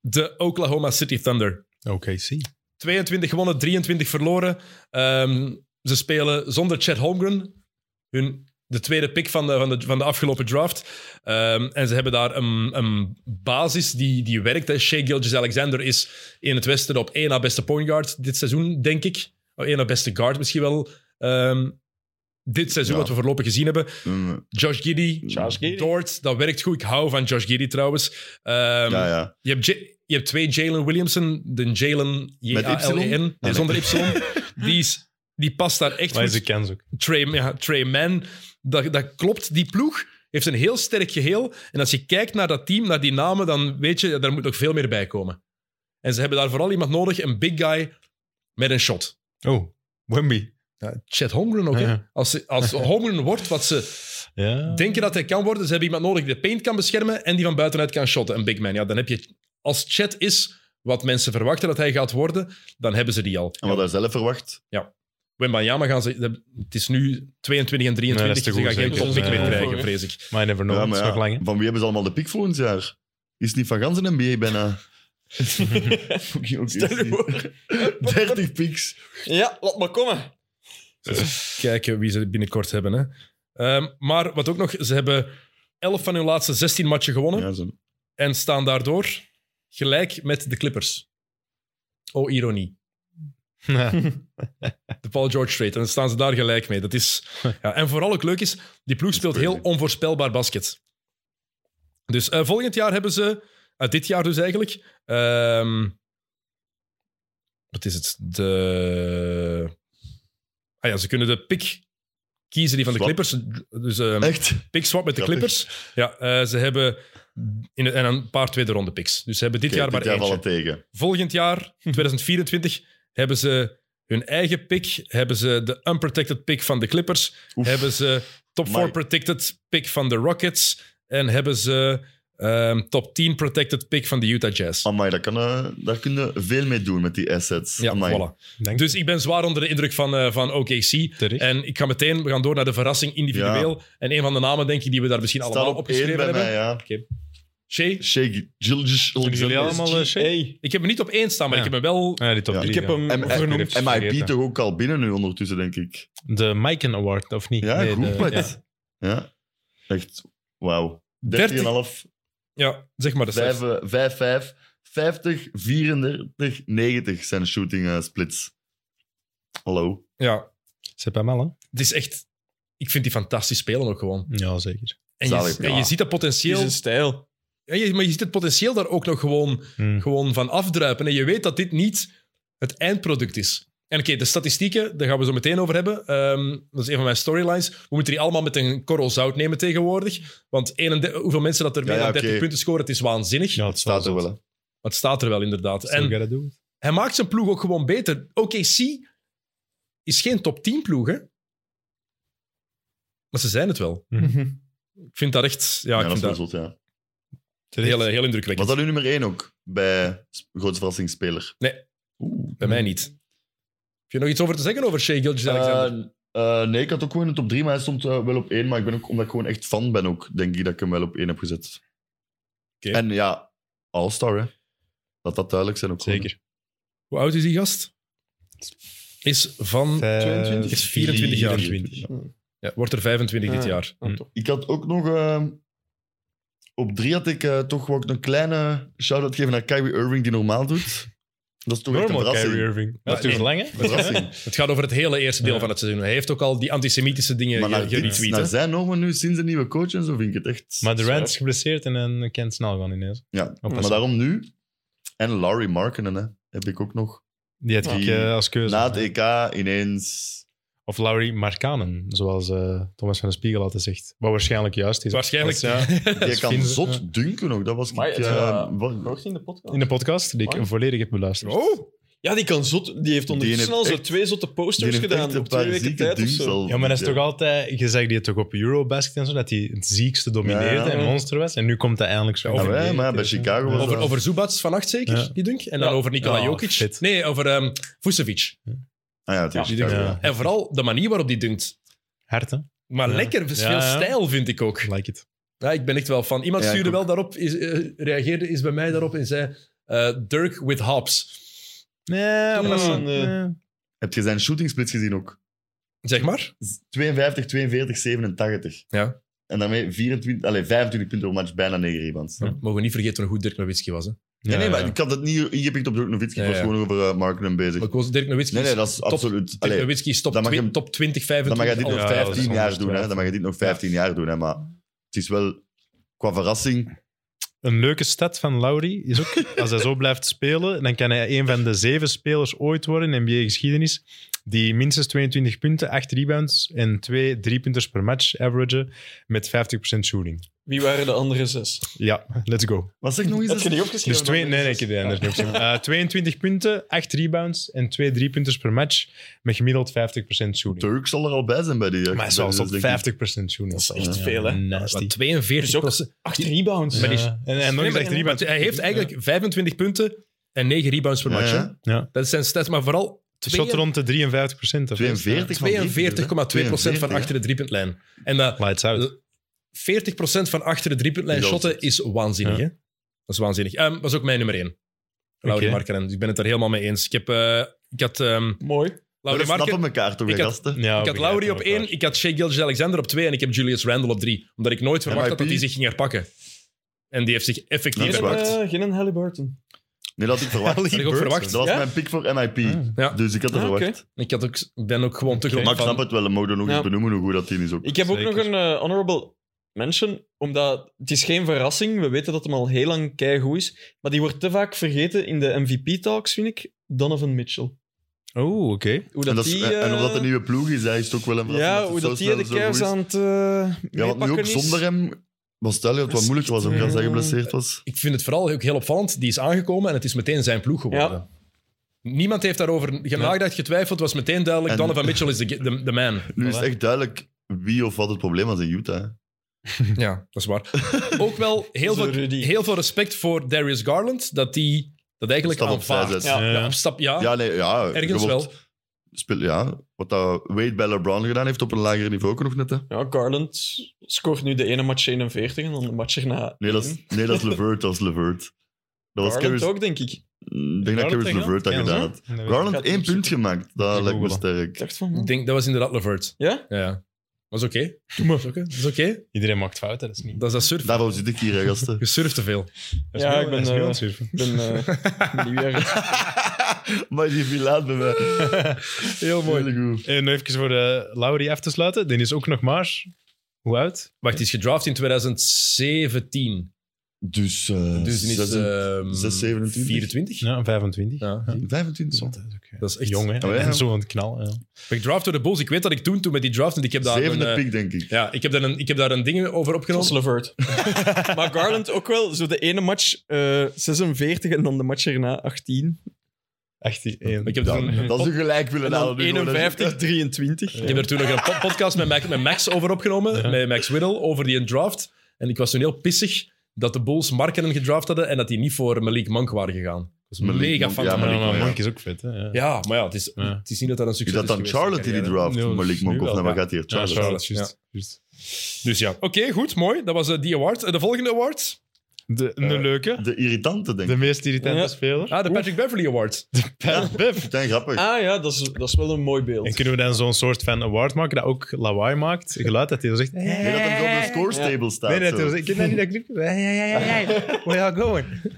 A: de Oklahoma City Thunder.
D: Oké, zie.
A: 22 gewonnen, 23 verloren. Ehm, ze spelen zonder Chad Holmgren, hun, de tweede pick van de, van de, van de afgelopen draft. Ehm, en ze hebben daar een, een basis die, die werkt. hè. Shea Gilgis-Alexander is in het Westen op één na beste point guard dit seizoen, denk ik. Of één na beste guard misschien wel. ehm, dit seizoen,
C: Ja.
A: wat we voorlopig gezien hebben.
C: Mm,
A: Josh Giddy,
B: Charles Giddy.
A: Dort, dat werkt goed. Ik hou van Josh Giddy trouwens. Ehm,
C: ja, ja.
A: Je, hebt J- je hebt twee Jalen Williamson. De Jalen
C: Y?
A: J-A-L-E-N,
C: nee.
A: E nee, zonder Y. die, is, die past daar echt
D: Maar hij is
A: goed.
D: de kans ook.
A: Trey, ja, Trey Mann, dat, dat klopt. Die ploeg heeft een heel sterk geheel. En als je kijkt naar dat team, naar die namen, dan weet je, daar moet nog veel meer bij komen. En ze hebben daar vooral iemand nodig, een big guy met een shot.
D: Oh, Wemby.
A: Ja, Chet Holmgren ook, hè?
D: Ja.
A: Als, ze- als Holmgren wordt wat ze
D: Ja.
A: denken dat hij kan worden. Ze hebben iemand nodig die de paint kan beschermen en die van buitenuit kan shotten. Een big man. Ja, dan heb je, als Chet is wat mensen verwachten dat hij gaat worden, dan hebben ze die al.
C: En wat hij zelf verwacht.
A: Wembanyama gaan ze... Het is nu 22 en 23,
D: Nee, dat is te
A: ze
D: goed,
A: gaan geen
D: zeker.
A: topic meer
D: Ja.
A: krijgen, vrees ik.
D: Maar je never know.
C: Ja,
D: het
C: maar
D: is
C: ja,
D: nog lang, hè?
C: van wie hebben ze allemaal de pick volgend jaar? Is het niet van gans een NBA bijna? Fucking ook
B: Stel je voor.
C: 30 picks.
B: Ja, laat maar komen.
A: Kijken wie ze binnenkort hebben. Hè. Ehm, maar wat ook nog, ze hebben 11 van hun laatste 16 matchen gewonnen
C: Ja, zo.
A: en staan daardoor gelijk met de Clippers. Oh, ironie. De Paul George trade. En dan staan ze daar gelijk mee. Dat is, ja. En vooral ook leuk is, die ploeg speelt heel onvoorspelbaar basket. Dus eh, volgend jaar hebben ze, eh, dit jaar dus eigenlijk, ehm, wat is het? De, ah ja, ze kunnen de pick kiezen die van de
C: Swap. Eh,
A: Clippers. Dus ehm,
C: Echt?
A: pick swap met de
C: Grappig.
A: Clippers. Ja, eh, ze hebben in, en een paar tweede ronde picks. Dus ze hebben dit
C: Oké,
A: jaar maar
C: dit jaar
A: eentje.
C: vallen tegen.
A: Volgend jaar, 2024, hebben ze hun eigen pick, hebben ze de unprotected pick van de Clippers,
C: Oef.
A: hebben ze top 4
C: Amai.
A: protected pick van de Rockets en hebben ze ehm, top 10 protected pick van de Utah Jazz.
C: Amai, dat kan, eh, daar kun je veel mee doen met die assets.
A: Ja,
C: Amai.
A: voilà.
D: Dank
A: Dus ik ben zwaar onder de indruk van, eh, van OKC.
D: Terecht.
A: En ik ga meteen, we gaan door naar de verrassing individueel. En een van de namen, denk ik, die we daar misschien
C: Staat
A: allemaal
C: op één
A: opgeschreven
C: bij
A: hebben.
C: mij, ja.
A: Shay,
C: Shake Gilgis
D: Doen jullie allemaal eh, shit?
B: Hey,
A: ik heb hem niet op één staan, maar
D: Ja.
A: ik heb hem wel...
D: Ja, die top
C: Ja.
D: drie,
B: ik heb
D: ja.
B: hem
C: En- en-
B: vernoemd.
D: en-
C: MIP
D: vergeten.
C: toch ook al binnen nu ondertussen, denk ik.
D: De Maiken Award, of niet?
C: Ja,
D: Nee,
C: goed
D: de-
C: plat.
D: ja.
C: Ja. echt. Wauw.
A: 13.
C: 13,5,
A: Ja, zeg maar de cijfers.
C: 5, 5, 5, 50, 34, 90 zijn shooting eh, splits.
A: Ah,
C: Hallo.
A: Ja,
D: C'est pas mal, hè?
A: het is echt... Ik vind die fantastisch spelen ook gewoon.
D: Ja, zeker.
A: En
C: Zalig,
A: je, en
C: ja.
A: je ziet dat
B: is
A: potentieel...
B: een stijl.
A: Ja, je- maar je ziet het potentieel daar ook nog gewoon,
D: Hmm.
A: gewoon van afdruipen. En je weet dat dit niet het eindproduct is. En oké, de statistieken, daar gaan we zo meteen over hebben. Ehm, dat is een van mijn storylines. We moeten die allemaal met een korrel zout nemen tegenwoordig. Want 31 hoeveel mensen dat er
C: Ja,
A: meer
C: ja,
A: dan 30
C: oké.
A: punten scoren, het is waanzinnig.
D: Ja, het
C: Staat er wel, hè.
A: Maar het staat er wel inderdaad.
D: En...
A: En hij maakt zijn ploeg ook gewoon beter. OKC is geen top 10 ploeg, hè? Maar ze zijn het wel. Ik vind dat echt... Ja,
C: Ja,
A: ik
C: dat is
A: vind
C: wel
A: dat
C: zot, ja.
A: heel, heel indrukwekkend.
C: Was dat uw nummer 1 ook? Bij s- grootste verrassingsspeler?
A: Nee.
C: Oeh.
A: Bij mij niet. Heb je nog iets over te zeggen over Shea Gilgis Alexander?
C: Eh, eh, nee, ik had ook gewoon in de top 3, maar hij stond eh, wel op 1. Maar ik ben ook, omdat ik gewoon echt fan ben, ook, denk ik dat ik hem wel op 1 heb gezet.
A: Oké.
C: En ja, All-Star, hè. Laat dat duidelijk zijn ook gewoon.
D: Zeker.
A: Hoe oud is die gast? Is van...
C: Eh,
A: Eh, Is 24 jaar.
D: 24.
A: Ja, wordt er 25 dit
B: Ah.
A: jaar.
B: Ah, toch.
C: Ik had ook nog... eh, op 3 had ik eh, toch wel een kleine shout-out geven naar Kyrie Irving, die normaal doet. Dat is toch echt een
D: Normal
C: verrassing.
D: Kyrie Irving.
A: Ja,
D: Dat duurt
A: nee.
D: lang, hè?
C: Verrassing.
A: Het gaat over het hele eerste deel
D: Ja.
A: van het seizoen. Hij heeft ook al die antisemitische dingen
C: maar naar,
A: ge-
C: dit,
A: geretweet.
C: naar
A: hè?
C: zijn normen nu, sinds de nieuwe coach en zo, vind ik het echt...
D: Maar Oh,
C: zwaar.
D: Durant is geblesseerd en dan kan het snel gaan ineens.
C: Ja,
D: Oppassen.
C: maar daarom nu. En Larry Markenen, hè. Heb ik ook nog.
D: Die had ik
C: Die-
D: eh, als keuze.
C: Na het EK ineens...
D: Of Laurie Markanen, zoals eh, Thomas van de Spiegel altijd zegt. Wat waarschijnlijk juist is.
A: Waarschijnlijk.
D: Dat is, ja,
C: Je kan
D: vinden ze-
C: zot
D: ja.
C: dunken ook. Dat was ik...
B: Maar het,
C: eh,
B: eh,
C: wa-
B: Hoort hij in de podcast?
D: in de podcast, die ik volledig heb beluisterd.
A: Oh!
B: Ja, die kan zot. Die heeft ondertussen
C: heeft
B: al zo
C: echt-
B: twee zotte
C: die
B: posters
C: heeft echt
B: gedaan
C: een
B: op twee
C: paar
B: weken
C: zieke
B: tijd of
C: dunks
B: zo.
C: al.
D: Ja, maar dat is toch altijd... Je zegt die toch op Eurobasket en zo, dat hij het ziekste domineerde
C: Ja.
D: en monster was. En nu komt dat eindelijk zo.
A: Ja,
D: over
C: maar ja,
D: de-
C: maar ja, bij Chicago was
A: Over,
C: Ja.
A: over Zubats vannacht zeker,
D: Ja.
A: die dunk. En dan
B: Ja.
A: over Nikola
D: Oh,
A: Jokic.
D: shit.
A: Nee, over ehm Vucevic.
C: Ah ja, het is
B: Ja,
C: Chicago.
D: Ja.
A: Dus En vooral de manier waarop die dunkt.
D: Hart, hè?
A: Maar
D: Ja.
A: lekker, dus veel
D: Ja, ja.
A: stijl vind ik ook.
D: Like it.
A: Ja, ik ben echt wel van. Iemand
C: Ja, ik
A: stuurde
C: ook.
A: wel daarop, is, eh, reageerde is bij mij daarop en zei: eh, Dirk with Hobbs.
D: Nee,
B: maar dat is
C: eh,
B: een,
C: Heb je zijn shooting splits gezien ook?
A: Zeg maar.
C: 52, 42, 87.
A: Ja.
C: En daarmee 24, allez, 25 punten per match, bijna 9 rebounds.
D: Ja.
A: Mogen we niet vergeten hoe goed Dirk Nowitzki was. Hè?
C: nee, nee, maar ik had het niet... Hier heb ik het op de Nowitzki.
A: Ja,
C: Ik was
A: ja.
C: gewoon over eh, Markenen bezig.
A: Maar ik was Dirk Nowitzki.
C: Nee, nee,
A: is
C: dat is
A: top-
C: absoluut...
A: Dirk
C: Allee,
A: Nowitzki is top,
C: dan mag
A: twi-
C: hem-
A: top 20, 25.
C: dan mag je dit
A: alles.
C: nog
D: Ja, dat is
C: 15 jaar doen, hè.
D: ongetwijfeld.
C: Dan mag je dit nog 15 jaar doen, hè. Maar het is wel... Qua verrassing...
D: Een leuke stat van Laurie is ook, als hij zo blijft spelen, dan kan hij een van de zeven spelers ooit worden in NBA-geschiedenis die minstens 22 punten, 8 rebounds en 2 driepunters per match averagen met 50% shooting.
B: Wie waren de andere zes?
D: Ja, let's go.
C: Wat zeg ik nog eens?
B: Heb je die opgeschreven?
D: Dus twee, nee, nee, ik heb die anders niet opgeschreven.
A: Ah.
D: Eh, 22 punten, 8 rebounds en 2 driepunters per match met gemiddeld 50% shooting.
C: Turk zal er al bij zijn bij die... eh,
D: Maar hij is
C: bij
D: wel
C: die-
D: op 50%
C: denk ik.
D: shooting.
B: Dat is echt veel, hè?
D: Nasty.
A: Maar 42
B: Dus ook-
A: procent.
B: Acht rebounds.
D: Ja. En, en nog
A: Nee,
D: eens
A: maar-
D: 8 rebounds.
A: Hij heeft eigenlijk 25 punten en 9 rebounds per
C: Ja,
A: match. hè.
C: ja.
D: Ja.
A: Dat zijn stats, maar vooral
D: Shot rond de 53%. of zo.
C: 42 van
A: 42,2 procent van
C: 42,
A: achter de driepuntlijn. En eh, dat
D: Lights out.
A: 40 procent van achter de driepuntlijn
C: Is al
A: shotten
C: zot.
A: is waanzinnig.
D: Ja.
A: Hè? Dat is waanzinnig. Ehm, dat was ook mijn nummer 1. Laurie
D: Oké.
A: Markkanen. Ik ben het daar helemaal mee eens. Ik, heb, eh, ik had ehm
B: Mooi.
C: Maar
A: Laurie
C: we snappen
A: Markkanen.
C: elkaar toch,
A: Ik
C: hè,
A: had-
C: gasten?
D: Ja,
A: Ik had Lowry op
D: één.
A: 1, ik had Shea Gilgis Alexander op 2 en ik heb Julius Randle op 3. Omdat ik nooit verwacht had dat hij zich ging herpakken. En die heeft zich
C: Dat
A: effectief
C: is
B: Geen,
C: waar.
A: herpakt.
B: een, eh, geen een Halliburton.
C: Nee, dat had ik verwacht.
A: Had ik ook verwacht.
C: Dat was
B: Ja?
C: mijn pick voor MIP.
D: Ah.
A: Ja.
C: Dus ik had het
B: Ah, oké.
C: verwacht.
A: Ik had ook, ben ook gewoon te
D: Oké.
A: groot
C: Maar ik
A: van-
C: snap het wel. We mogen nog
B: Ja.
C: eens benoemen hoe goed dat team is ook.
B: Ik heb ook
D: Zeker.
B: nog een eh, honorable mention, omdat het is geen verrassing. We weten dat hem al heel lang keigoed is. Maar die wordt te vaak vergeten in de MVP-talks, vind ik. Donovan Mitchell.
D: Oh, oké.
B: Hoe
C: En,
B: dat
C: dat is-
B: die,
C: en
B: eh,
C: omdat het een nieuwe ploeg is, hij is het ook wel een verrassing
B: Ja,
C: dat
B: hoe
C: het
B: dat
C: zo
B: die de
C: snel zo goed
B: Cavs
C: is.
B: aan het eh,
C: Ja, want nu ook zonder hem... Was stel je dat het wat moeilijk was, ook als hij geblesseerd was.
A: Ik vind het vooral ook heel opvallend. Die is aangekomen en het is meteen zijn ploeg geworden. Niemand heeft daarover ge- nagedacht, getwijfeld. was meteen duidelijk,
C: En-
A: Donovan Mitchell is de ge- de- de man.
C: Nu is het echt duidelijk wie of wat het probleem was in Utah. hè.
A: Ja, dat is waar. Ook wel heel,
B: Zo,
A: veel,
B: Rudy.
A: heel veel respect voor Darius Garland, dat hij dat eigenlijk
C: Stap opzij
A: aanvaardt.
C: zet.
B: Ja.
A: Ja, op stap,
B: Ah,
A: ja,
C: Ja, nee, ja.
A: ergens
C: je wordt-
A: wel.
C: Speel, ja, wat dat Wade bij LeBron gedaan heeft op een lager niveau ook nog net. Hè.
B: Ja, Garland scoort nu de ene match 41 en dan de match erna.
C: Nee, dat is, nee, dat is Levert. Dat is Levert. Dat was
B: Mhm. Garland
C: Caris,
B: ook, denk ik. Ik
C: Ik denk dat Caris Levert dat gedaan had. Garland
B: Ik ga
C: één
B: het
C: punt gemaakt. Dat
D: Ik
C: lijkt me
D: googelen.
C: sterk.
B: dacht van...
A: Ik
B: man.
A: denk, dat was inderdaad Levert.
B: Ja?
A: Ja, ja. Dat is oké. Doe maar. Dat is oké. Dat is oké.
D: Iedereen maakt fouten, dat is niet...
A: Dat is dat surfen.
C: Daarom zit ik hier, hè, gasten.
A: Je surft te veel.
D: dat is
B: Ja,
D: heel-
B: ik ben,
D: dat is heel
B: eh,
D: aan het surfen.
B: Ik ben eh, nieuwjaar.
C: maar die viel laat bij mij.
A: Heel
C: Heel goed.
D: En even voor de Laurie af te sluiten. Die is ook nog maar... Hoe oud?
A: Wacht, die is gedraft in 2017.
C: Dus, eh
A: Dus die is
C: zes-
A: ehm,
C: 26, 27?
A: 24.
D: Ja, 25.
A: Ja.
C: 25
D: Zot,
C: cent.
D: hè. Dat is ook, eh,
A: Dat is echt-
D: jong, hè?
C: Oh, ja.
D: En zo aan het knallen. Ja.
A: Gedraft door de Bulls. Ik weet dat ik toen, toen met die draft, en ik heb daar een,
C: Zevende
A: eh,
C: pick, denk ik.
A: ja, ik heb daar een, ik heb daar een ding over
B: Dat
A: opgenomen.
B: was Levert. maar Garland ook wel. Zo de ene match eh 46 en dan de match erna 18.
D: 18. één.
A: Ik heb daar
C: Ja,
A: een,
C: dat is een gelijk willen
B: En
C: halen.
B: dan
C: nu gewoon, hè.
B: 51, 23.
A: Ik heb er toen nog een po- podcast met Mac- met Max over opgenomen,
D: Ja.
A: met Max Whittle, over die draft. En ik was toen heel pissig dat de Bulls Markenen gedraft hadden en dat die niet voor Malik Monk waren gegaan. Ik was
C: Malik
A: mega
C: Monk,
A: fan
C: ja,
A: van
D: Maar
A: Malik
D: die
C: Malik
A: Monk.
C: Monk.
D: Monk is ook vet, hè? Ja.
A: Ja, maar ja het, is,
D: Ja.
A: het is niet dat dat een
C: Is
A: succes
C: dat
A: is
C: dan
A: geweest,
C: Charlotte die die
A: carrière.
C: draft?
D: Nee, dat
C: Malik
D: is nu
C: Monk of nou,
D: wel,
C: naar waar
A: ja.
C: gaat hier?
D: Ja,
C: Charlotte.
D: Charlotte,
A: Ja.
D: juist, juist.
A: Dus ja, oké, goed, mooi. Dat was eh, die award. Eh, de volgende award?
D: De, de
C: Eh,
D: leuke.
C: De irritante, denk
D: De
C: ik.
D: meest irritante
B: Ja.
D: speler.
A: Ah, de Patrick Beverly Award.
C: Ja, Putain, grappig.
B: Ah ja, dat is, dat is wel een mooi beeld.
D: En kunnen we dan zo'n soort van award maken dat ook lawaai maakt? Geluid dat hij dan zegt...
C: Nee, dat hem zo op de score
B: Ja.
C: table staat.
D: Nee, nee,
C: zo.
D: dat hij dan zegt, ik ken dat niet, dat knipje. Ja, ja, ja, ja, ja. Where are you going?
C: Het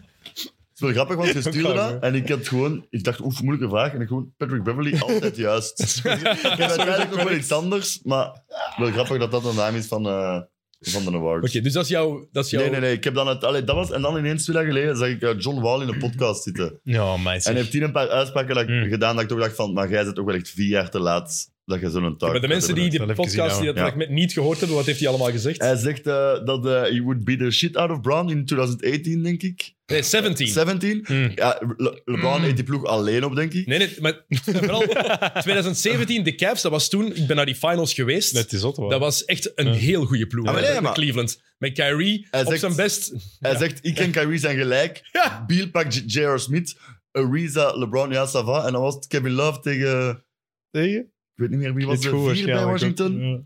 C: is wel grappig, want je stuurde
D: Ook wel,
C: dat en ik had gewoon... Ik dacht, oef, moeilijke vraag. En ik gewoon, Patrick Beverly, altijd juist. Ik heb uiteindelijk nog wel iets anders, maar wel grappig dat dat de naam is van, eh, van de award.
A: Oké, dus dat is jouw... Dat is jouw...
C: Nee, nee, nee. Ik heb dan het, allee, dat was, en dan ineens twee jaar geleden zag ik eh, John Wall in een podcast zitten.
D: Ja, meisje.
C: En heeft hier een paar uitspraken dat ik-
A: Hmm.
D: Mm.
C: gedaan dat ik toch dacht van, maar jij zit ook wel echt vier jaar te laat dat je zo'n taak
A: Maar de
C: hebt.
A: mensen die
D: dat
A: de
D: heb ik gezien,
A: podcast die dat
C: ja.
A: fragment niet gehoord hebben, wat heeft hij allemaal gezegd?
C: Hij zegt eh, dat eh, he would beat the shit out of Brown in 2018, denk ik.
A: Nee, 17.
C: 17.
D: Mm.
C: Ja, Le- LeBron eet die ploeg alleen op, denk ik.
A: Hmm. Nee, nee, maar vooral 2017, de Cavs, dat was toen... Ik ben naar die finals geweest.
D: Net is zot, hoor.
A: Dat was echt een
D: Ja.
A: heel goede ploeg.
C: Ja, Ah, maar
A: hè,
C: nee, maar-
A: Cleveland. Met Kyrie
C: Hij
A: op
C: zegt-
A: zijn best.
C: Hij zegt, ik en Kyrie zijn gelijk. Beal pakt J- J.R. Smith. Ariza, LeBron, ja, ça va. En dan was het Kevin Love tegen...
D: tegen.
C: Ik weet niet meer wie was
D: Niet
C: de
D: goed
C: vier bij
D: waarschijnlijk ook.
C: Washington.
D: Ja.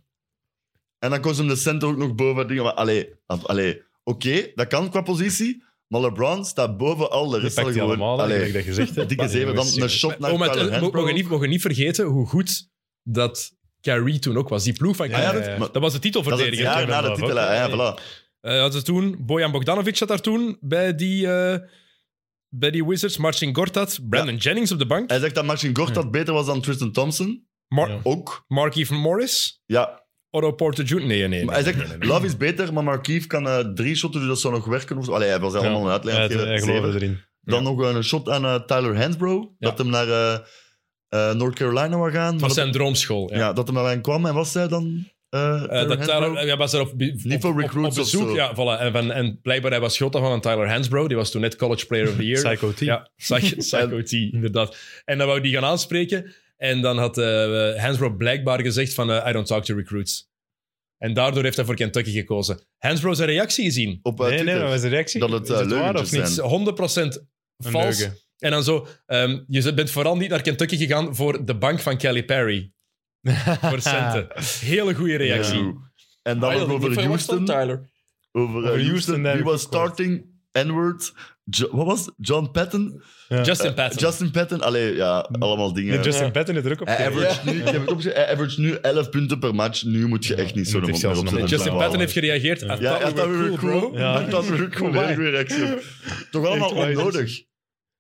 C: En dan kon ze hem de center ook nog boven. Dingen. Maar allee, af- allee. oké, dat kan qua positie. Maar LeBron staat boven al de
D: Dat
C: rest.
D: pakt hij
C: gewoon,
D: allemaal, hè,
C: allee,
D: gelijk dat gezegd hebt.
C: dikke
D: Maar
C: zeven. Dan
D: jongens,
C: een shot naar
A: Oh, maar het-
C: Tyler
A: mo-
C: Hensbrough.
A: mogen niet, mogen niet vergeten hoe goed dat Kyrie toen ook was. Die ploeg van
D: Ja,
A: Kyrie.
D: ja,
C: dat-
D: ja.
C: maar-
A: Ah, Dat was de
C: dat is het
A: titelverdediger.
C: jaar
D: Kevin
C: na de
D: Love
C: titel.
D: ook,
C: hè. Ja,
D: hè.
C: voilà.
A: Eh, hadden toen, Bojan Bogdanovic zat daar toen bij die, eh, bij die Wizards. Marcin Gortat, Brandon Jennings op de bank.
C: Hij zegt dat Marcin Gortat beter was dan Tristan Thompson.
A: Mar
D: Ja.
C: Ook.
A: Markie van Morris.
C: Ja.
A: Otto Porter Jr. Nee, nee, nee.
C: Maar hij zegt, Love is beter, maar Markief kan eh, drie shotten, dus dat zou nog werken. Of zo. Allee, hij was allemaal een uitleg. aan
D: Ja,
C: het geven.
D: hij
C: Zeven.
D: geloofde erin.
C: Dan nog een shot aan eh, Tyler Hansbrough. Dat hem naar eh, eh, North Carolina wou gaan. maar
A: Van
C: dat,
A: zijn droomschool.
C: ja.
A: Ja.
C: dat hem daarin kwam. En was zij dan... eh,
A: Eh,
C: Tyler
A: dat
C: Hansbrough?
A: Tyler, hij was er op, op,
C: voor
A: op-
C: recruits
A: op bezoek.
C: of zo.
A: Ja, voilà. en, van, en blijkbaar hij was schotter van een Tyler Hansbrough. Die was toen net College Player of the Year.
D: Psycho T.
A: Ja, Psych- Psycho T, inderdaad. En dan wou die gaan aanspreken. En dan had eh Hansbrough blijkbaar gezegd van... eh, I don't talk to recruits. En daardoor heeft hij voor Kentucky gekozen. Hansbrough zijn reactie gezien.
C: Op eh,
D: Nee, nee,
C: Twitter.
D: maar was de reactie?
C: Dat het,
D: Is
C: eh,
D: waar
C: leugentjes
D: of
C: zijn.
D: niet?
A: Het is 100%
D: Een
A: vals.
D: leugen.
A: En dan zo... ehm, je bent vooral niet naar Kentucky gegaan voor de bank van Kelly Perry. Voor centen. Hele goede reactie.
C: Ja. En dan
B: Ah,
C: nog
B: dat had ik niet
C: over
B: verwacht van
C: Houston.
B: Tyler.
C: Over, eh,
D: Over Houston,
C: Houston.
D: daar
C: Wie
D: heb ik
C: was
D: gehoord.
C: starting N-word? Jo- Wat was het? John Patton? Eh,
A: Justin Patton.
C: Justin Patton? Allee, ja, allemaal dingen.
D: En Justin Patton het er ook op.
C: Hij
D: gekregen.
C: average, nu, ik heb het opgezet, hij average nu 11 punten per match. Nu moet je echt niet
D: Ja,
C: zo'n
D: moet
C: mond
D: echt
C: meer
D: zelfs
C: opzetten.
D: een mond.
A: Justin
C: Ja,
A: Patton heeft gereageerd. Ah, I
C: Ja,
A: thought we
C: ja, dat
A: were
C: weer
A: cool,
C: cool.
A: bro.
D: Ja.
C: Ja, dat weer cool.
D: Why?
C: Heel goede reactie op. Toch allemaal
D: Echt waar,
C: onnodig.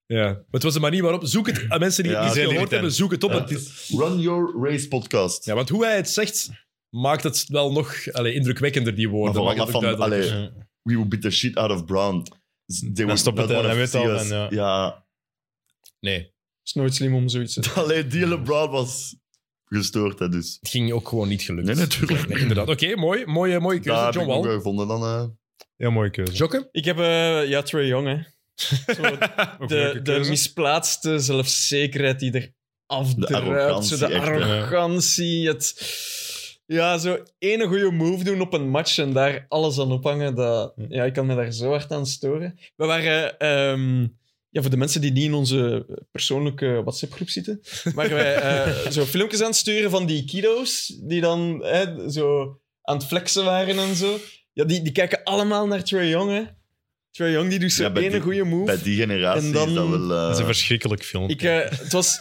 A: Ja. Maar het was de manier waarop... Zoek het... aan Mensen die
C: Ja,
A: het niet
D: zijn
A: gehoord
D: irritant.
A: hebben, zoek het op.
C: Ja,
A: Het
C: het
A: is-
C: is Run Your Race podcast.
A: Ja, want hoe hij het zegt, maakt het wel nog allee, indrukwekkender, die
C: maar
A: woorden.
C: vooral
A: Maakt het ook
C: dat van,
A: duidelijker.
C: allee,
D: Ja.
C: we will beat the shit out of Brown. They will-
D: stopt Nou, het,
C: that
D: hè, dan
C: one of
D: weet je al,
C: CS.
D: en ja.
C: Ja,
A: Nee,
B: is nooit slim om zoiets te
C: alleen die LeBron was gestoord, hè, dus.
A: het ging ook gewoon niet gelukt.
C: Nee, natuurlijk.
A: Nee, inderdaad. Oké, mooi, mooie, mooie keuze,
C: Daar heb
A: John
C: ik nog
A: Wall.
C: wel gevonden dan. eh
D: Heel mooie keuze.
A: Jokken?
B: Ik heb, eh, ja, Trey Young, hè. Zo
D: Ook
B: de,
D: leuke
B: de
D: keuze.
B: misplaatste zelfzekerheid die er afdruipt.
C: arrogantie,
B: Zo de
C: echt, hè.
B: arrogantie. Het, ja, zo één goede move doen op een match en daar alles aan ophangen. Dat, ja, ik kan me daar zo hard aan storen. We waren... ehm, ja, voor de mensen die niet in onze persoonlijke WhatsApp-groep zitten, waren wij eh, zo filmpjes aan het sturen van die kiddo's die dan hè, zo aan het flexen waren en zo. Ja, die, die kijken allemaal naar Trae Young, hè. Trae Young die doet
C: Ja,
B: zo'n
C: bij
B: ene
C: die-
B: goede move.
C: Bij die generatie
B: En dan-
C: is dat wel... eh,
D: Dat is een verschrikkelijk film.
B: Ik, eh, het, was,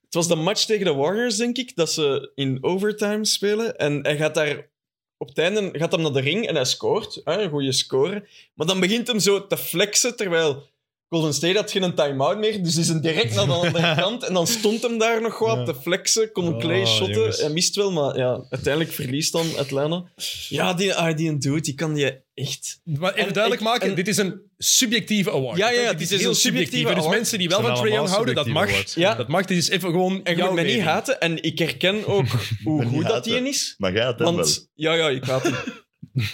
B: het was de match tegen de Warriors, denk ik, dat ze in overtime spelen. En hij gaat daar op het einde gaat hem naar de ring en hij scoort. Hè, een goede score. Maar dan begint hem zo te flexen, terwijl Golden State had geen time-out meer. Dus is hem direct naar de andere kant. En dan stond hem daar nog wat
D: Ja.
B: te flexen. Kon
D: Oh,
B: Clay shotten.
D: jongens.
B: Hij mist wel, maar ja, uiteindelijk verliest dan Atlanta. Ja, die, ah, die dude, die kan je echt...
A: Maar even
B: En
A: duidelijk
B: ik-
A: maken,
B: en-
A: dit is een subjectieve award.
B: Ja, ja,
A: Dit
B: dit
A: is
B: is een
A: heel subjectief.
B: subjectieve
A: Er dus
B: award.
A: mensen die wel
D: Het zijn
A: van Trae Young
D: allemaal
A: houden, dat mag.
D: subjectieve awards.
B: Ja.
A: Dat mag, dit is even gewoon
B: En je
A: jouw
B: moet mij niet
A: mening.
B: haten. En ik herken ook hoe
C: niet
B: goed dat
C: haten.
B: die is.
C: Maar jij had hem wel.
B: Want, ja, ja, ik haat hem.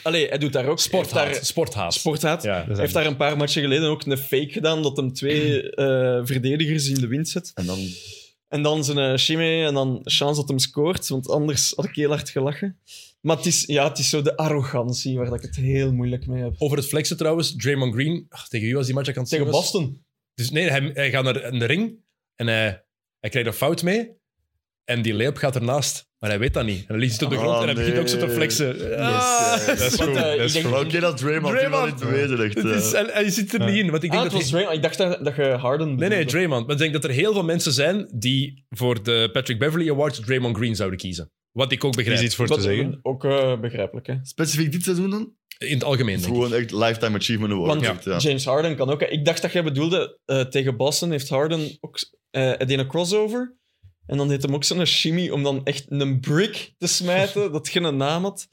B: Allee, hij doet daar ook
A: Sporthaat.
B: heeft daar-
A: Sporthaat.
B: Sporthaat.
A: Ja.
D: Dat is
B: Hij heeft daar een paar matchen geleden ook een fake gedaan dat hem twee eh, verdedigers in de wind zet.
C: En dan...
B: En dan zijn eh Shime en dan chance dat hem scoort, want anders had ik heel hard gelachen. Maar het is, ja, het is zo de arrogantie waar ik het heel moeilijk mee heb.
A: Over het flexen trouwens, Draymond Green, ach, tegen wie was die match aan het
B: Tegen
A: zien was?
B: Boston.
A: Dus nee, hij, hij gaat naar de ring en hij, hij krijgt een fout mee. En die layup gaat ernaast, maar hij weet dat niet. En hij ligt hij op de
C: Oh,
A: grond en hij begint
C: nee.
A: ook zo te flexen. Ah,
C: Yes, eh,
D: Dat is
B: Want,
D: goed.
B: eh,
D: dat
B: ik
D: is
B: denk-
D: goed.
C: Maar Oké, dat Draymond. Draymond
A: Draymond.
C: niet bewegen, echt.
A: het is,
C: eh.
A: en, hij zit er
D: Ja.
A: niet in. Want ik
B: Ah,
A: denk dat
B: het
A: hij-
B: was Draymond. Ik dacht dat, dat je Harden
A: nee, nee,
B: bedoelde.
A: Draymond. Maar ik denk dat er heel veel mensen zijn die voor de Patrick Beverly Award Draymond Green zouden kiezen. Wat ik ook
D: Er
A: begrijp.
D: is iets voor
B: Wat
D: te zeggen.
B: Ook eh, begrijpelijk, hè.
C: Specifiek dit seizoen dan?
A: In het algemeen, denk ik.
C: Gewoon echt Lifetime Achievement Award.
B: Want
C: echt, ja.
B: James Harden kan ook. Ik dacht dat jij bedoelde, eh, tegen Boston heeft Harden ook eh hij deed een crossover. En dan deed hem ook zo'n shimmy om dan echt een brick te smijten dat geen naam had.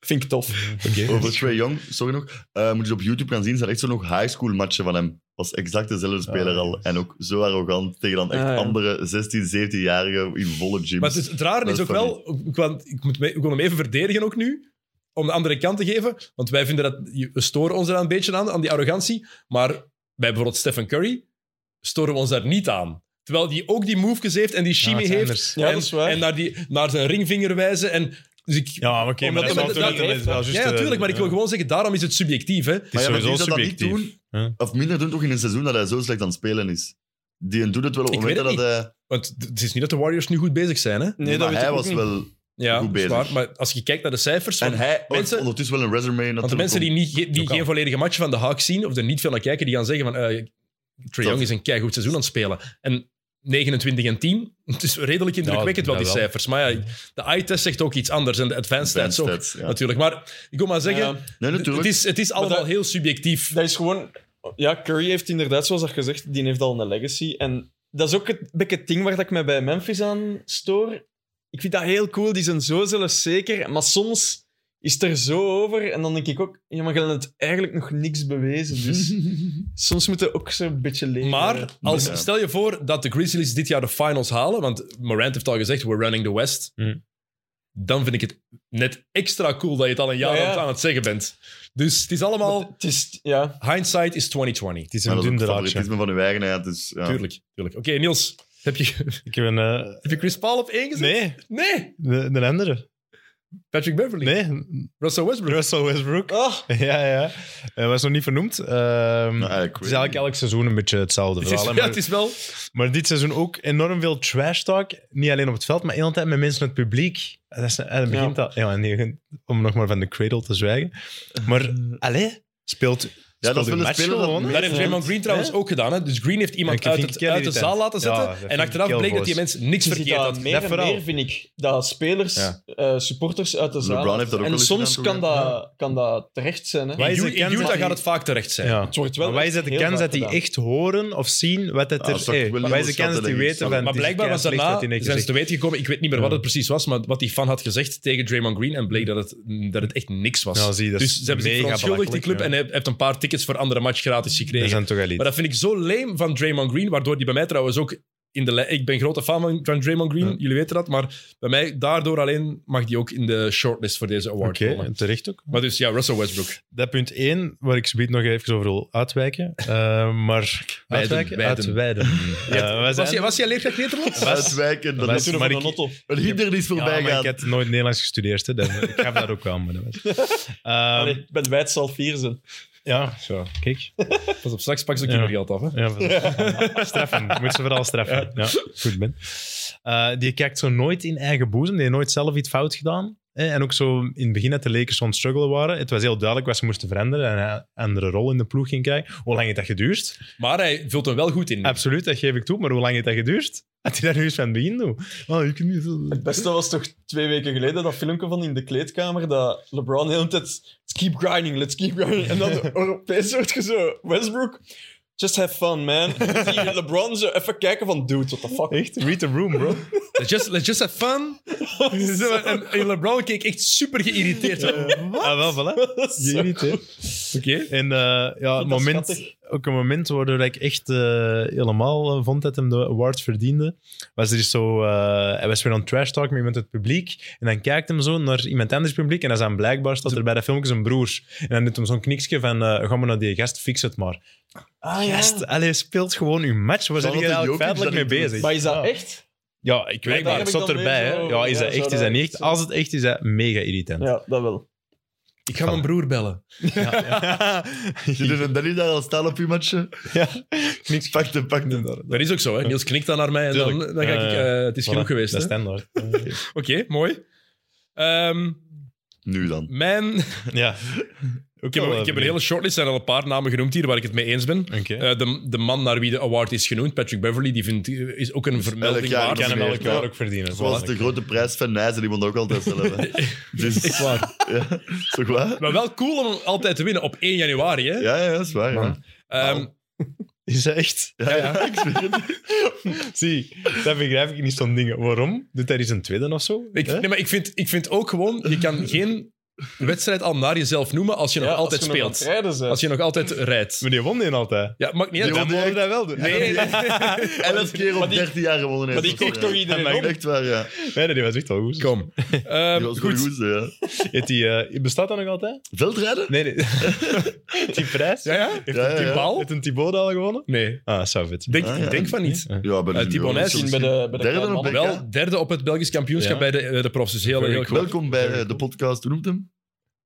B: Vind ik tof.
C: Over Trey Young, sorry nog. Eh, moet je op YouTube gaan zien, zijn echt zo nog high school matchen van hem. Was exact dezelfde speler
D: Ah,
C: al. En ook zo arrogant tegen dan echt
B: Ah, ja.
C: andere 16, 17-jarigen in volle gyms.
A: Maar het, is, het rare
C: Dat
A: is
C: is
A: ook
C: funny.
A: wel, ik, want ik, moet, me- ik wil hem even verdedigen ook nu, om de andere kant te geven, want wij vinden dat, we storen ons daar een beetje aan, aan die arrogantie, maar bij bijvoorbeeld Stephen Curry storen we ons daar niet aan. Terwijl die ook die movejes heeft en die shimmy
D: het is
A: heeft.
D: anders.
A: En,
B: Ja, dat is waar.
A: en naar, die, naar zijn ringvinger wijzen. En, dus ik, ja,
D: Ja, maar oké, maar
A: Omdat
D: dat is
A: hij met-
D: natuurlijk-
A: dat-
D: dat is wel juist, eh,
A: natuurlijk, maar ik wil
D: ja.
A: gewoon zeggen, daarom is het subjectief. Hè.
D: Het is
C: maar die
D: sowieso
C: zou dat niet
D: subjectief.
C: doen, of minder doen, toch in een seizoen dat hij zo slecht aan het spelen is. Die doet het wel op
A: Ik
C: momenten
A: weet
C: dat
A: het
C: hij...
A: Want het is niet dat de Warriors nu goed bezig zijn. Hè.
B: Nee, dat
C: maar
B: weet
C: hij
B: ik ook
C: was
B: niet.
C: wel...
A: Ja,
C: Goed
A: dat is
C: bezig.
A: waar, maar als je kijkt naar de cijfers...
C: En
A: want-
C: hij
A: mensen-
C: mensen, ondertussen wel een resume
A: Want de
C: natuurlijk.
A: mensen die, niet, ge- die
D: Ook al.
A: geen volledige match van de Hawks zien, of er niet veel naar kijken, die gaan zeggen van... eh Trae Young is een keigoed seizoen aan het spelen. En 29 en 10, het is redelijk indrukwekkend wel,
D: dat
A: die
D: wel.
A: cijfers. Maar ja, de eye-test zegt ook iets anders en de advanced stats ook,
C: Advanced stats, ja.
A: natuurlijk. Maar ik wil maar zeggen,
B: Ja,
C: Nee,
A: het,
C: natuurlijk.
A: is, het is allemaal
B: dat-
A: heel subjectief.
B: dat is gewoon... Ja, Curry heeft inderdaad, zoals dat gezegd, die heeft al een legacy. En dat is ook het, een beetje het ding waar dat ik me bij Memphis aan stoor. Ik vind dat heel cool, die zijn zo zelfzeker. Maar soms is het er zo over en dan denk ik ook... Ja, maar je hebt het eigenlijk nog niks bewezen, dus... Soms moeten we ook zo'n beetje leven.
A: Maar als,
C: Ja.
A: stel je voor dat de Grizzlies dit jaar de finals halen, want Morant heeft al gezegd, we're running the West.
D: Mm.
A: Dan vind ik het net extra cool dat je het al een jaar
B: Ja, ja.
A: aan het- aan het zeggen bent. Dus het is
B: Maar
A: allemaal...
B: het is, ja.
A: Hindsight is 2020.
D: Het is
C: Maar
D: een
C: dat
D: dun
C: is ook
D: draadje.
C: favoritisme van uw eigenheid. Dus, ja.
A: Tuurlijk, tuurlijk. Oké, Niels, heb je,
D: Ik heb een... eh,
A: heb je Chris Paul op één gezet?
D: Nee,
A: Nee,
D: de, de andere.
A: Patrick Beverly.
D: Nee,
A: Russell Westbrook.
D: Russell Westbrook.
B: Ah,
D: Ja, ja. Hij was nog niet vernoemd. Ehm,
C: Nou, eigenlijk
D: het is eigenlijk elk seizoen een beetje hetzelfde
A: Het is,
D: verhaal. hè,
A: ja,
D: maar-
A: het is wel...
D: Maar dit seizoen ook enorm veel trash talk. Niet alleen op het veld, maar de hele tijd met mensen in het publiek. Dat is, eh, dat begint al, ja, en die- om nog maar van de cradle te zwijgen. Maar, allee, speelt, speelt
C: dat
D: uw
C: willen
D: match
C: spelers dat
D: gewoon.
C: mee-
A: Dat heeft Raymond Green trouwens ook gedaan. Hè? Dus Green heeft iemand
D: Ja, ik
A: uit,
D: vind
A: het,
D: Kelly
A: uit de
D: dit,
A: zaal
D: hè.
A: laten
D: Ja,
A: zetten.
D: dat vind
A: en
D: ik
A: achteraf
D: heel
A: bleek dat
D: boos.
A: die mensen niks
B: je ziet
A: verkeerd
B: dat
A: hadden.
B: meer en
D: vooral.
B: meer, vind ik. Dat spelers,
D: Ja.
B: eh, supporters uit de zaal...
C: LeBron heeft dat ook
B: En
C: wel eens
B: soms
C: gedaan,
B: kan
C: toch, hè?
B: dat, kan dat terecht zijn. Hè?
D: Wij-
A: In
D: is de
A: Ju- in
D: kans dat
A: Utah
D: die-
A: gaat het vaak terecht zijn.
D: Ja.
B: Het wordt wel
D: Maar wij
B: echt
D: zijn de
B: heel
D: kans
B: vaak
D: dat die
B: gedaan.
D: echt horen of zien wat het
C: Ah, dat
D: er...
C: zou ik
D: eh,
C: wel
D: wij
C: niet
D: zijn de kans die
C: onderschatten, denk ik.
D: weten van...
A: Maar
D: het is
A: blijkbaar was
D: keislecht
A: daarna,
D: wat die
A: zijn
D: niks
A: ze
D: zegt.
A: te weten gekomen, ik weet niet meer wat
D: Ja.
A: het precies was, maar wat die fan had gezegd tegen Draymond Green, en bleek dat het, dat het echt niks was.
D: Ja, zie je, dat is
A: dus ze hebben zich
D: mega
A: verontschuldigd, die club,
D: belachelijk,
A: en hij heeft een paar tickets voor andere match gratis
D: Dat
A: gekregen.
D: zijn toch elite.
A: Maar dat vind ik zo leem van Draymond Green, waardoor die bij mij trouwens ook in de lij- Ik ben grote fan van, van Draymond Green,
D: Ja.
A: jullie weten dat. Maar bij mij, daardoor alleen, mag die ook in de shortlist voor deze award
D: Oké,
A: komen.
D: terecht ook.
A: Maar dus ja, Russell Westbrook.
D: Dat punt 1, waar ik zo nog even over wil uitwijken. eh, maar
A: Wijden,
D: uitwijken?
A: wijden.
D: Uitweiden. Eh, wij
A: Was,
D: zijn-
A: jij, was jij leerkracht Nederlands?
C: Uitwijken, dat
D: Wij-
C: is
D: Toen maar
B: Maar ik...
D: ik-
B: Otto.
C: een hinder die is
D: Ja,
C: voorbij
D: maar
C: gaat.
D: ik heb nooit Nederlands gestudeerd. Hè, dan, ik gaf dat ook wel. Maar dat was. Ehm,
B: Allee, ik ben wijd zal vier zijn.
D: ja, zo. Kijk.
A: Pas op, straks pak ze ook
D: Ja.
A: kindergeld af. Hè?
D: Ja, van- straffen. Moet ze vooral straffen. Ja. Goed, Ben. Eh, die kijkt zo nooit in eigen boezem. Die heeft nooit zelf iets fout gedaan. hè. En ook zo in het begin dat de Lakers zo'n struggle waren. Het was heel duidelijk wat ze moesten veranderen. En hij een andere rol in de ploeg ging krijgen. Hoe lang heeft dat geduurd?
A: Maar hij vult hem wel goed in.
D: Absoluut, dat geef ik toe. Maar hoe lang heeft dat geduurd? Had hij dat nu eens van het begin doen? Oh, ik kan niet zo...
B: Het beste was toch twee weken geleden dat filmpje van in de kleedkamer dat LeBron de hele tijd let's keep grinding, let's keep grinding. En dan Europees wordt je zo, Westbrook, just have fun, man. En zie je LeBron zo even kijken van, dude, what the fuck.
D: Echt? Read the room, bro.
A: Let's just, let's just have fun. Zo, en, en LeBron keek echt super geïrriteerd.
D: Ah, wel, voilà.
B: Dat is
D: Je
B: zo
D: niet, hè?
A: Oké.
D: En eh, ja, het
B: dat
D: moment,
B: schattig.
D: ook een moment waardoor ik echt eh, helemaal eh, vond dat hem de award verdiende, was er is zo, eh, hij was weer aan het trash talk met iemand uit het publiek, en dan kijkt hem zo naar iemand anders publiek, en dan zijn blijkbaar staat er bij dat filmpje zijn broer. En dan doet hem zo'n kniksje van, eh ga maar naar die gast, fix het maar.
B: Ah, ja.
D: Gast, allee, speelt gewoon uw match, waar zijn
C: Zou dat
D: jullie
C: de
D: eigenlijk
C: Jokic
D: feitelijk mee
C: dat niet doet?
D: bezig?
B: Maar is dat echt?
D: Ja, ik weet
B: daar
D: maar
B: heb
D: het
B: ik
D: zat
B: dan
D: erbij.
B: weer
D: Hè.
B: zo-
D: Ja, is
B: ja,
D: dat
B: zo
D: echt, is dat
B: dat-
D: niet echt? Als het echt is, is dat mega irritant.
B: Ja, dat wel.
A: Ik ga mijn broer bellen.
C: Je doet een Danny daar al staan op je matje.
D: Ja.
C: Niks pak hem, pak hem.
A: Dat is ook zo, hè? Niels knikt dan naar mij en dan,
D: Tuurlijk.
A: dan ga ik...
D: Ja, ja.
A: eh, het is
D: Voilà,
A: genoeg geweest,
D: Dat is
A: hè? Oké,
D: standaard.
A: mooi. Ehm,
C: Nu dan.
A: mijn...
D: ja.
A: Ik heb, ik heb een hele shortlist, er zijn al een paar namen genoemd hier waar ik het mee eens ben.
D: eh, Oké.
A: Eh, de, de man naar wie de award is genoemd, Patrick Beverly, die vindt, eh, is ook een vermelding
C: jaar
A: waard.
C: kan hem elk jaar ook
D: verdienen.
C: Zoals de grote prijs van Nijzen, die moet ook altijd zelf. hè. Dus,
A: Echt waar.
C: ja, is toch waar?
A: Maar wel cool om altijd te winnen op 1 januari. Hè?
C: Ja, ja, dat is waar. Ja.
A: Ehm,
D: Is dat echt?
C: Ja, ja, ik zweer het.
D: Zie, dat begrijp ik niet zo'n dingen. Waarom? Doet daar eens een tweede of zo?
A: ik,
D: Hè?
A: nee, maar ik, vind, ik vind ook gewoon, je kan geen wedstrijd al naar jezelf noemen als je nog altijd speelt. als je nog altijd rijdt.
D: Maar die won die altijd.
A: Ja, maakt niet uit.
C: Die
D: Dan
C: won-
D: mogen we dat wel doen.
A: Nee, nee, nee.
C: Elf keer op
B: Maar die-
C: 13 jaar gewonnen
B: Maar die
C: heeft.
B: kijkt toch iedereen op?
C: Echt waar, ja.
D: Nee, nee, die was echt wel goed.
A: Kom. Ehm,
C: Die was goed.
A: goed.
C: goed ja.
D: Heeft die, eh, bestaat dat nog altijd?
C: Veldrijden?
D: Nee, nee. die prijs?
A: Ja, ja?
D: Heeft
C: Ja,
D: een
C: ja, ja.
D: Thibaut- Heeft een Thibaut al gewonnen?
A: Nee.
D: Ah, zou vet.
A: Denk,
C: Ah, ja.
A: denk van niet.
C: Ja, bij de
A: Eh,
C: junior
A: Thibaut Nijs
C: is het
B: zien bij de- bij de
C: derde
B: kleine
C: op
B: mannen.
C: BK.
A: Wel derde op het Belgisch kampioenschap bij
D: Ja.
A: de, eh, de profs. Dus heel,
D: Very
A: heel
D: cool.
A: cool.
C: Welkom bij eh, de podcast. Hoe noemt hem?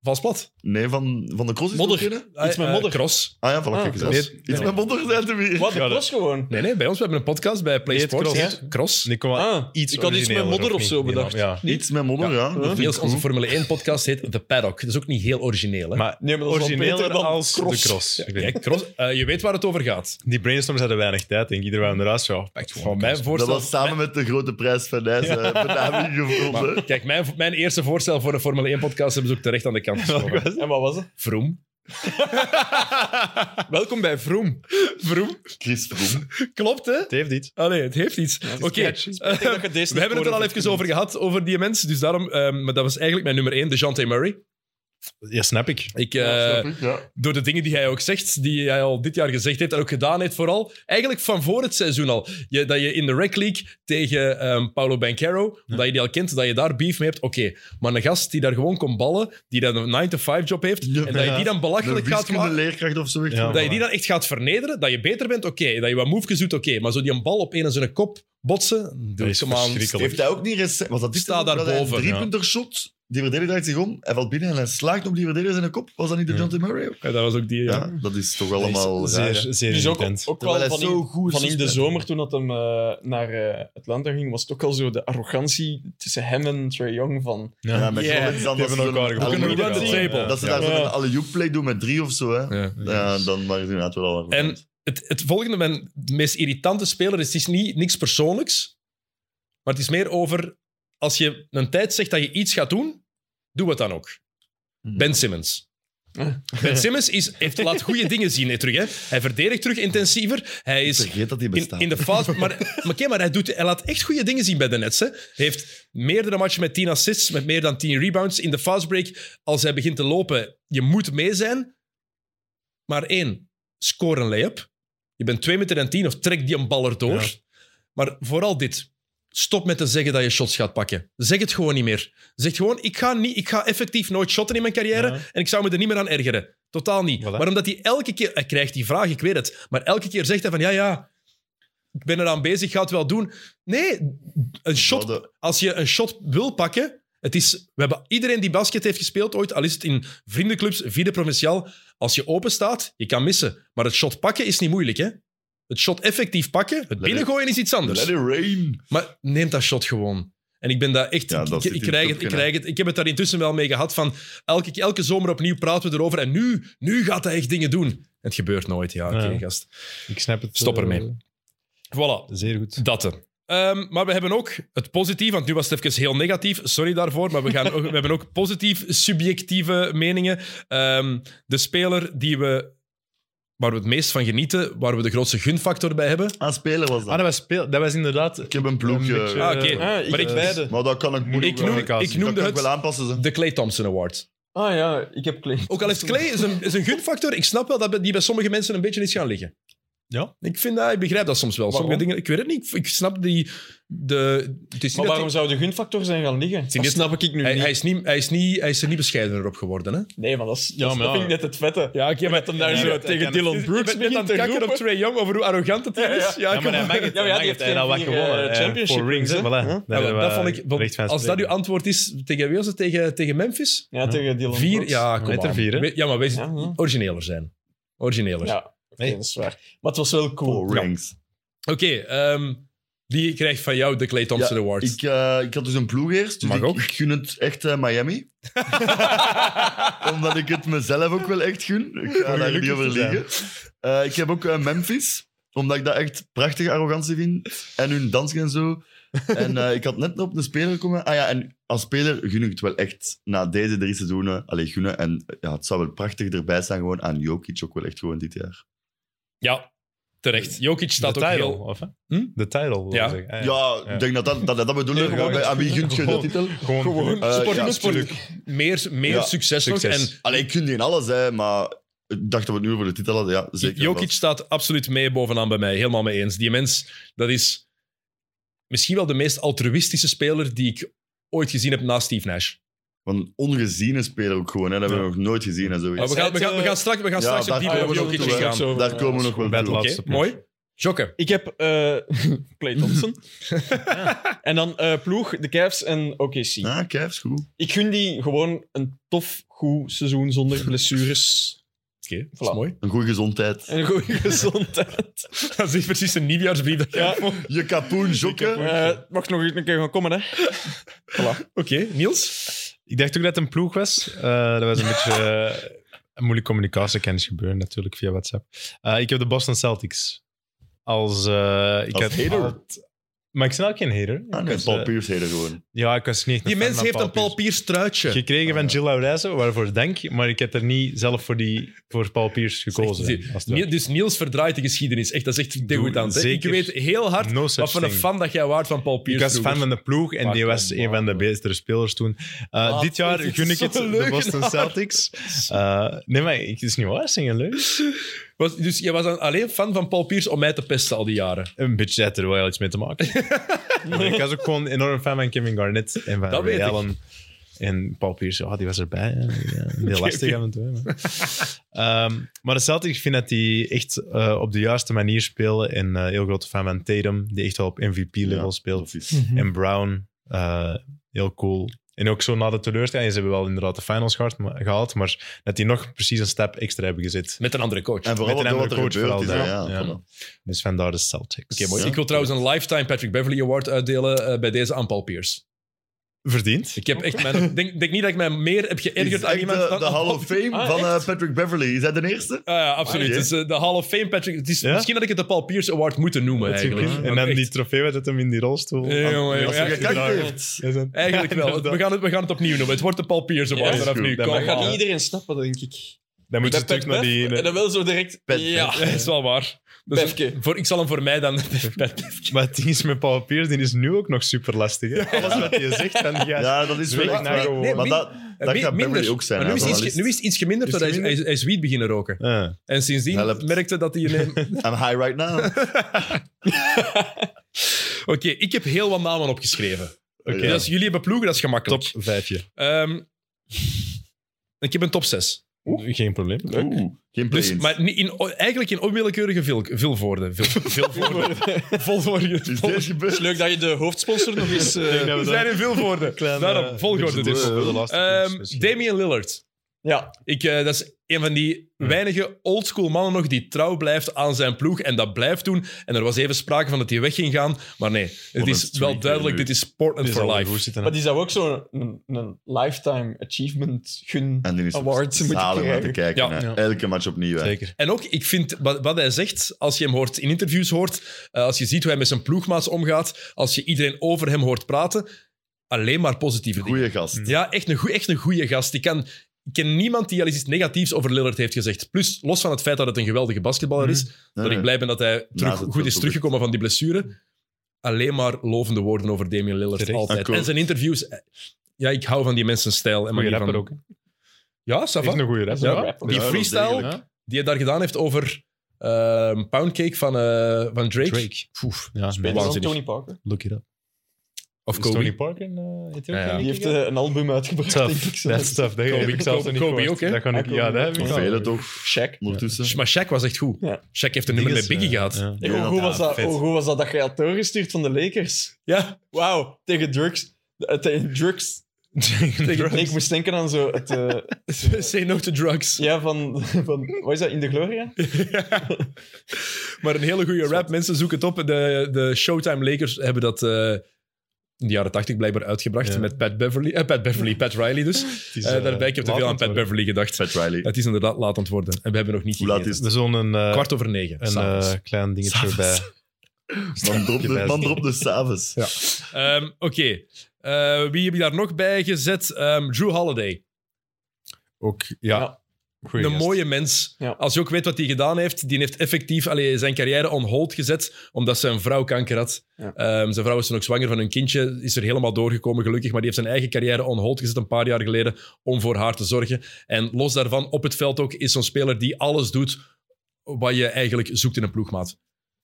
A: Vals plat.
C: Nee, van, van de Cross is
B: Modder.
C: het ook, hè?
A: Ah,
B: met
A: eh,
B: modder.
A: Cross.
C: Ah ja, van
B: Ah,
C: ah,
D: nee,
C: Iets
D: nee.
C: met modder zijn te weer.
B: Wat,
D: Ja,
B: dat
D: dat-
B: was gewoon.
A: Nee, nee, bij ons. We hebben een podcast bij Play
D: Nee, het
A: Sports.
D: Cross,
A: hè? Cross.
D: Die kon wel
B: Ah,
D: iets
B: ik had iets met
D: origineler,
B: modder of
D: niet?
B: zo bedacht.
D: Ja.
C: Iets met modder, ja. Dat vind ik
A: Niels, onze
C: goed.
A: Formule 1-podcast heet The Paddock. Dat is ook niet heel origineel. Hè?
D: Maar
B: Nee, maar dat is wel
D: origineler
B: beter dan
D: als
B: cross.
D: de cross. Ik weet
A: Kijk, cross, eh, je weet waar het over gaat.
D: Die brainstorms hadden weinig tijd, denk ik. Iedereen waren eruit. Ja, pakt gewoon
A: Van
D: een
A: mijn
D: kans.
C: Dat
A: voorstel...
C: was samen met de grote prijs van Nijs eh, benaming gevonden.
A: Maar, kijk, mijn, mijn eerste voorstel voor een Formule 1-podcast hebben ze ook terecht aan de kant geschoven.
B: En wat was het?
A: Vroom.
B: Welkom bij Vroom.
A: Vroom.
C: Chris Vroom.
A: Klopt, hè?
D: Het heeft iets.
A: Allee, het heeft iets. Oké.
D: catchy.
A: eh,
B: dat je deze
A: we hebben het er al even over gehad, over die mensen. Dus daarom, ehm, maar dat was eigenlijk mijn nummer 1, DeJounte Murray.
D: Ja, snap ik.
A: Ik, eh,
C: Ja, snap ik, ja.
A: door de dingen die hij ook zegt, die hij al dit jaar gezegd heeft en ook gedaan heeft vooral. Eigenlijk van voor het seizoen al. Je, dat je in de Rec League tegen ehm, Paulo Banquero, dat je die al kent, dat je daar beef mee hebt, oké. Maar een gast die daar gewoon komt ballen, die dan een 9-to-5 job heeft,
C: Ja.
A: en dat je die dan
C: Een
A: belachelijk gaat
C: wiskunde
A: maken...
C: leerkracht of zo. echt.
D: Ja.
A: Dat je die dan echt gaat vernederen, dat je beter bent, oké. Dat je wat moves doet, oké. Maar zo die een bal op een en zijn kop botsen, doe
D: Dat is
A: ik hem aan.
D: verschrikkelijk.
C: Heeft hij ook niet recent... Was dat dit
A: Sta
C: seizoen
A: daar
C: dat hij
A: boven,
C: Een
A: ja.
C: driepunter shot. Die verdediger draait zich om. Hij valt binnen en hij slaagt op die verdediger zijn kop. Was dat niet de
D: Ja.
C: John T. Murray ook?
A: Ja, dat was ook die,
C: Ja,
A: ja.
C: dat is toch allemaal
D: Is
C: raar.
D: zeer,
C: hè?
D: zeer
B: Dus ook,
D: irritant.
B: ook
C: Terwijl
B: wel
C: hij
B: van,
C: zo
B: in,
C: goed
B: van in de
C: is.
B: zomer toen dat hem eh, naar eh, Atlanta ging, was het ook al zo de arrogantie tussen hem en Trae Young van...
D: Ja.
C: Ja, met
A: Ja.
C: Collins dan
D: Die hebben
C: dat ze
D: elkaar
C: zo'n-
D: gevonden.
A: We
C: alle-
A: kunnen run the table.
C: Dat ze
D: Ja.
C: daar zo'n
B: Ja.
C: alle play doen met drie of zo, hè.
A: Ja.
C: Ja, dan waren ze inderdaad wel al.
A: En het, het volgende, mijn meest irritante speler, is, het is niet, niks persoonlijks, maar het is meer over als je een tijd zegt dat je iets gaat doen, doe het dan ook. Ben Simmons. Ben Simmons is, heeft, laat goede dingen zien hè, terug. Hè. Hij verdedigt terug intensiever. Hij is
C: Vergeet dat die
A: in,
C: bestaat.
A: in de fout. Maar, maar, oké, maar hij, doet, hij laat echt goede dingen zien bij de Nets. Hè. Hij heeft meerdere matchen met 10 assists, met meer dan 10 rebounds. In de fastbreak, als hij begint te lopen, je moet mee zijn. Maar één, score een layup. Je bent 2 meter en 10 of trek die een bal erdoor.
D: Ja.
A: Maar vooral dit. Stop met te zeggen dat je shots gaat pakken. Zeg het gewoon niet meer. Zeg gewoon, ik ga, niet, ik ga effectief nooit shotten in mijn carrière
D: Ja.
A: en ik zou me er niet meer aan ergeren. Totaal niet.
D: Voilà.
A: Maar omdat hij elke keer... Hij krijgt die vraag, ik weet het. Maar elke keer zegt hij van, ja, ja, ik ben eraan bezig, ga het wel doen. Nee, een shot
C: Hadden-
A: als je een shot wil pakken. Het is, we hebben iedereen die basket heeft gespeeld ooit, al is het in vriendenclubs, vierde provinciaal. Als je open staat, je kan missen. Maar het shot pakken is niet moeilijk, hè? Het shot effectief pakken, het binnengooien is iets anders.
C: Let it rain.
A: Maar neem dat shot gewoon. En ik ben daar echt...
C: Ja,
A: ik-
C: dat
A: ik,
C: zit
A: ik
C: in
A: krijg
C: het
A: het, ik
C: kopje, hè.
A: krijg het. Ik heb het daar intussen wel mee gehad van... Elke, elke zomer opnieuw praten we erover en nu, nu gaat hij echt dingen doen. Het gebeurt nooit, ja, oké,
D: Ja.
A: gast.
D: Ik snap het.
A: Stop
D: eh,
A: ermee. Voilà,
D: Zeer goed.
A: dat er. Ehm, maar we hebben ook het positief, want nu was het even heel negatief, sorry daarvoor, maar we, gaan, ook- we hebben ook positief subjectieve meningen. Ehm, de speler die we, waar we het meest van genieten, waar we de grootste gunfactor bij hebben.
C: Ah, speler was dat.
D: Ah, dat was, speel, dat was inderdaad...
C: Ik heb een ploegje.
D: Een beetje-
A: Ah, oké.
D: Eh,
B: Ah, ik
A: Maar ik-
B: beide.
C: Maar dat kan ik moeilijk
A: Ik, noem,
C: dat
A: ik noemde
C: kan ik
A: het
C: wel aanpassen. Ze.
A: de Clay Thompson Award.
B: Ah ja, ik heb Clay.
A: Ook al heeft Clay is een, is een gunfactor, ik snap wel dat die bij sommige mensen een beetje is gaan liggen.
D: Ja.
A: Ik, vind dat, ik begrijp dat soms wel. Sommige
B: Waarom?
A: dingen, ik weet het niet, ik, ik snap die... De, het is niet
B: Maar
A: dat
B: waarom zou de gunfactor zijn gaan liggen?
A: Zie
B: Dat
A: je dit-
B: snap ik nu
A: hij,
B: niet.
A: hij, is niet, hij, is niet, hij is er niet bescheidener op geworden, hè?
B: Nee, maar dat, is, dat
D: Ja, maar
B: snap
D: ja.
B: ik net het vette.
A: Ja, ik heb
B: Dat hem daar
D: Ja,
B: zo
D: dat-
B: tegen
D: dat-
B: Dylan
D: dat-
B: Brooks
A: Ik ben net
B: begint
A: aan
B: te
A: het kakken
B: roepen.
A: op Trae Young over hoe arrogant het
B: Ja,
A: is.
B: ja.
A: Ja,
D: Ja, maar hij mag het.
B: Ja, maar
D: hij
B: ja,
D: mag
B: die
D: het.
B: heeft
D: Hij had wat
B: geen vier,
D: gewonnen.
B: eh,
D: hè.
B: Champions
D: Voor
B: Leagues,
D: rings,
B: hè.
D: hè. Voilà.
B: Ja,
A: Ja, wel,
D: Daar
A: dat
D: waren
A: vond
D: we eh,
A: ik, want
D: recht van
A: als dat uw
D: spreken.
A: antwoord is tegen wie was het? Tegen, tegen Memphis?
B: Ja, tegen Dylan
A: Vier?
B: Brooks.
A: Ja, kom
D: Met er
A: aan.
D: vier, hè?
A: We- Ja, maar wees
B: Ja, ja.
A: origineler zijn. Origineler.
B: Ja, oké,
D: Nee.
B: dat is waar. Maar het was wel cool.
C: Four rings.
A: Oké, ehm, die krijgt van jou de Clay Thompson
C: Ja,
A: Award.
C: Ik, eh, ik had dus een ploeg eerst. Dus
A: Mag
C: ik,
A: ook.
C: ik gun het echt eh, Miami. Omdat ik het mezelf ook wel echt gun. Ik ga daar
D: gelukkig
C: niet over
D: te zijn.
C: liegen. Eh, ik heb ook eh, Memphis. Omdat ik dat echt prachtige arrogantie vind. En hun dansen en zo. En eh, ik had net op de speler komen. Ah ja, en als speler gun ik het wel echt na deze drie seizoenen. Allee, gunnen. En eh, ja, het zou wel prachtig erbij staan gewoon aan Jokic ook wel echt gewoon dit jaar.
A: Ja, terecht.
C: Eh,
A: Jokic staat
D: de
A: ook
D: title,
A: heel...
D: of, hè?
A: Hm?
D: De title, wil
A: Ja.
D: ik zeggen. Ah,
C: Ja, ik denk dat dat, dat, dat bedoelde.
D: Ja,
C: Gewoon bij- aan wie gunt je de
D: gewoon-
C: titel?
D: Gewoon,
B: Gewoon.
C: Eh,
A: Sport,
C: ja,
A: sport- meer meer
C: Ja,
A: succes, nog. En
D: succes.
C: Allee, ik gun die in alles, hè, maar ik dacht dat we het nu over de titel hadden. Ja, zeker.
A: Jokic staat absoluut mee bovenaan bij mij. Helemaal mee eens. Die mens, dat is misschien wel de meest altruïstische speler die ik ooit gezien heb na Steve Nash.
C: Van een ongeziene speler ook gewoon, hè. dat hebben we nog nooit gezien en zoiets.
A: Maar Ah, we, gaan, we, gaan, we gaan straks, we gaan
C: Ja,
A: straks
C: daar
A: op die
C: komen
A: op
C: we nog
A: Jokic
C: toe, hè.
A: gaan. Oké,
B: Zo,
C: Daar
B: ja,
C: komen we
B: zo.
C: nog wel
D: bij het
C: toe.
D: laatste.
A: mooi. Jokken.
B: Ik heb eh Clay Thompson. En dan eh, ploeg, de Cavs en OKC.
C: Ah, Cavs, goed.
B: Ik gun die gewoon een tof, goed seizoen zonder blessures.
A: Dus- Oké, dat is
B: Voilà.
A: mooi.
C: Een goede gezondheid.
B: En goede gezondheid.
A: Dat is precies een nieuwjaarsbrief. dat je-
B: Ja.
C: Je kapoen, jokken.
B: Eh, mag nog een keer gaan komen, hè?
A: Oké, Niels.
D: Ik dacht ook dat het een ploeg was. Eh, dat was een beetje eh, een moeilijke communicatiekennis gebeuren, natuurlijk, via WhatsApp. Eh, ik heb de Boston Celtics. Als, eh, ik
C: Als
D: had
C: hater?
D: altijd- Maar ik snel ook geen hater.
C: Ah,
D: Ik
C: nee,
D: was,
C: Paul
D: eh,
C: Pierce heet er gewoon.
D: Ja, ik was niet echt
A: Die
D: fan
A: mens
D: van
A: heeft een Paul Pierce
D: Pierce.
A: truitje.
C: Ah,
D: Gekregen van Jill Laurijsen, waarvoor dank. Maar ik heb er niet zelf voor, die, voor Paul Pierce gekozen. als het
A: Niel- Dus Niels verdraait de geschiedenis. Echt, dat is echt degoutant. hè. Ik
D: zeker.
A: weet heel hard
D: ware. No such
A: wat voor een
D: thing.
A: fan dat jij waard van Paul
D: Ik
A: Pierce.
D: was fan
A: vroeger.
D: van de ploeg en
A: Pak
D: die was
A: hem,
D: een van de
A: man.
D: betere spelers toen. Uh,
B: Ah,
D: dit jaar
B: dit is
D: gun ik
B: zo'n
D: het de
B: leugenaar.
D: Boston Celtics. Eh, nee, maar ik- het is niet waar, zingen leuk.
A: Was, dus jij was dan alleen fan van Paul Pierce om mij te pesten al die jaren.
D: Een beetje had er wel iets mee te maken. Maar ik was ook gewoon enorm fan van Kevin Garnett en van
A: Dat weet
D: Ray
A: ik.
D: Allen. En Paul Pierce, oh, die was erbij. hè. Ja, een heel lastig aan het doen. maar de Celtics, ik vind dat die echt eh, op de juiste manier spelen. En eh, heel grote fan van Tatum, die echt wel op MVP-level
C: Ja,
D: speelt.
C: dat is-
A: Mhm.
D: En Brown, eh, heel cool. En ook zo na de teleurstelling, ze hebben wel inderdaad de finals gehad, maar, gehaald, maar dat die nog precies een stap extra hebben gezet.
A: Met een andere coach.
C: En vooral
D: Met
C: wat
D: een
C: er
D: andere coach
C: gebeurd is.
D: vooral,
C: hè,
D: ja.
C: Ja,
D: Ja.
C: voilà.
D: Dus vandaar de Celtics.
A: Oké, mooi.
C: Ja.
A: Ik wil trouwens een lifetime Patrick Beverly Award uitdelen eh, bij deze aan Paul Pierce.
D: Verdiend.
A: Ik heb echt mijn, denk, denk niet dat ik mij meer heb
C: Is
A: geërgerd
C: echt eh,
A: aan iemand
C: de,
A: dan
C: de
A: aan
C: Hall
A: Paul
C: of Fame
B: Ah,
C: van eh,
B: echt?
C: Patrick Beverly. Is hij de eerste?
A: Ah ja, absoluut.
C: Amai, hè?
A: Dus, eh, de Hall of Fame, Patrick. Het is,
D: Ja?
A: Misschien had ik het de Paul Pierce Award moeten noemen,
D: Dat is
A: eigenlijk.
D: goed.
A: Want
D: En dan
A: echt-
D: die trofee werd het hem in die rolstoel.
A: Eh, jongen, jongen,
C: Als
A: ja,
C: hij gekakt
A: inderdaad.
C: heeft.
D: Ja, zijn-
A: Eigenlijk
D: Ja,
A: wel.
D: inderdaad.
A: We gaan, het, we gaan het opnieuw noemen. Het wordt de Paul Pierce Award
B: Ja, is
A: vanaf
C: goed.
A: nu.
D: Dat
A: Kom
B: Dat
D: mag
A: aan.
B: gaat niet iedereen snappen, denk ik.
D: Dan moet je
B: Pep,
D: terug
B: pep,
D: naar
B: pep.
D: die... eh,
B: En dan wel zo direct...
C: Pep,
B: ja.
A: Dat is wel waar. Dus
B: Pefke.
A: voor, ik zal hem voor mij dan... Pep.
D: Maar het ding is met Paul Pierce, die is nu ook nog super lastig. Hè? Alles wat hij zegt van die gast.
C: Ja, dat is wel
D: Zweet
C: echt
D: naar
C: waar.
D: gewoon.
A: Nee,
C: Maar
A: min-
C: dat, dat
A: Mi-
C: gaat Beverly ook zijn.
A: Maar nu,
C: hè,
A: is het iets,
C: journalist.
A: nu is het iets geminderd,
D: Is
A: want hij,
D: het
A: hij, hij is wiet beginnen roken.
D: Ah.
A: En sindsdien
C: Helpt.
A: merkte dat hij... ineens-
C: I'm high right now.
A: Oké, ik heb heel wat namen opgeschreven. Oké,
C: Ja.
A: dat is, jullie hebben ploegen, dat is gemakkelijk.
D: Top vijfje.
A: Ehm, ik heb een top 6.
D: Geen probleem.
C: Oeh, geen play
A: Dus, maar niet in, eigenlijk in onwillekeurige vil, vilvoorden. Vil, vilvoorden. Volvoorde.
C: Is dit gebeurd?
B: Het is leuk dat je de hoofdsponsor nog eens... eh,
D: denk dat
A: We
D: we
A: zijn in vilvoorden. Daarom, volgorde dus.
C: door.
A: Ehm Damian Lillard.
B: ja,
A: Ik, eh, dat is een van die weinige oldschool mannen nog die trouw blijft aan zijn ploeg en dat blijft doen. En er was even sprake van dat hij weg ging gaan, maar nee. Het
C: een
A: is
C: streak,
A: wel
C: hè,
A: duidelijk,
C: nu.
A: dit is Portland for life.
B: maar die zou ook zo'n een, een lifetime achievement gun
C: En die is
B: Awards
C: zalig
B: moet je
C: om naar te
B: krijgen.
C: kijken.
A: Ja.
C: hè.
D: Ja.
C: Elke match opnieuw. hè.
D: Zeker.
A: En ook, ik vind wat, wat hij zegt, als je hem hoort in interviews hoort, eh, als je ziet hoe hij met zijn ploegmaats omgaat, als je iedereen over hem hoort praten, alleen maar positieve dingen.
C: Goeie gast.
A: Ja, echt een, goe- echt een goede gast. Ik, kan, ik ken niemand die al eens iets negatiefs over Lillard heeft gezegd. Plus, los van het feit dat het een geweldige basketballer is,
C: Nee,
A: dat ik
C: nee.
A: blij ben dat hij terug,
C: het
A: goed is
C: product.
A: teruggekomen van die blessure. Alleen maar lovende woorden over Damian Lillard
D: Terecht.
A: altijd.
C: Akkoord.
A: En zijn interviews. eh, Ja, ik hou van die mensen stijl. En
D: Goeie
A: manier van-
D: rapper ook.
A: Ja, ça
D: Heeft
A: va.
D: een goede rapper.
A: Ja.
D: Ja.
A: Die
C: Ja, wel
A: freestyle
C: degelijk.
A: die hij daar gedaan heeft over ehm, Poundcake van, eh, van Drake.
D: Drake.
A: Poef,
D: Ja,
B: beter
D: man.
B: dan
A: waanzinnig.
B: Tony Parker.
D: Look it up.
A: Of
D: Is
A: Kobe.
D: Tony Parker in eh, Ethiopië?
A: Ja, ja.
D: denk
B: Die
D: ik,
B: heeft
D: hè?
B: eh, een album uitgebracht, denk ik.
D: Tough.
B: zo.
D: That's tough. Dat heb ik
A: Kobe-
D: zelf nog niet
A: Kobe
D: gehoord.
A: ook, hè?
D: Dat kan ik,
B: Ja,
D: ja, dat heb ik
B: Kobe.
C: Of
D: wel.
C: vele toch,
B: Shaq.
C: ondertussen.
A: Maar Shaq was echt goed.
B: Ja.
A: Shaq heeft een nummer
D: Dinges,
A: met Biggie
D: eh,
A: gehad. Ja.
D: ja.
B: Hey, hoe, goed
C: Ja,
B: was dat,
D: vet.
B: hoe goed was dat dat je had doorgestuurd van de Lakers? Wauw, tegen drugs. eh, tegen drugs.
D: Tegen
B: Nee, ik moest denken aan zo het... eh,
A: Say no to drugs.
B: ja, van, van... Wat is dat? In de Gloria?
A: Maar een hele goede rap. Mensen zoeken het op. De, de Showtime Lakers hebben dat eh, in de jaren 80 blijkbaar uitgebracht.
D: Ja.
A: Met Pat Beverly. eh, Pat Beverly, Pat Riley dus.
D: is,
A: Eh,
D: eh,
A: daarbij, ik heb te
D: laat
A: veel aan
D: aan het
A: Pat
D: worden.
A: Beverly gedacht.
C: Pat Riley.
A: Het is inderdaad laat aan het worden. En we hebben nog niet
C: Hoe laat
A: gegeten.
C: is
D: Er is zo'n eh,
A: Kwart over negen.
D: een
A: s'avonds.
D: eh, klein dingetje
A: S'avonds.
D: bij.
C: Man drop de, man drop de s'avonds.
A: Ja. Ehm, Oké. Eh, wie heb je daar nog bij gezet? Ehm, Drew Holiday.
D: Ook, ja.
B: Ja.
D: Goeie
A: een
D: gast.
A: mooie mens.
B: Ja.
A: Als je ook weet wat hij gedaan heeft, die heeft effectief allee, zijn carrière on hold gezet, omdat zijn vrouw kanker had.
B: Ja.
A: Ehm, zijn vrouw is toen ook zwanger van hun kindje, is er helemaal doorgekomen gelukkig, maar die heeft zijn eigen carrière on hold gezet een paar jaar geleden om voor haar te zorgen. En los daarvan, op het veld ook, is zo'n speler die alles doet wat je eigenlijk zoekt in een ploegmaat.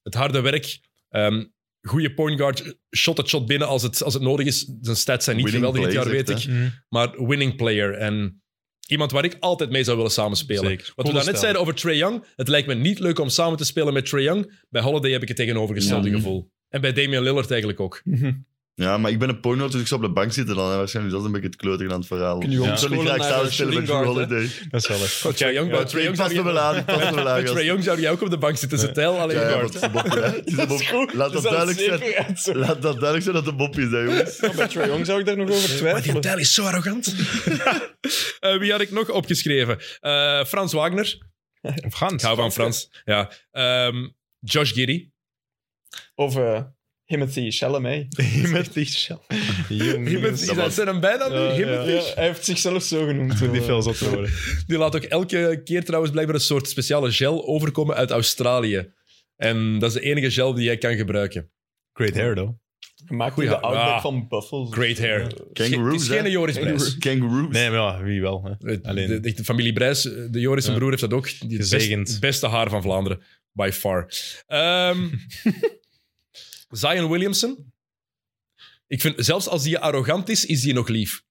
A: Het harde werk, ehm goede point guard, shot het shot binnen als het, als het nodig is. Zijn stats zijn niet
C: Winning
A: geweldig dit
C: plays
A: jaar,
C: echt,
A: weet ik
C: hè?
D: Mhm.
A: maar winning player. En iemand waar ik altijd mee zou willen samenspelen.
D: Zeker.
A: Wat
D: Coole
A: we daarnet
D: stijl.
A: zeiden over Trae Young, het lijkt me niet leuk om samen te spelen met Trae Young. Bij Holiday heb ik het tegenovergestelde
C: Ja.
A: gevoel. En bij Damian Lillard eigenlijk ook.
C: Ja, maar ik ben een porno, dus ik zou op de bank zitten dan. hè. Waarschijnlijk is dat een beetje het kleuter aan het verhaal.
B: Kun je
C: Ik zou niet
B: omscholen
C: graag
B: naar
C: samen
B: een
C: spelen met
B: shooting
C: Drew
B: guard, hè?
C: Holiday.
D: Dat is wel
A: Oh, Trae Young,
D: Ja,
A: bij Trae
C: Ik
A: Young
C: pas
A: zou
C: er wel
A: je-
C: aan, ik pas er wel
A: bij
C: aan.
A: Trae
C: gast.
A: Young zou jij ook op de bank zitten. Ze tellen alleen
C: Ja, ja,
A: guard.
C: want het is een mopje, hè. Het is een
B: Dat is
C: mopje.
B: goed.
C: Laat dat
B: is
C: duidelijk zijn.
B: zeker uit zo.
C: Laat dat duidelijk zijn dat het een mopje is, hè, jongens.
B: Ja, Bij Trae Young zou ik daar nog over twijfelen.
A: tel is zo arrogant. Eh, wie had ik nog opgeschreven? Eh, Frans Wagner.
D: Of Gans.
A: Ik hou van Frans. Ja. Ehm, Josh Giddy.
B: Of eh Timothy Chalamet.
D: Iemand die shell. Jongens.
C: Dat was-
A: Zijn hem bijna nu?
D: Ja, ja.
A: Himmel-
B: Eh, Ja, hij heeft zichzelf zo genoemd. eh,
D: Die veel zot te worden.
A: Die laat ook elke keer trouwens blijkbaar een soort speciale gel overkomen uit Australië. En dat is de enige gel die jij kan gebruiken.
D: Great hair, though.
B: Gemaakt
A: Goeie
B: in de
A: haar.
B: outback
A: Ah.
B: van Buffalo.
A: Great hair.
C: Kangaroos,
A: Eh, Het is geen
C: hè?
A: Joris Brijs.
C: Kangaroos. Kangaroos.
D: Nee, maar ja, wie wel. Hè.
A: Het-
D: Alleen.
A: De, de, de familie Brijs, eh, de Joris zijn
D: Ja.
A: broer, heeft dat ook. Die het best-
D: Gezegend.
A: beste haar van Vlaanderen, by far. Ehm, Zion Williamson. Ik vind, zelfs als die arrogant is, is die nog lief.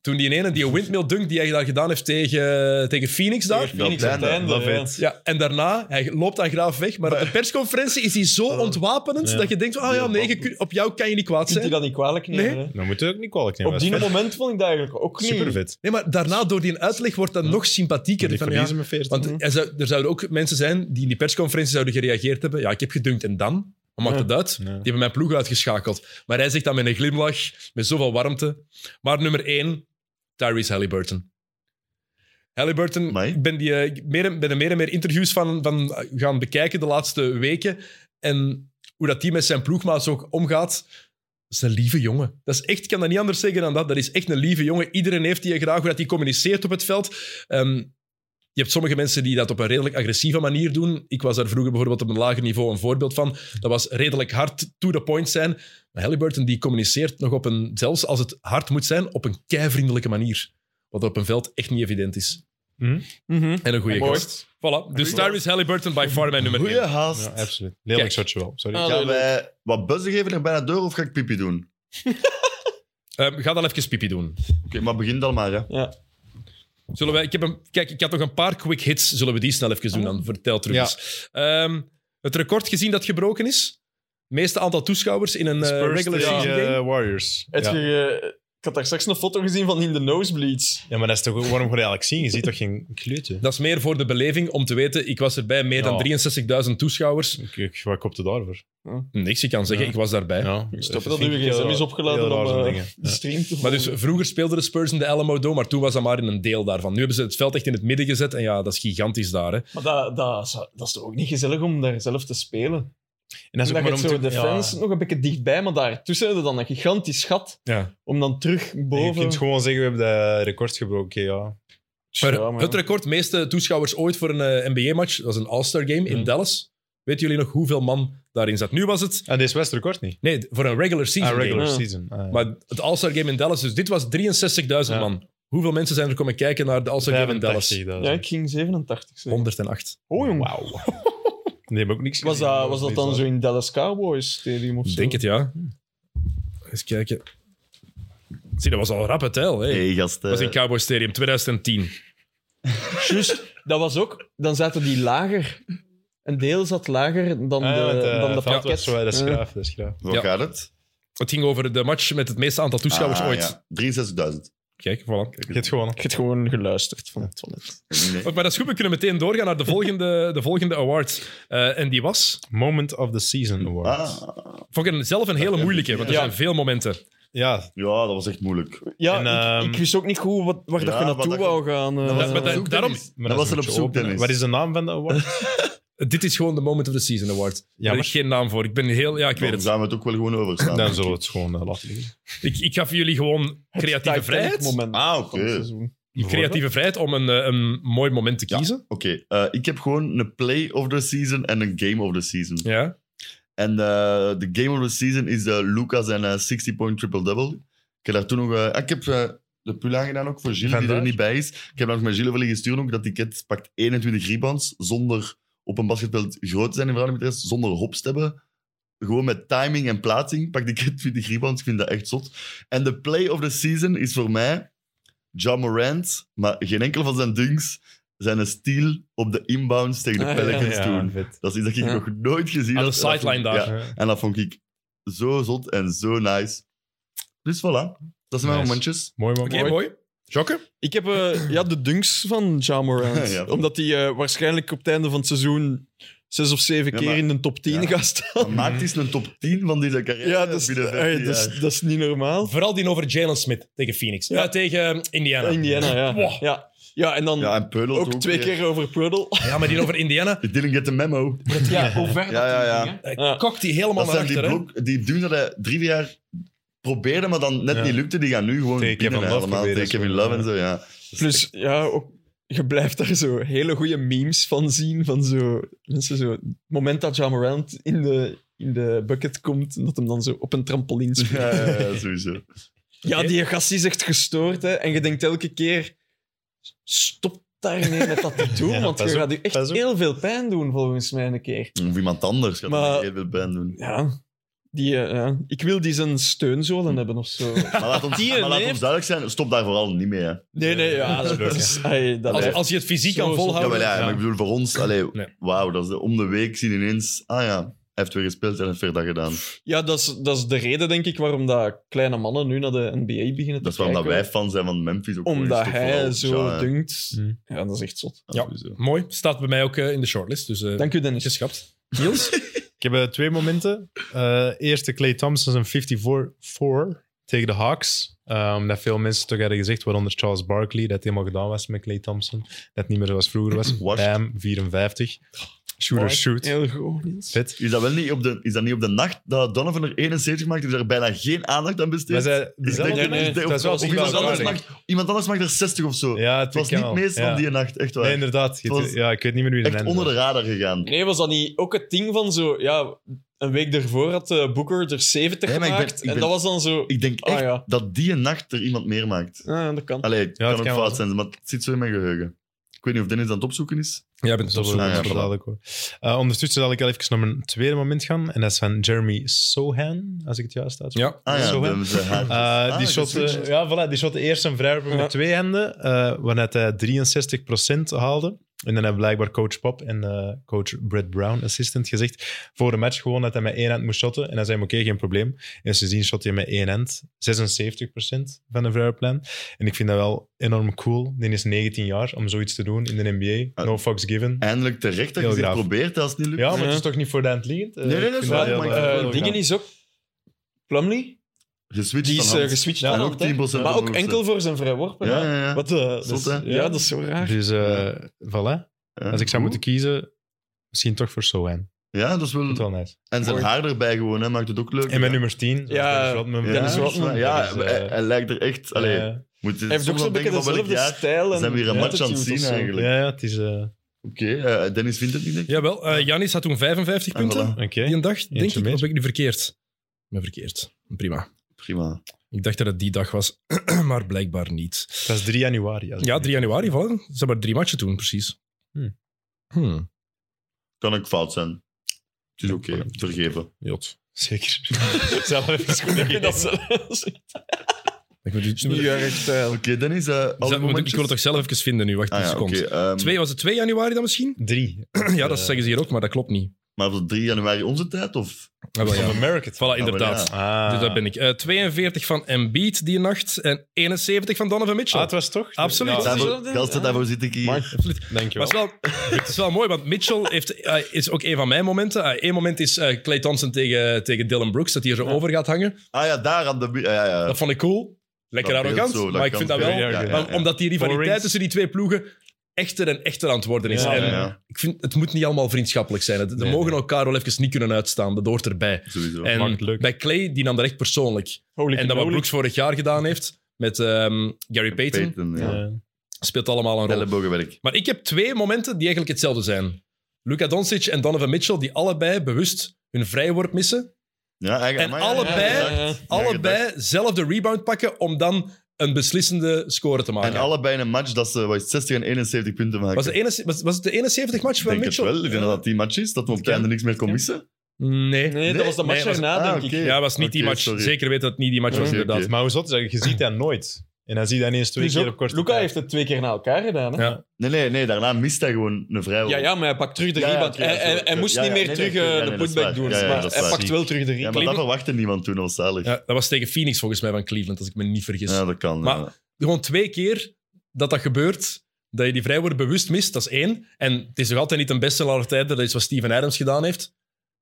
A: Toen die ene, die windmill dunk die hij daar gedaan heeft tegen, tegen Phoenix daar.
B: Phoenix
C: Ja,
B: aan het
C: bijna.
B: einde,
D: Love
B: ja.
D: it.
A: Ja, en daarna, hij loopt dan graaf weg, maar op de persconferentie is hij zo ontwapenend
D: Ja.
A: dat je denkt, van, ah ja, nee, je kun- op jou kan je niet kwaad
B: Kunt hij
A: zijn.
B: dat niet kwalijk nemen? hè?
D: Dan moet je ook niet kwalijk nemen.
B: Op
D: dat is
B: die
D: vet.
B: moment vond ik dat eigenlijk ook niet.
D: Super vet.
A: Nee, maar daarna, door die uitleg, wordt dat nog sympathieker.
D: Die
A: Van, ja,
D: verliezen Mhm. met 14.
A: want er, zou- er zouden ook mensen zijn die in die persconferentie zouden gereageerd hebben. Ja, ik heb gedunkt en dan? Wat maakt
B: Ja.
A: het uit?
D: Ja.
A: Die hebben mijn ploeg uitgeschakeld. Maar hij zegt dat met een glimlach, met zoveel warmte. Maar nummer één, Tyrese Halliburton. Halliburton,
C: Amai.
A: ik ben, die, eh, ik meer, en- ben er meer en meer interviews van, van eh, gaan bekijken de laatste weken. En hoe dat die met zijn ploegmaats ook omgaat. Dat is een lieve jongen. Dat is echt, ik kan dat niet anders zeggen dan dat. Dat is echt een lieve jongen. Iedereen heeft die graag, hoe dat die communiceert op het veld. Ehm, je hebt sommige mensen die dat op een redelijk agressieve manier doen. Ik was daar vroeger bijvoorbeeld op een lager niveau een voorbeeld van. Dat was redelijk hard to the point zijn. Maar Halliburton die communiceert nog op een, zelfs als het hard moet zijn, op een keivriendelijke manier. Wat op een veld echt niet evident is.
B: Mhm.
A: En een goede
B: Mooi.
A: gast. Voilà. Dus Tyrese Halliburton by far mijn nummer
C: Goeie
A: 1.
C: haast.
D: Ja, absoluut.
A: Kijk.
D: Lelijk shotje wel. Sorry.
B: Ah,
C: Gaan
B: leuk.
C: wij wat buzzen geven er bij de deur of ga ik pipi doen? Oké,
A: Ehm, ga dan even pipi doen.
C: maar begin dan maar. Hè.
B: Ja.
A: Zullen wij, ik heb een, kijk, ik had nog een paar quick hits. Zullen we die snel even doen? Dan vertel terug
D: Oh. Ja.
A: eens. Ehm, het record gezien dat gebroken is. meeste aantal toeschouwers in een eh,
D: Spurs
A: regular
D: tegen,
A: season
D: eh,
A: game.
D: Warriors.
B: Heb
D: Ja.
B: je, eh, ik had daar straks een foto gezien van in de nosebleeds.
D: ja, maar dat is toch... Waarom word je eigenlijk zien? Je ziet toch geen kleuter?
A: Dat is meer voor de beleving om te weten. Ik was erbij, meer
D: Ja.
A: dan 63.000 toeschouwers.
D: Ik, ik, wat kopte daarvoor?
A: Niks, je kan zeggen,
D: Ja.
A: ik was daarbij.
D: Ja.
B: Stop dat uw gsm is opgeladen om eh, de stream te
A: Maar
B: volgen.
A: dus vroeger speelden de Spurs in de Alamo Dome, maar toen was dat maar in een deel daarvan. Nu hebben ze het veld echt in het midden gezet en ja, dat is gigantisch daar. Hè.
B: maar dat, dat, is- dat is toch ook niet gezellig om daar zelf te spelen?
D: En dat is ook
B: dan
D: maar om
B: heb je zo
D: te...
B: de fans nog een beetje dichtbij, maar daartussen hebben dan een gigantisch gat
A: Ja.
B: om dan terug
D: Ja. Je
B: boven...
D: kunt gewoon zeggen, we hebben dat record gebroken. Oké, ja.
A: Maar
B: Ja, maar
A: het
B: ja.
A: record, meeste toeschouwers ooit voor een eh, NBA-match, dat was een All-Star Game in
D: Ja.
A: Dallas. Weten jullie nog hoeveel man daarin zat? Nu was het...
D: En deze was het record niet.
A: Nee, voor een regular season
D: Ah, regular
B: game.
D: season. Ah, ja.
A: game. Maar het All-Star Game in Dallas, dus dit was 63.000
D: Ja.
A: man. Hoeveel mensen zijn er komen kijken naar de All-Star Game in Dallas?
D: 85.000.
B: Ja, ik ging 87 zeggen.
A: 108.
B: Oh, jong.
D: Wauw. Die hebben ook niks
B: Was
D: gezien.
B: dat, was dat dan zo in Dallas Cowboys Stadium of zo?
A: Ik denk het, ja. Eens kijken. Zie, dat was al een rappe tel. Hè.
C: hey, eh, gasten.
A: Dat was in
D: eh.
A: Cowboy Stadium 2010.
B: Juist, dat was ook... Dan zaten die lager. Een deel zat lager dan
D: Ah, ja,
B: de,
D: want, eh,
B: dan de
D: fout was
B: pakket.
D: zo, Dat is
B: Ja.
D: graaf, dat is graaf.
C: Hoe
A: Ja.
C: gaat het?
A: Het ging over de match met het meeste aantal toeschouwers
C: Ah,
A: ooit.
C: ja. 63.000.
A: Kijk, voilà.
D: Je hebt gewonnen.
B: Ik heb gewoon geluisterd van het toilet.
C: Nee.
A: Maar dat is goed, we kunnen meteen doorgaan naar de volgende, de volgende award. Eh, en die was...
D: Moment of the Season Award.
C: Ah,
A: Vond ik een- zelf een hele moeilijke, want er
B: Ja.
A: zijn veel momenten.
D: Ja,
C: ja, dat was echt moeilijk. Dat,
B: Ja,
D: En,
B: ik,
D: ehm,
B: ik wist ook niet goed wat, waar
C: Ja,
B: dat je
C: wat
B: naartoe
C: dat
B: wou gaan. eh.
A: was- maar
C: een
A: dat-
C: opzoek,
A: daarom-
C: Dennis.
D: maar
C: dat was
D: is
C: een
D: een
C: op zoek,
D: beetje open.
C: Dennis.
D: Wat is de naam van de award?
A: Dit is gewoon de Moment of the Season Award. Daar heb
D: Jammer.
A: ik geen naam voor. Ik ben heel... Ja, ik weet
C: Dan
A: het.
C: gaan we het ook wel gewoon overstaan.
D: Dan zullen we het gewoon eh, laten liggen.
A: Ik, ik gaf jullie gewoon
B: het
A: creatieve
B: Titanic
A: vrijheid.
B: moment
C: Ah, oké.
B: van het seizoen.
A: Creatieve vrijheid om een, eh, een mooi moment te
C: Ja.
A: kiezen.
C: Oké, eh, ik heb gewoon een play of the season en een game of the season.
A: Ja.
C: En eh, de game of the season is eh, Lucas en eh, 60-point triple-double. Ik heb daar toen nog... eh, ah, ik heb eh, de pull aangedaan ook voor Gilles, die er
D: Vandaag?
C: niet bij is. Ik heb daar nog met Gilles willen gestuurd ook dat die kid pakt 21 rebounds zonder op een basketveld groot te zijn in verhouding met de rest, zonder hops te hebben. Gewoon met timing en plaatsing pakt die kid 20 rebounds. Ik vind dat echt zot. En de play of the season is voor mij John Morant, maar geen enkel van zijn dunks, zijn een steal op de inbounds tegen de
B: Ah, ja.
C: Pelicans toen.
D: vet. Eh,
C: Dat is iets dat ik
B: Ja.
C: nog nooit gezien
A: Aan de
C: had. En dat
A: sideline
C: vond-
A: daar.
C: ja, en dat vond ik zo zot en zo nice. Dus voilà, dat zijn mijn
D: Nice.
C: momentjes.
D: Mooi man.
A: Oké,
D: Mooi.
A: mooi. Jokke?
B: Ik heb eh, ja, de dunks van Ja Morant.
C: Ja, van-
B: omdat hij eh, waarschijnlijk op het einde van het seizoen zes of zeven
C: Ja,
B: keer
C: maar-
B: in de top 10
C: Ja.
B: gaat staan.
C: Dan maakt eens een top 10 van deze carrière
B: Mhm. Ja, dat is, dus
C: binnen
B: ey,
C: 15
B: dat is,
C: jaar.
B: dat is niet normaal.
A: Vooral die over Jalen Smith tegen Phoenix. Ja,
B: Ja.
A: tegen eh, Indiana.
B: Indiana, Nou ja.
A: Wow.
B: Ja, ja en dan
C: Ja, en Peul
B: ook twee
C: weer.
B: keer over Purdle.
A: Ja, maar die over Indiana.
C: I didn't get the memo.
B: Ja, hoe ver
C: Ja, ja, ja.
A: eh,
B: Ja.
A: Kokt die helemaal
C: Dat
A: naar
C: zijn die,
A: achter. hè.
C: blok, die doen dat hij drie jaar probeerde, maar dan net
D: Ja.
C: niet lukte. Die gaan nu gewoon
D: Tegen
C: binnen
D: Kevin Love
C: allemaal.
D: proberen,
C: Tegen Kevin
D: zo.
C: Love en zo, ja.
B: Plus, Dus, ja, ook, je blijft daar zo hele goede memes van zien. Van zo, mensen zo, het moment dat Ja Morant in de, in de bucket komt, en dat hem dan zo op een trampoline springt.
C: Ja, ja, ja, sowieso.
B: Ja, die gast is echt gestoord, hè. En je denkt elke keer, stop daarmee met dat te doen,
D: Ja,
B: want je
D: pas op,
B: gaat je echt
D: pas op.
B: heel veel pijn doen, volgens mij, een keer.
C: Of iemand anders gaat
B: Maar-
C: maar... heel veel pijn doen.
B: Ja, die, eh, ja. ik wil die zijn steunzolen hebben of zo.
C: Maar laat ons,
B: Die
C: maar laat
B: heeft-
C: ons duidelijk zijn, stop daar vooral niet mee. Hè.
B: Nee, nee, ja,
D: Dat is
B: dat
D: leuk,
B: is... ai, dat
A: Als,
B: blijft-
A: als je het fysiek
B: Zo,
A: kan
B: zo.
C: Ja,
A: volhouden.
C: maar, ja, maar ik bedoel, voor ons, allee,
A: Oh, Nee.
C: wauw, dat is de- om de week zien ineens, ah ja, hij heeft weer gespeeld en heeft weer dat gedaan.
B: Ja, dat is, dat is de reden, denk ik, waarom dat kleine mannen nu naar de NBA beginnen te
C: Dat is waarom dat
B: kijken.
C: wij fan zijn van Memphis. Ook gewoon,
B: Omdat
C: is toch
B: hij
C: vooral-
B: zo
C: ja,
B: dunkt.
D: Mm.
B: Ja, dat is echt zot.
C: ja,
A: Ja.
C: sowieso.
A: Mooi. Staat bij mij ook eh, in de shortlist. Dus eh
B: Dank u, Dennis.
A: geschapt. Niels?
D: Ik heb eh, twee momenten. Eh, eerste, Clay Thompson zijn 54-4 tegen de Hawks. Eh, Omdat veel mensen toch hadden gezegd, waaronder Charles Barkley, dat het helemaal gedaan was met Clay Thompson. Dat het niet meer zoals vroeger was.
C: Washed.
D: Bam, 54. Shooter, shoot.
B: Heel goed, Niels.
D: Vet.
C: Is dat wel niet op de, is dat niet op de nacht dat Donovan er 71 maakt? Is er bijna geen aandacht aan besteed?
D: Maar zij-
C: Ik denk
D: dezelfde-
C: dat-
B: nee,
C: ik denk-
D: dat is wel
C: of iemand,
D: zichtbaar
C: anders
D: waar,
C: mag, iemand anders mag er 60 of zo.
D: Ja,
C: het was niet meest van die nacht, echt waar.
D: Nee, inderdaad. Je-
C: Het was
D: ja, ik weet niet meer wie de
C: echt
D: naam
C: onder de
D: was.
C: radar gegaan.
B: Nee, was dat niet ook het ding van zo... Ja, een week daarvoor had eh, Booker er 70
C: Nee, maar ik ben-
B: gemaakt.
C: ik
B: En
C: ben-
B: dat was dan zo...
C: Ik denk
B: Ah,
C: echt
B: ja.
C: dat die nacht er iemand meer maakt.
B: Ah, dat kan.
C: Allee, het kan
D: het
C: ook
D: kan
C: fout
D: wel.
C: zijn, maar het zit zo in mijn geheugen. Ik weet niet of Dennis aan het opzoeken is.
A: Jij bent
D: Dat
A: op
D: is
A: zoek.
C: Ah, ja,
D: wel
C: voilà.
D: duidelijk hoor. Eh, ondertussen zal ik al even naar mijn tweede moment gaan. En dat is van Jeremy Sohan, als ik het juist uitspreek.
A: Ja.
C: Ah ja,
D: Zo, hè?
C: de- de haartjes.
D: Eh,
C: Ah,
D: die,
C: de
D: shot, eh,
C: switches.
D: ja, voilà, die shot eerst een vrijwerper met
B: Ja.
D: twee handen, eh waaruit hij 63% haalde. En dan hebben blijkbaar coach Pop en eh, coach Brett Brown, assistant, gezegd voor de match gewoon dat hij met één hand moest shotten. En hij zei hem, oké, geen probleem. En sindsdien shot hij met één hand 76% van de vrijwerplijn. En ik vind dat wel enorm cool. Die is 19 jaar om zoiets te doen in de NBA.
C: Ah.
D: No fucks given.
C: Eindelijk terecht dat
D: Heel
C: je het
D: graaf.
C: probeert als het niet lukt.
D: Ja, maar
B: Ja.
D: het is toch niet voor de hand liggend? Eh,
C: Nee, nee, dat
D: ik
C: is
D: vind
C: waar,
D: heel
C: maar,
D: erg
C: eh,
D: cool
B: Eh, dingen
D: gedaan.
B: is ook... Plumlee,
C: Geswitcht
B: die is
C: van
B: eh,
C: hand.
B: geswitcht
C: En
B: aan
C: ook
B: hand, hè.
C: 10%
B: Maar ook
C: omhoog,
B: enkel voor zijn vrijworpen.
C: Ja,
B: hè.
C: ja, ja.
B: Wat, eh, dat
C: Zot,
B: is-
C: hè?
B: ja, dat is zo raar.
D: Dus eh voilà.
C: Ja,
D: Als ik zou
C: goed.
D: moeten kiezen, misschien toch voor Sohan.
C: Ja, dat is
D: Dat is
C: wel...
D: wel nice.
C: En zijn
B: Mooi.
C: haar erbij gewoon, hè, maakt het ook leuk.
D: En mijn nummer 10.
B: Ja,
C: Hm. Ja,
B: Dennis
C: dat is
B: Rodman.
C: waar. Ja,
D: Dat is, eh,
C: hij- hij lijkt er echt... Allee,
D: eh,
C: moet je
B: Hij heeft ook
C: soms
B: zo'n
C: wel
B: beetje
C: denken van welk
B: dezelfde
C: jaar...
B: stijl. en
C: zijn we hier een match aan het
B: attitude
C: zien
B: of zo.
C: eigenlijk.
D: ja, ja, het is... eh,
C: Oké, eh, Dennis vindt het niet, denk ik.
A: Jawel, eh, Janis had toen 55
C: En
A: punten.
C: voilà.
D: Oké.
A: Die een dag, denk
D: Eentje
A: ik,
D: meer.
A: of ben ik nu verkeerd? Ik ben verkeerd. Prima.
C: Prima.
A: Ik dacht dat het die dag was, maar blijkbaar niet.
D: Dat is 3 januari. als ik
A: Ja,
D: me
A: 3 januari, vallen. Ze hebben maar drie matchen toen, precies.
D: Hmm.
A: Hmm.
C: Kan ook fout zijn. Het is oké, vergeven.
A: Jot.
D: Zeker. Zelf even schoenen
B: Ik vind dat
D: geven.
B: zelfs- Het
A: Ik, moet,
B: is niet erg stijl.
C: Oké, Dennis, eh alle
A: Zet- moet ik- ik
C: momentjes...
A: wil het toch zelf even vinden nu, wacht
C: Ah
A: een
C: ja,
A: seconde.
C: oké. ehm, Eh,
A: Twee, was het 2 januari dan misschien?
D: Drie.
A: ja, dat zeggen ze hier ook, maar dat klopt niet.
C: Maar was het 3 januari onze tijd, of...
A: Ah, wel, ja.
D: Van America.
A: Voilà, inderdaad.
C: Ah,
D: Ah.
A: Dus dat ben ik. Eh, 42 van Embiid die nacht en 71 van Donovan Mitchell.
D: Ah, het was toch?
A: Absoluut.
D: Ja,
C: Daarvoor-
B: hetzelfde?
C: Gasten,
B: Ja.
C: daarvoor zit ik hier.
B: Maar-
A: Absoluut. Maar
D: dankjewel.
A: het is, wel, het is wel mooi, want Mitchell heeft, eh, is ook een van mijn momenten. Eén moment is eh, Clay Thompson tegen, tegen Dylan Brooks, dat hij er zo over gaat hangen.
C: Ah ja, daar aan de... bu- Ja, ja, ja.
A: Dat vond ik cool. Lekker
C: Dat
A: arrogant,
C: beeld zo, dat
A: maar ik
C: kan
A: vind dat wel...
C: veel, ja, ja, ja.
A: maar Omdat die rivaliteit
D: Four rings.
A: tussen die twee ploegen echter en echter aan het worden is.
D: Ja,
A: en
C: Ja, ja,
A: Ik vind, het moet niet allemaal vriendschappelijk zijn. Ze
D: Nee,
A: mogen
D: nee.
A: elkaar wel even niet kunnen uitstaan. Dat hoort erbij.
C: sowieso.
A: En
D: maakt het leuk.
A: bij Clay, die nam dat echt persoonlijk.
B: Holy
A: en dat wat
B: moly.
A: Brooks vorig jaar gedaan heeft met ehm, Gary Payton,
C: Payton, ja.
D: Eh,
A: speelt allemaal een rol.
C: Ellebogenwerk.
A: Maar ik heb twee momenten die eigenlijk hetzelfde zijn. Luka Doncic en Donovan Mitchell, die allebei bewust hun vrijworp missen.
C: Ja, eigenlijk,
A: En
C: amai,
A: allebei-
C: ja, ja, ja.
B: Ja, ja.
A: allebei zelf de rebound pakken om dan een beslissende score te maken.
C: En allebei in een match dat ze wat is het, 60 en 71 punten maken.
A: was, de ene- was, was het de 71 match
C: ik
A: van
C: denk
A: Mitchell?
C: het wel. Ik denk dat dat die match is, dat we op het
A: Kan.
C: einde niks meer kon missen.
A: Nee.
B: Nee, dat was de match
A: Nee, was-
B: erna,
C: ah,
B: denk ik.
C: oké.
A: Ja, was niet die
C: Oké,
A: match.
C: sorry.
A: Zeker weet dat het niet die match was,
C: Oké,
A: inderdaad.
C: oké.
D: Maar hoe zot is dat? Je ziet dat nooit. En dan zie je dat ineens twee
B: Dus
D: keer
B: ook-
D: op korte
B: Luca
D: tijd.
B: heeft het twee keer na elkaar gedaan. Hè?
A: Ja.
B: Ja.
C: Nee, nee, nee, daarna mist hij gewoon een vrijwel.
B: Ja, maar hij pakt terug de
C: Ja, ja,
B: rebound.
C: oké,
B: hij,
C: dat is
B: hij-
C: wel-
B: hij moest
C: ja,
B: niet
C: ja,
B: meer
C: nee, nee,
B: terug
C: nee, nee,
B: eh,
C: nee,
B: de
C: dat is
B: putback
C: waar.
B: doen.
C: Ja, ja,
B: maar
C: dat is
B: hij
C: waar.
B: pakt wel terug de
C: Ja,
B: rebound.
C: maar dat verwachtte niemand toen, dat was zalig. Ja,
A: Ja, dat was tegen Phoenix volgens mij van Cleveland, als ik me niet vergis.
C: dat kan.
A: Maar-
C: ja.
A: Gewoon twee keer dat dat gebeurt, dat je die vrijwoorden bewust mist, dat is één. En het is nog altijd niet een bestseller tijd, dat is wat Steven Adams gedaan heeft.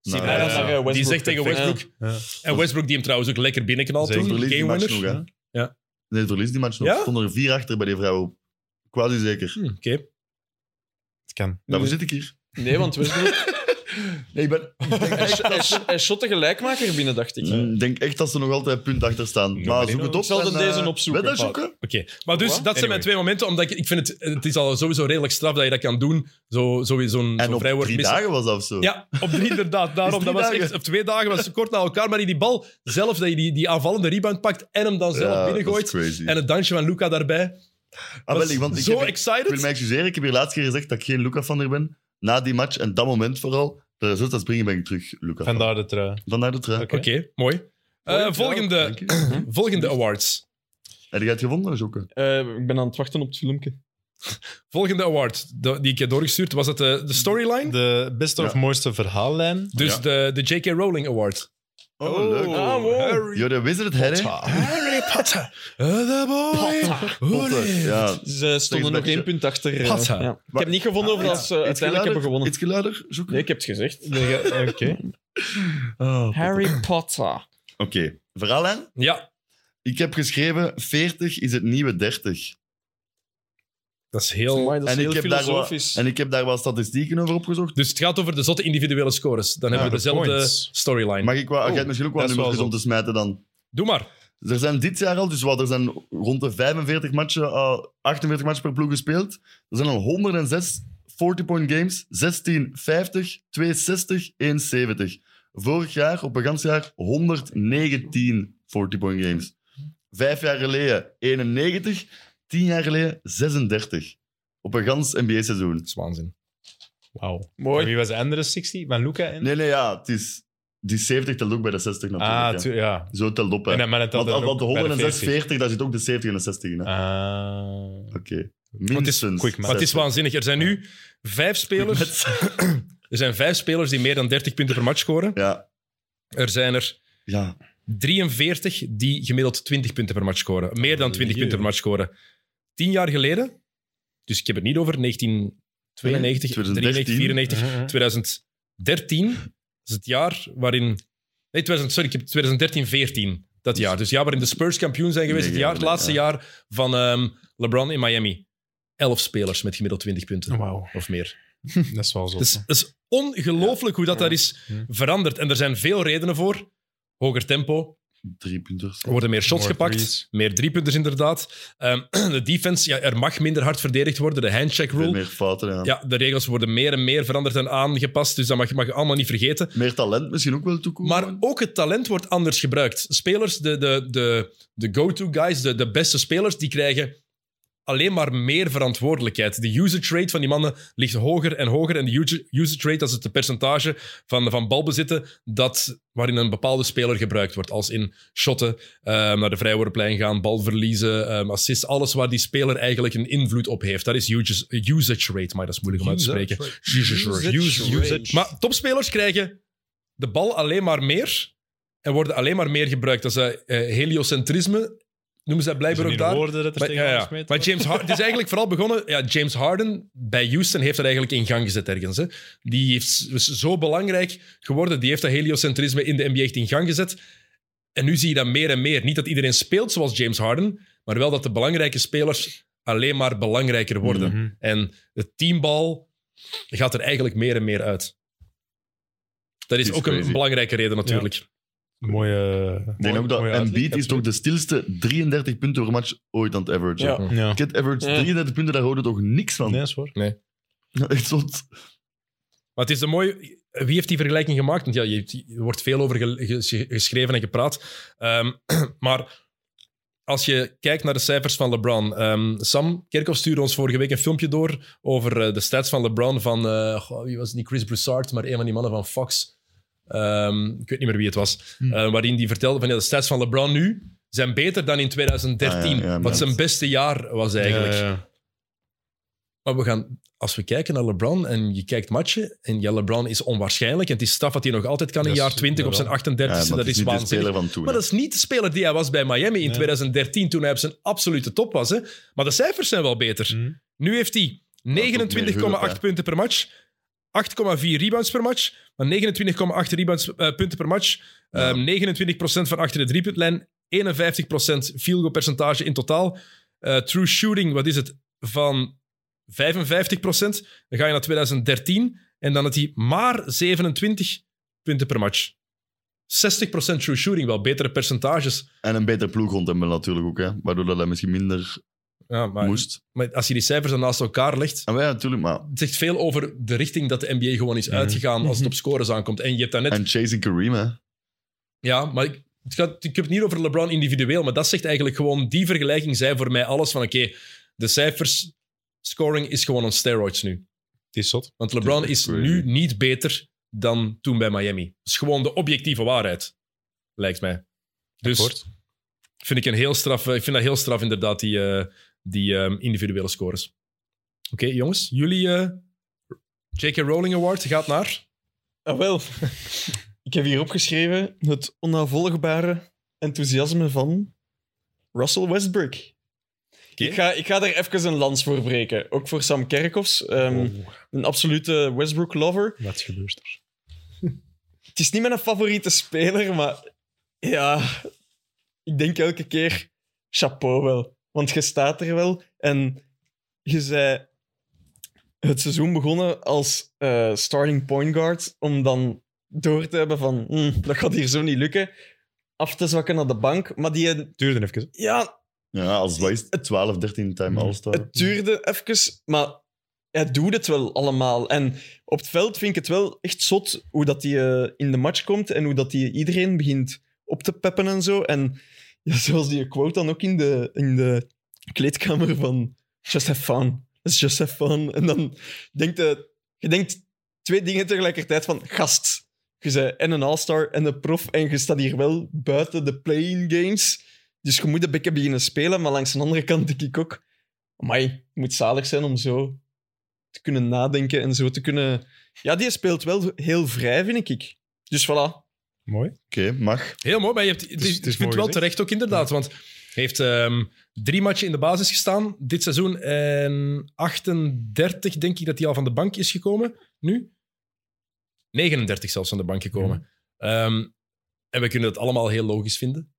A: Steven
C: Nou,
A: Adams,
D: ja, ja.
B: Ja, Westbrook
A: Ah, die zegt tegen
B: perfect.
A: Westbrook,
D: Ja.
A: en Westbrook die hem trouwens ook lekker binnenknalt
D: Zeker.
A: toen,
C: Verlies die
A: game
C: match
A: winner.
C: nog, hè?
A: Ja.
C: Nee, verlies die match nog.
A: Ja?
C: Er stonden er vier achter bij die vrouw. Quasi zeker.
A: Hm, Oké.
D: Het kan.
C: Daarvoor zit ik hier.
B: Nee, want Westbrook...
C: Nee, ik ben...
B: hij, hij, hij shot de gelijkmaker binnen, dacht ik.
C: Ik Mm, denk echt dat ze nog altijd punt achter staan. maar zoek het op.
B: Ik zal
C: en,
B: er deze
C: eh,
B: opzoeken,
C: wil je dat
B: Paul.
C: zoeken?
A: Oké, maar dus
B: Wat?
A: dat zijn mijn
D: Anyway.
A: twee momenten, omdat ik, ik vind het, het is al sowieso redelijk straf dat je dat kan doen, zo, zo, zo'n
C: En
A: zo'n
C: op
A: vrijwoord
C: drie
A: missen.
C: dagen was dat of zo.
A: Ja, op drie inderdaad. Daarom,
C: Is
A: dat
C: drie
A: was
C: dagen.
A: echt, op twee dagen was het kort na elkaar, maar die, die bal zelf, dat je die, die aanvallende rebound pakt en hem dan zelf
C: Ja,
A: binnengooit.
C: Dat is crazy.
A: En het dansje van Luca daarbij.
C: Ah,
A: was
C: wel, ik- want ik
A: zo
C: heb-
A: excited.
C: Ik wil mij excuseren, ik heb hier laatst keer gezegd dat ik geen Luca-fan er ben. Na die match en dat moment vooral, dat is dat springen ben ik terug, Luca.
D: Vandaar
C: Vandaar,
D: de trui.
C: de trui.
D: Oké.
A: Oké, mooi. Eh,
B: Mooi,
A: volgende,
C: Dank je.
A: volgende awards.
C: Heb je het gevonden, Jokke?
B: Eh, ik ben aan het wachten op het filmpje.
A: Volgende award de- die ik heb doorgestuurd, was het eh, de, de storyline?
D: De beste of
C: Ja.
D: mooiste verhaallijn.
A: dus
C: Ja.
A: de, de J.K. Rowling Award.
C: Oh, leuk.
B: Ah, wow.
C: Yo, de Wizard Harry.
A: Harry Potter, Eh, the boy who lived.
C: Ja.
B: Ze stonden nog
C: beetje-
B: één punt achter. eh,
A: Pat, hè?
B: ja. Ik heb niet gevonden of
C: Ah, ja.
B: dat ze uiteindelijk hebben gewonnen.
C: Iets geluider, Jokke?
B: Nee, ik heb het gezegd.
D: Oké.
C: Ah, Oké,
B: Harry Potter.
C: verhaallijn.
A: Ja,
C: Ik heb geschreven, 40 is het nieuwe 30.
A: dat is heel...
B: Amai, dat is
C: en,
B: heel
C: ik heb daar wat,
B: filosofisch.
C: en ik heb daar wat statistieken over opgezocht.
A: Dus het gaat over de zotte individuele scores. Dan
D: Ja,
A: hebben we
D: de
A: dezelfde
D: points.
A: storyline.
C: Mag ik wat, jij hebt misschien ook wat
D: dat is wel
C: nummers
D: zo.
C: om te smijten dan?
A: Doe maar.
C: Er zijn dit jaar al, dus wat, er zijn rond de 45 matchen, eh, 48 matchen per ploeg gespeeld. Er zijn al 106 40-point games, 16, 50, 62, 71. Vorig jaar, op een gans jaar, 119 40-point games. Vijf jaar geleden 91, tien jaar geleden 36. Op een gans NBA-seizoen.
A: Dat is waanzin.
D: Wauw. En
B: Mooi.
D: Wie was de andere 60? Van Luca en...
C: Nee, nee, ja. Het is, die 70 telt ook bij de 60 natuurlijk.
D: ah,
C: hè.
D: tu- ja.
C: Zo telt op, hè.
D: En dan, maar dan telt
C: Want,
D: dat
C: want
D: ook
C: de
D: bij
C: 106,
D: 40.
C: 40, daar zit ook de 70 en de 60 in. hè.
D: Ah.
C: Oké.
A: het
C: Minstens.
A: is
D: quick math.
A: Maar het is
C: 60.
A: waanzinnig. Er zijn nu vijf spelers,
C: Met-
A: er zijn vijf spelers die meer dan 30 punten per match scoren.
C: Ja.
A: Er zijn er
C: Ja.
A: 43 die gemiddeld 20 punten per match scoren. Meer dan 20 punten per match scoren. Tien jaar geleden, dus ik heb het niet over 1992,
C: 2013.
A: 93, 94, 2013 is het jaar waarin. Nee, 2000, sorry, ik heb 2013, 14. Dat jaar. Dus het jaar waarin de Spurs kampioen zijn geweest.
C: Nee,
A: het jaar, het
C: nee,
A: laatste
C: ja.
A: jaar van ehm, LeBron in Miami. Elf spelers met gemiddeld 20 punten
D: Oh, Wauw. Dus
A: of meer.
D: Ah.
A: Dus
D: Dat is wel zo.
A: Het is, het is ongelooflijk hoe dat daar is
D: Ja.
A: veranderd. En er zijn veel redenen voor. Hoger tempo,
C: Drie punters.
A: er worden meer shots
D: More
A: gepakt,
D: threes.
A: meer driepunters inderdaad. Ehm, de defense, ja, er mag minder hard verdedigd worden. De handcheck
C: Veel
A: rule.
C: meer fouten, ja.
A: Ja, de regels worden meer en meer veranderd en aangepast. Dus dat mag, mag je allemaal niet vergeten.
C: Meer talent misschien ook wel toekomen.
A: Maar ook het talent wordt anders gebruikt. Spelers, de, de, de, de go-to guys, de, de beste spelers, die krijgen alleen maar meer verantwoordelijkheid. De usage rate van die mannen ligt hoger en hoger. En de usa- usage rate, dat is het percentage van, van balbezitten dat, waarin een bepaalde speler gebruikt wordt. Als in shotten, ehm, naar de vrijwoordenplein gaan, bal verliezen, ehm, assists. Alles waar die speler eigenlijk een invloed op heeft. Dat is usa- usage rate, maar dat is moeilijk om uit te spreken. Usage rate.
B: Usage.
A: Maar topspelers krijgen de bal alleen maar meer en worden alleen maar meer gebruikt. Dat is eh, eh, heliocentrisme, noemen ze dat blijkbaar ook daar.
D: woorden dat er
A: Maar,
D: tegen
A: ja, ja.
D: alles mee te
A: maar James Harden, het is eigenlijk vooral begonnen. Ja, James Harden bij Houston heeft dat eigenlijk in gang gezet ergens. Hè. Die heeft, is zo belangrijk geworden. Die heeft dat heliocentrisme in de NBA echt in gang gezet. En nu zie je dat meer en meer. Niet dat iedereen speelt zoals James Harden, maar wel dat de belangrijke spelers alleen maar belangrijker worden.
C: Hmm.
D: Mhm.
A: En de teambal gaat er eigenlijk meer en meer uit. Dat is
C: Is
A: ook een
C: crazy.
A: belangrijke reden natuurlijk.
D: Mooie.
C: Ik denk ook dat
D: mooie
C: Embiid
D: uitleg,
C: is toch de stilste 33 punten per match ooit aan het average.
B: Ja.
D: absoluut. Ja.
C: Kid average
B: Ja.
C: 33 punten, daar houden we toch niks van.
D: Nee, dat is waar.
C: Echt zot.
A: Maar het is een mooi. Wie heeft die vergelijking gemaakt? Want ja, je hebt- er wordt veel over ge- ge- geschreven en gepraat. Ehm, maar als je kijkt naar de cijfers van LeBron. ehm, Sam Kerkhoff stuurde ons vorige week een filmpje door over eh, de stats van LeBron. Van, eh, goh, wie was het? niet Chris Broussard, maar een van die mannen van Fox. Ehm, ik weet niet meer wie het was.
D: Hm.
A: Eh, waarin die vertelde van ja, de stats van LeBron nu zijn beter dan in 2013.
C: Ah, ja, ja,
A: wat
C: ja.
A: zijn beste jaar was
D: Dus
A: eigenlijk.
D: Ja, ja.
A: Maar we gaan, als we kijken naar LeBron en je kijkt matchen, en ja, LeBron is onwaarschijnlijk en het is staf wat hij nog altijd kan in
D: Dat is-
A: jaar 20 op zijn
D: jawel.
A: 38e,
C: Ja, maar het
A: dat is
C: niet de
A: waanzinnig.
C: speler van toen.
A: Maar dat is niet de speler die hij was bij Miami in
D: Nee.
A: 2013, toen hij op zijn absolute top was. Hè. Maar de cijfers zijn wel beter.
D: Mhm.
A: Nu heeft hij
C: hulp, hè.
A: 29,8 punten per match, 8,4 rebounds per match, maar 29,8 rebounds, eh, punten per match,
C: Ja.
A: ehm, 29% van achter de driepuntlijn, 51% field goal percentage in totaal. Eh, true shooting, wat is het, van 55%. Dan ga je naar 2013 en dan had hij maar 27 punten per match. 60% true shooting, wel betere percentages.
C: En een beter ploeg rond hem wel natuurlijk ook, hè. waardoor dat hij misschien minder
A: Ja, maar,
C: moest. Ah,
A: maar als je die cijfers dan naast elkaar legt,
C: En wij natuurlijk, maar...
A: het zegt veel over de richting dat de NBA gewoon is uitgegaan als het op scores aankomt. En je hebt daar net...
C: Mhm. En chasing Kareem, hè.
A: Ja, maar ik, het gaat, ik heb het niet over LeBron individueel, maar dat zegt eigenlijk gewoon... Die vergelijking zei voor mij alles van, oké, de cijfers... Scoring is gewoon on steroids nu.
D: Het is zot.
A: Want LeBron
C: Dat
A: is
C: is crazy.
A: nu niet beter dan toen bij Miami. Dat is gewoon de objectieve waarheid, lijkt mij. Dus
D: Akkoord.
A: vind ik, een heel straf, ik vind dat heel straf, inderdaad, die, eh, die ehm, individuele scores. Oké, jongens, jullie eh, J.K. Rowling Award gaat naar...
B: Ah, wel. Ik heb hier opgeschreven het onnavolgbare enthousiasme van Russell Westbrook. Ik, ga, ik ga daar even een lans voor breken. Ook voor Sam Kerkhoffs, ehm,
D: Oh,
B: een absolute Westbrook-lover.
D: wat gebeurt er?
B: Het is niet mijn favoriete speler, maar ja, ik denk elke keer chapeau wel. Want je staat er wel en je zei het seizoen begonnen als eh, starting point guard om dan door te hebben van "Hm, dat gaat hier zo niet lukken. Af te zwakken naar de bank. Maar die,
D: Duurde even.
B: ja,
C: Ja, als wat is het? 12, 13 time
D: Mm.
C: All-Star.
B: Het duurde even, maar hij doet het wel allemaal. En op het veld vind ik het wel echt zot hoe dat hij eh, in de match komt en hoe dat hij iedereen begint op te peppen en zo. En ja, zoals die quote dan ook in de, in de kleedkamer van Just Have Fun. is just have fun. En dan denkt je, je denkt twee dingen tegelijkertijd van gast. Je bent en een all-star en een prof en je staat hier wel buiten de playing games. Dus je moet een beetje beginnen spelen, maar langs de andere kant denk ik ook... Amai, het moet zalig zijn om zo te kunnen nadenken en zo te kunnen... Ja, die speelt wel heel vrij, vind ik. Dus voilà.
D: Mooi.
C: mag.
A: Heel mooi, maar je hebt, het
D: is
A: is- ik
D: mooi
A: vind het wel
D: gezegd.
A: terecht ook inderdaad. Want hij heeft ehm, drie matchen in de basis gestaan dit seizoen. En 38 denk ik dat hij al van de bank is gekomen nu. 39 zelfs van de bank gekomen. Ehm, en we kunnen dat allemaal heel logisch vinden.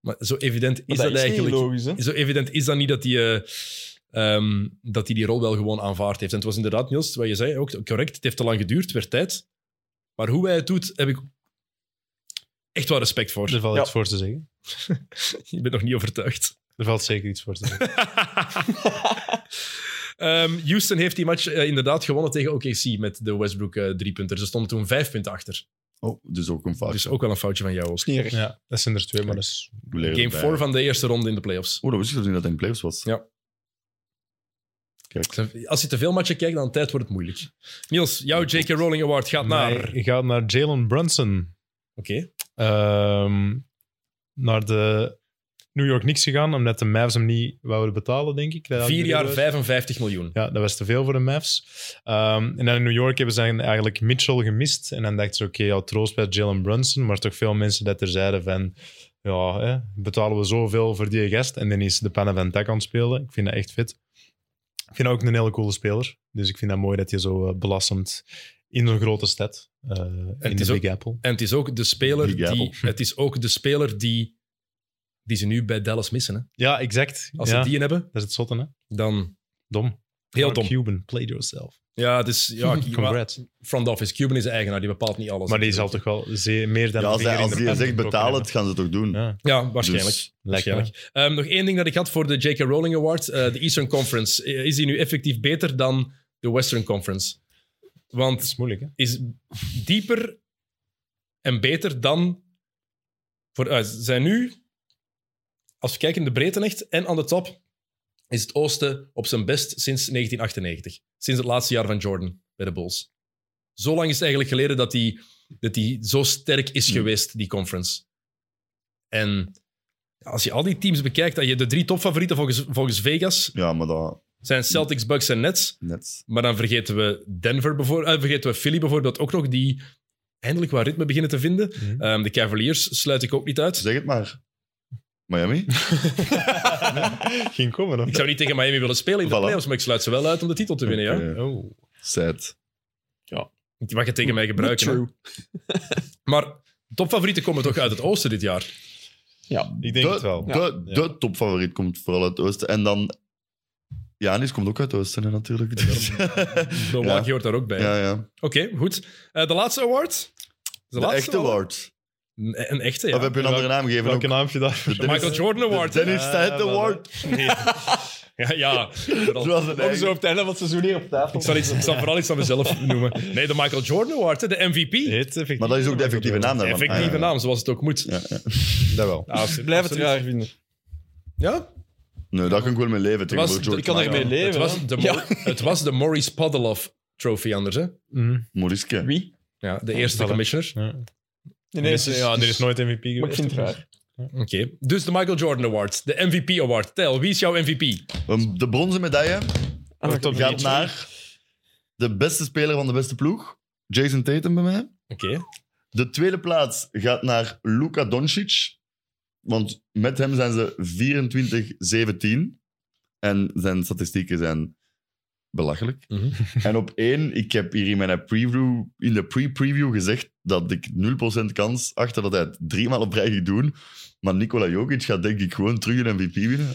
A: Maar zo evident is
B: Maar
A: dat,
B: dat is niet
A: eigenlijk
B: logisch, hè?
A: zo evident is dat niet dat hij eh, ehm, dat hij die rol wel gewoon aanvaard heeft. En het was inderdaad, Niels, wat je zei, ook correct. Het heeft te lang geduurd, het werd tijd. Maar hoe hij het doet, heb ik echt wel respect voor.
D: Er valt
B: Ja.
D: iets voor te zeggen.
A: Je bent nog niet overtuigd.
D: Er valt zeker iets voor te zeggen.
A: Ehm, Houston heeft die match eh, inderdaad gewonnen tegen OKC met de Westbrook eh, driepunter. Ze stonden toen vijf punten achter.
C: Oh, dus ook een fout.
A: Dus ook wel een foutje van jou,
B: is
A: Oscar.
B: niet erg.
D: ja, dat zijn er twee, maar dat is...
A: Game 4 van de eerste ronde in de playoffs.
C: Oh, dat wist ik zelfs niet dat hij in playoffs was.
A: Ja.
C: Kijk.
A: Als je te veel matchen kijkt, dan tijd wordt het moeilijk. Niels, jouw J.K. Rowling Award gaat naar... Oké.
D: Ik ga naar Jalen Brunson. ehm, naar de New York Knicks gegaan, omdat de Mavs hem niet wouden betalen, denk ik. Dat
A: Vier jaar,
D: was.
A: 55 miljoen.
D: Ja, dat was te veel voor de Mavs. Ehm, en dan in New York hebben ze dan eigenlijk Mitchell gemist. En dan dachten ze, oké, ja, troost bij Jalen Brunson. Maar toch veel mensen dat er zeiden van... Ja, hè, betalen we zoveel voor die gast. En dan is de Panna van Tak aan het spelen. Ik vind dat echt fit. Ik vind dat ook een hele coole speler. Dus ik vind dat mooi dat je zo eh, belastend in zo'n grote stad, eh, in
A: is
D: de
A: ook-
D: Big Apple...
A: En het is ook de speler
C: Big
A: die...
C: Apple.
A: Het is ook de speler die... Die ze nu bij Dallas missen. Hè.
D: Ja, exact.
A: Als
D: ja,
A: ze die in hebben,
D: Dat is het zotte, hè?
A: dan...
D: Dom.
A: Heel
D: Mark
A: dom.
D: Cuban, played yourself.
A: Ja, het is... Ja, maar-
D: Congrats.
A: front office. Cuban is de eigenaar, die bepaalt niet alles.
D: Maar die zal toch wel zeer, meer dan
C: Ja, als
D: een
C: hij,
D: vinger in
C: als
D: de pen
C: die zegt
D: getrokken
C: betaal
D: hebben.
C: het, gaan ze het ook doen.
D: Ja.
A: Ja, waarschijnlijk.
C: Dus-
A: waarschijnlijk. Ehm, nog één ding dat ik had voor de J.K. Rowling Award. eh, de Eastern Conference. Eh, Is die nu effectief beter dan de Western Conference?
D: Dat
A: Want
D: is moeilijk, hè?
A: is dieper en beter dan... Voor, eh, ze zijn nu, als we kijken in de breedte echt, en aan de top, is het oosten op zijn best sinds 1998. Sinds het laatste jaar van Jordan bij de Bulls. Zo lang is het eigenlijk geleden dat die, dat die zo sterk is
C: Hmm.
A: geweest, die conference. En als je al die teams bekijkt, dat je de drie topfavorieten volgens, volgens Vegas
C: Ja, maar dat
A: zijn Celtics, Bucks en Nets.
C: net.
A: Maar dan vergeten we Denver bijvoorbeeld, eh, vergeten we Philly bijvoorbeeld ook nog, die eindelijk wat ritme beginnen te vinden.
D: Mhm.
A: Ehm, de Cavaliers sluit ik ook niet uit.
C: Zeg het maar. Miami?
D: Ging komen,
A: Ik zou niet tegen Miami willen spelen in de
C: Voilà.
A: playoffs, maar ik sluit ze wel uit om de titel te winnen. Ja?
C: Oké,
D: Oh.
C: Sad.
A: Die mag je tegen mij gebruiken. hè.
B: True.
A: Maar topfavorieten komen toch uit het oosten dit jaar?
B: Ja.
D: Ik denk
C: de,
D: het wel.
C: De,
D: Ja.
C: de topfavoriet komt vooral uit het Oosten. En dan... Janis komt ook uit het Oosten, hè, natuurlijk. Dus-
A: Milwaukee hoort daar ook bij.
C: ja, ja.
A: Oké, goed. Eh, de laatste award? De,
C: De,
A: laatste
C: echte award.
A: Een, een echte,
C: Of
A: ja.
C: heb je een andere naam gegeven?
D: Welke
C: ook?
D: naam heb je daar?
C: De
A: De Michael
C: Dennis-
A: Jordan Award.
C: de Dennis
D: Ah,
C: Tijd
D: wel, hè.
C: Award.
A: Nee. ja, ja.
C: Dat was een
B: Ook
C: eigen-
B: zo op het einde van het seizoen hier op tafel.
A: Ik zal, iets, ik zal vooral iets aan mezelf noemen. Nee, de Michael Jordan Award, hè, de MVP.
D: Heet effectief.
C: Maar dat is ook de effectieve naam daarvan.
A: Effectieve
C: Ah, ja.
A: naam, zoals het ook moet.
C: Ja, ja.
D: Dat wel.
A: Ah, absolu-
B: Blijf het
A: absoluut.
B: raar vinden.
A: Ja?
C: Nee, Nou, dat kan ik wel mee leven.
A: Het was,
C: tegenover George
A: ik kan
C: Michael.
B: ermee leven,
A: Het was de, Mo-
B: Ja.
A: het was de Maurice Podoloff Trophy anders, hè?
D: Mm.
C: Moriske.
B: Wie?
A: Ja, de eerste
D: voilà.
A: commissioner.
D: Ja.
B: Nee,
D: Er is- ja, er is nooit MVP geweest.
B: Maar ik vind het raar.
A: Oké. Dus de Michael Jordan Award, de MVP Award. Tel, wie is jouw MVP?
C: Um, De bronzen medaille
B: Ah,
D: Top
B: ja.
C: gaat naar de beste speler van de beste ploeg. Jason Tatum bij mij.
A: Oké.
C: De tweede plaats gaat naar Luka Doncic. Want met hem zijn ze 24-17. En zijn statistieken zijn belachelijk.
A: Mhm.
C: En op één, ik heb hier in, mijn preview, in de pre-preview gezegd dat ik 0% kans achter dat hij het driemaal op rij gaat doen. Maar Nikola Jokic gaat denk ik gewoon terug een MVP winnen.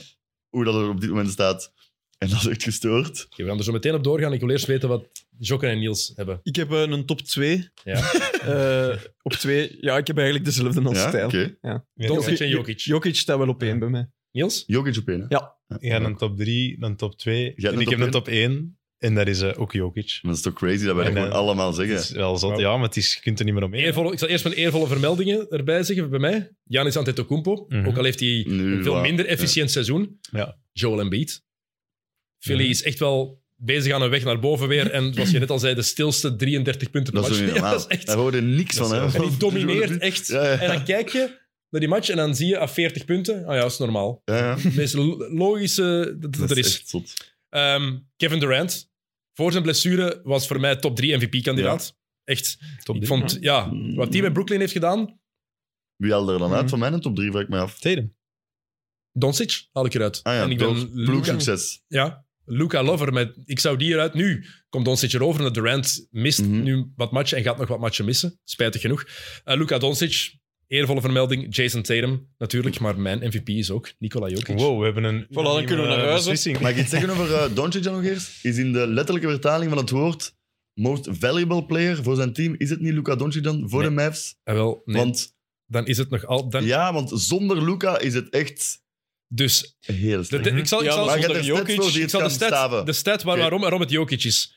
C: Hoe dat er op dit moment staat. En dat is echt gestoord.
A: Oké, we gaan er zo meteen op doorgaan. Ik wil eerst weten wat Jokken en Niels hebben.
B: Ik heb eh, een top 2.
A: Ja.
B: op 2, ja, ik heb eigenlijk dezelfde als
C: Ja,
B: stijl.
C: oké.
A: Doncic en Jokic.
B: Jokic staat wel op één bij mij.
A: Niels?
C: Jokic op één, hè?
B: Ja.
D: Je hebt een top 3, een top 2.
C: hebt
D: En
C: een
D: ik heb
C: top
D: een top 1. En dat is eh, ook Jokic.
C: Maar dat is toch crazy dat wij dat
D: En,
C: gewoon
D: eh,
C: allemaal
D: Dat is
C: zeggen.
D: wel zot. Ja, maar het is, je kunt er niet meer omheen.
A: Eervolle, ik zal eerst mijn eervolle vermeldingen erbij zeggen bij mij. Janis Antetokounmpo,
D: Mhm.
A: ook al heeft hij
C: Nu,
A: een veel
C: voilà.
A: minder efficiënt seizoen.
D: Ja.
A: Joel Embiid. Philly
D: Mhm.
A: is echt wel bezig aan een weg naar boven weer. En zoals je net al zei, de stilste 33 punten per
C: Dat is
A: match.
C: toch niet
A: Ja,
C: normaal.
A: dat is echt-
C: Daar hoorde niks
D: Dat
C: van,
D: is
C: hè.
D: wel-
A: en die domineert echt.
C: Ja, ja.
A: En dan kijk je naar die match en dan zie je af 40 punten. Ah ja, dat is normaal.
C: Ja, ja.
A: Het meest lo- logische dat, dat
C: Dat
A: er
C: is
A: is.
C: echt zot.
A: Ehm, Kevin Durant, voor zijn blessure, was voor mij top 3 MVP-kandidaat. Echt.
D: Top
A: ik
D: drie.
A: vond, ja,
C: Mm.
A: wat hij met Brooklyn heeft gedaan,
C: Wie haalde er dan
D: Mhm.
C: uit van mij een top 3, vraag ik mij af.
D: Tatum.
A: Doncic haal ik eruit.
C: Ah ja,
A: en ik
C: toch,
A: Luca,
C: ploegsucces.
A: ja, Luca Lover. Met, ik zou die eruit. Nu komt Doncic erover en Durant mist
C: Mhm.
A: nu wat matchen en gaat nog wat matchen missen. Spijtig genoeg. Eh, Luca Doncic, eervolle vermelding. Jason Tatum natuurlijk, maar mijn MVP is ook Nikola Jokic.
D: Wow, we hebben een.
B: dan kunnen we
D: unanieme
B: naar huis, hè.
D: beslissing.
C: Mag ik iets zeggen over eh Doncic dan nog eerst? Is in de letterlijke vertaling van het woord most valuable player voor zijn team, is het niet Luca Doncic dan voor
A: Nee.
C: de Mavs?
A: En Eh, wel, nee,
C: Want,
A: dan is het nog al. Dan,
C: ja, want zonder Luca is het echt
A: Dus
C: heel
A: De,
C: slecht.
A: de- ik zal, ik
B: Ja,
A: zal,
B: maar
C: maar je hebt
B: zonder
C: er stats
B: Jokic-
C: voor die
A: ik
C: het
A: zal de
C: kan
A: stat,
C: staven.
A: de stat waar,
C: Oké.
A: waarom, waarom het Jokic is.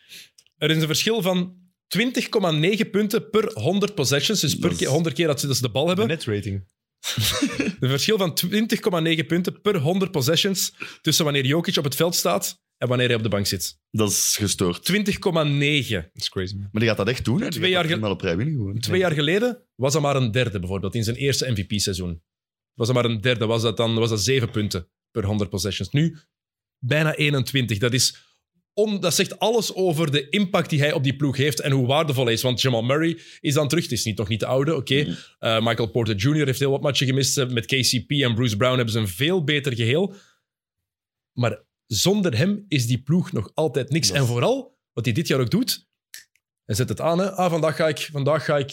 A: Er is een verschil van 20,9 punten per 100 possessions. Dus per
C: Dat is-
A: keer, 100 keer dat ze, dat ze de bal
D: De
A: hebben.
D: net rating.
A: Een verschil van 20,9 punten per 100 possessions tussen wanneer Jokic op het veld staat en wanneer hij op de bank zit.
C: Dat is gestoord.
A: 20,9.
D: Dat is crazy. man.
C: Maar die gaat dat echt doen, hè?
A: Twee jaar gel-
C: geleden. op rij winnen gewoon.
A: Twee jaar geleden was dat maar een derde bijvoorbeeld in zijn eerste MVP-seizoen. Was dat maar een derde, was dat dan was dat 7 punten per 100 possessions. Nu bijna 21. Dat, is om, dat zegt alles over de impact die hij op die ploeg heeft en hoe waardevol hij is. Want Jamal Murray is dan terug. Het is niet, nog niet de oude, oké.
C: Mm.
A: Eh, Michael Porter Jr. heeft heel wat matchen gemist. Eh, Met KCP en Bruce Brown hebben ze een veel beter geheel. Maar zonder hem is die ploeg nog altijd niks.
C: Dat is-
A: En vooral, wat hij dit jaar ook doet, hij zet het aan. Hè. Ah, vandaag ga ik, vandaag ga ik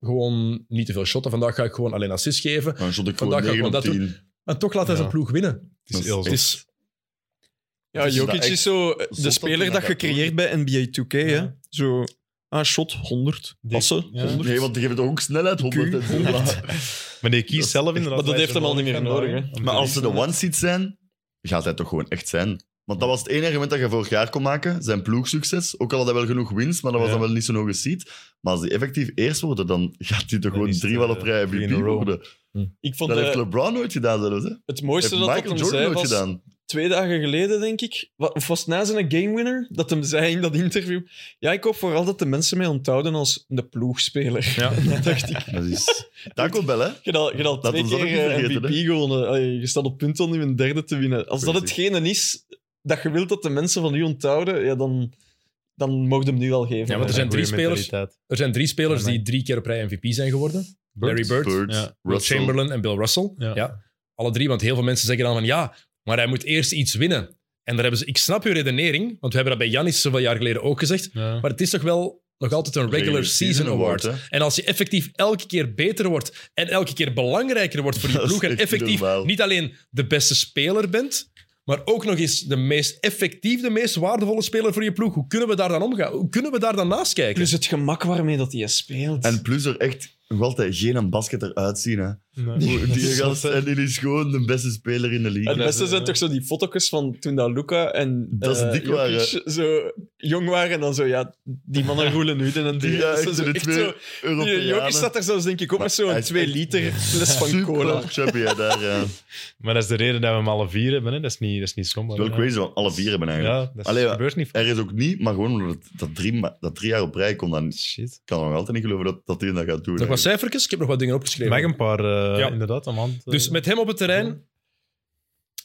A: gewoon niet te veel shotten. Vandaag ga ik gewoon alleen assist geven.
C: Dan shot ik gewoon
A: Vandaag gaat
C: 9 op
A: gewoon
C: 10.
A: En toch laat hij
D: Ja.
A: zijn ploeg winnen.
D: Het is
C: Dat
D: heel
C: is
A: Het
D: zot.
A: is,
B: Ja,
C: Het Dus is
B: Jokic
C: dat echt
B: is zo eh,
C: zot
B: de
C: dat
B: speler
C: hij
B: dat
C: dat
B: je
C: doet.
B: creëert bij NBA 2K. Hè? Zo, ah, shot 100.
D: Dik.
B: Passen
D: Ja.
B: 100.
C: Nee, want die geven toch ook snelheid, 100 en zo.
D: Maar nee, kies zelf inderdaad.
B: Maar dat
D: waar
B: heeft
D: ze
B: hem al niet meer
D: hebben,
B: nodig, hè.
D: om te
C: Maar als ze de
D: winnen.
C: one-seat zijn, gaat hij toch gewoon echt zijn. Want dat was het enige argument dat je vorig jaar kon maken. Zijn ploegsucces. Ook al had hij wel genoeg winst, maar dat was
D: Ja.
C: dan wel niet zo'n hoge seat. Maar als die effectief eerst worden, dan gaat hij toch gewoon
D: is het,
C: drie wel
D: eh,
C: op rij
D: three in a
C: MVP
D: row.
C: worden.
B: Ik vond
C: Dat heeft
B: eh,
C: LeBron nooit gedaan zelfs. Hè.
B: het mooiste
C: heeft
B: dat dat
C: Michael
B: hem
C: Jordan
B: zei
C: nooit
B: was
C: gedaan.
B: twee dagen geleden, denk ik. Wa- Of was het na zijn game winner dat hem zei in dat interview? Ja, ik hoop vooral dat de mensen mij onthouden als de ploegspeler.
D: Ja.
B: dacht ik.
C: Dat is... Daar komt wel, hè.
B: Je had al, je had al
C: Dat
B: twee
C: ons dat ook
B: keer
C: niet
B: eh,
C: vergeten,
B: MVP
C: hè?
B: gewonnen. Allee, Je staat op punt om je een derde te winnen. Als dat
C: Crazy.
B: hetgene is dat je wilt dat de mensen van u onthouden, ja, dan, dan mogen hem nu al geven.
A: Ja, want er zijn
D: Goeie
A: drie spelers.
D: mentaliteit.
A: er zijn drie spelers
D: Ja, nee.
A: die drie keer op rij MVP zijn geworden. Larry Bird,
C: Bird,
D: Ja.
A: Will
C: Russell.
A: Chamberlain en Bill Russell. Ja.
D: Ja.
A: Alle drie, want heel veel mensen zeggen dan van ja, maar hij moet eerst iets winnen. En daar hebben ze, ik snap uw redenering, want we hebben dat bij Janis zoveel jaar geleden ook gezegd.
D: Ja.
A: Maar het is toch wel nog altijd een regular season award.
C: hè.
A: En als je effectief elke keer beter wordt en elke keer belangrijker wordt voor je
C: Dat is
A: ploeg en
C: echt niet
A: effectief
C: normaal.
A: niet alleen de beste speler bent, maar ook nog eens de meest effectief, de meest waardevolle speler voor je ploeg, hoe kunnen we daar dan omgaan? Hoe kunnen we daar dan naast kijken?
B: Plus Dus het gemak waarmee dat hij speelt.
C: En plus er echt nog altijd geen een basket eruit zien, hè.
D: Nee.
C: Die gast, en die is gewoon de beste speler in de
B: het
C: league.
D: dat
B: beste
D: is,
B: zijn
D: eh,
B: toch zo die foto's van toen dat Luca en
C: Dat ze
B: eh,
C: dik
B: Jokic
C: waren.
B: zo jong waren en dan zo, ja, die mannen roelen nu en die.
C: Die, ja,
B: Dat
C: echt
B: zijn zo
C: de
B: echt
C: twee
B: zo- die Jokic
C: Europeanen.
B: staat er zelfs denk ik ook
C: Maar
B: met
C: hij
B: zo'n
C: is
B: 2
C: echt
B: liter fles van
C: Super
B: cola.
C: chubby, hè, daar, ja. Het
D: Maar dat is de reden dat we hem alle vier hebben. Hè. Dat is niet, dat is niet
C: is
D: somber.
C: wel crazy, want alle vier hebben eigenlijk.
D: Ja, dat is-
C: Allee, ja.
D: gebeurt niet vaak.
C: Er is ook niet, maar gewoon omdat het- dat drie, ma- dat drie jaar op rij komt, dan
D: Shit.
C: kan ik nog altijd niet geloven dat, dat hij dat gaat doen.
A: Nog wat
C: eigenlijk.
A: cijfertjes? Ik heb nog wat dingen opgeschreven.
D: Mag een paar, eh,
A: Ja.
D: inderdaad, aan de hand. eh,
A: Dus met hem op het terrein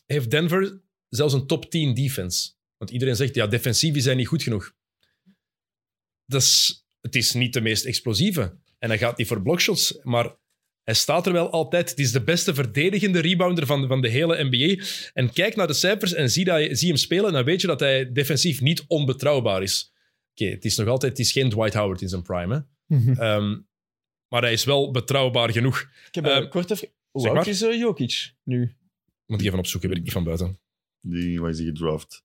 A: heeft Denver zelfs een top 10 defense. Want iedereen zegt, ja, defensief is hij niet goed genoeg. Dat is, het is niet de meest explosieve. En hij gaat niet voor blockshots, maar hij staat er wel altijd. Het is de beste verdedigende rebounder van, van de hele NBA. En kijk naar de cijfers en zie, dat, zie hem spelen, en dan weet je dat hij defensief niet onbetrouwbaar is. Oké, het is nog altijd het is geen Dwight Howard in zijn prime, hè.
C: Mhm.
A: Ehm, maar hij is wel betrouwbaar genoeg.
B: Ik heb
A: Eh,
B: een kort even... Hoe
A: zeg
B: oud
A: maar.
B: is eh, Jokic nu?
A: Moet ik even opzoeken, weet ik niet van buiten.
C: Die was hij gedraft.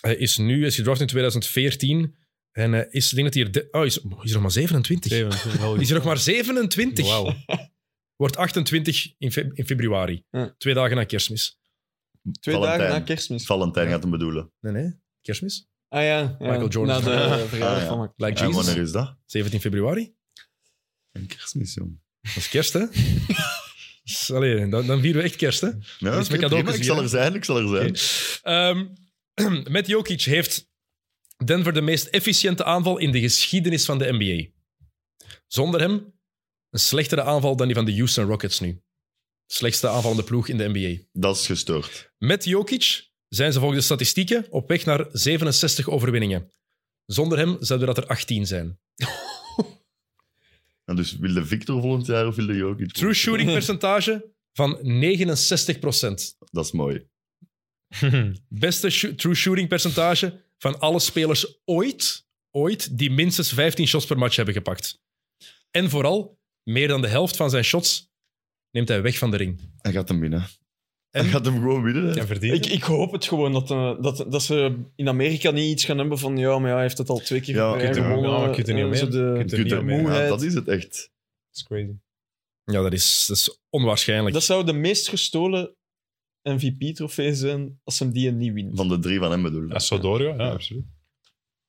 A: Hij Eh, is nu, is gedraft in 2014. En eh, is, ik denk dat hij er... de- oh, is, oh, is er nog maar 27.
D: zeven, wel
A: Is er nog maar 27.
D: Wauw.
A: Wordt 28 in, fe- in februari.
B: Ja.
A: Twee dagen na kerstmis.
B: Twee
C: Valentijn.
B: dagen na kerstmis.
C: Valentijn gaat hem bedoelen.
A: Nee, nee. Kerstmis?
B: Ah ja, ja.
A: Michael Jordan.
B: Na de
D: Ah,
B: eh, verjaardag
C: ja.
B: van Michael.
A: Like
C: En
A: Jesus.
C: wanneer is dat?
A: 17 februari?
C: Een kerstmis, jong.
A: Dat is kerst, hè? Dus, Allee, dan, dan vieren we echt kerst, hè?
C: Ja,
A: met
C: oké, prima,
A: cadeautjes
C: ik
A: hier,
C: zal
A: hè?
C: er zijn, ik zal er zijn.
A: Ehm, met Jokic heeft Denver de meest efficiënte aanval in de geschiedenis van de NBA. Zonder hem een slechtere aanval dan die van de Houston Rockets nu. Slechtste aanvallende ploeg in de NBA.
C: Dat is gestoord.
A: Met Jokic zijn ze volgens de statistieken op weg naar 67 overwinningen. Zonder hem zouden dat er 18 zijn.
C: En dus wil de Victor volgend jaar of wil de Jokic?
A: True shooting percentage van 69
C: Dat is mooi.
A: Beste shoo- true shooting percentage van alle spelers ooit, ooit die minstens 15 shots per match hebben gepakt. En vooral, meer dan de helft van zijn shots neemt hij weg van de ring.
C: Hij gaat hem winnen.
A: En?
C: Hij gaat hem gewoon winnen. hè.
D: En verdient.
B: Ik, ik hoop het gewoon dat, eh, dat, dat ze in Amerika niet iets gaan hebben van ja, maar ja, hij heeft het al twee keer
C: Ja,
B: op rij
C: kunt er-
B: gewonnen.
D: ja, kunt er niet
B: Eh,
D: omheen.
B: zo de-
D: Kunt er
C: Je kunt
D: niet
C: hem-
D: omheen.
C: ja,
B: moeheid.
C: dat is het echt.
D: is crazy.
A: Ja, dat is, dat is onwaarschijnlijk.
B: Dat zou de meest gestolen MVP-trofee zijn als ze die niet winnen.
C: Van de drie van hem bedoel ik.
D: Als zo doorgaan, ja,
C: Ja.
D: absoluut.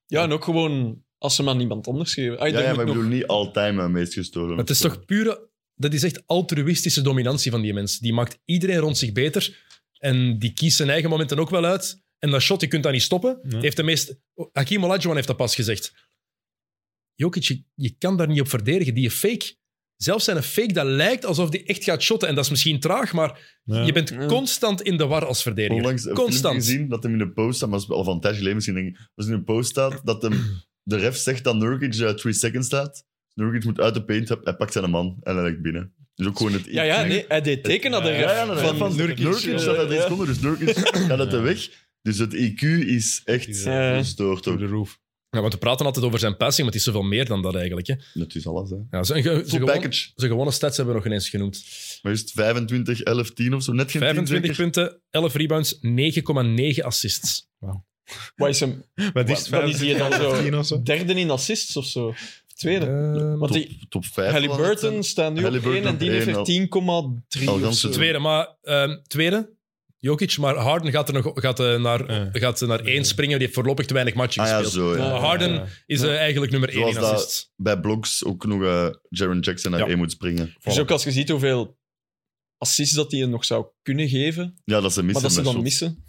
B: Ja, en ook gewoon als ze hem aan iemand anders geven. Ah,
C: Ja,
B: daar
C: ja,
B: moet
C: maar ik
B: nog-
C: bedoel niet altijd mijn meest gestolen.
A: Maar het is toch pure... Dat is echt altruïstische dominantie van die mens. Die maakt iedereen rond zich beter. En die kiest zijn eigen momenten ook wel uit. En dat shot, je kunt dat niet stoppen.
D: Ja.
A: Heeft de meest... Hakim Olajuwon heeft dat pas gezegd. Jokic, je, je kan daar niet op verdedigen. Die fake... Zelfs zijn een fake dat lijkt alsof die echt gaat shotten. En dat is misschien traag, maar
D: Ja.
A: je bent
B: Ja.
A: constant in de war als verdediger.
C: Onlangs een filmpje
A: constant.
C: gezien dat hem in de post staat, maar dat is al van een tijdje geleden misschien, denk ik. Als in de post staat, dat hem, de ref zegt dat Nurkic 3 seconds staat. Nurkic moet uit de paint, hij pakt zijn man en hij legt binnen. Dus ook gewoon het...
B: ja, ja, nee, hij deed teken naar de
D: Ja,
B: ref
C: Ja, ja,
B: van,
C: van,
B: van
C: van Nurkic. Nurkic staat uit
B: eh,
C: deze seconde, dus Nurkic gaat uit de weg. Dus het IQ is echt
B: Ja.
C: gestoord
D: Door
C: ook.
D: de roof.
A: Ja, want we praten altijd over zijn passing, maar het is zoveel meer dan dat eigenlijk. Hè.
C: Dat is alles, hè.
A: Ja, zijn, ge- zijn
C: Full
A: gewone,
C: package.
A: zijn gewone stats hebben we nog ineens genoemd.
C: Maar is het 25, 11, 10 of zo? Net geen
A: 25
C: 10
A: punten, 11 rebounds, 9,9 assists.
B: Wat is hem?
D: Wat
B: is Dan is hij dan zo.
D: 15 of zo?
B: Derde in assists of zo. Of Tweede.
A: Ehm,
B: Want die
C: zeker? Top, top 5.
B: Halliburton staat nu op
C: Halliburton
B: 1 en die
C: op
B: heeft
C: één
B: er
C: al.
B: 10,3
C: Al
B: of
C: ganse
D: eh,
B: zo.
C: twee.
A: tweede, maar ehm, tweede, Jokic, maar Harden gaat er nog gaat, eh, naar,
D: Ja.
A: gaat eh, naar één springen. Die heeft voorlopig te weinig matchen
C: Ah ja,
A: gespeeld.
C: zo, ja.
B: Ja.
A: Harden
D: Ja.
A: is eh, eigenlijk nummer één
C: Zoals
A: in
C: dat-
A: assists.
C: Bij blocks ook nog eh, Jaron Jackson naar
A: Ja.
C: één moet springen.
B: Dus ook als je ziet hoeveel assists dat hij nog zou kunnen geven,
C: Ja, dat ze missen.
B: maar dat ze
C: met
B: dan
C: shots.
B: missen.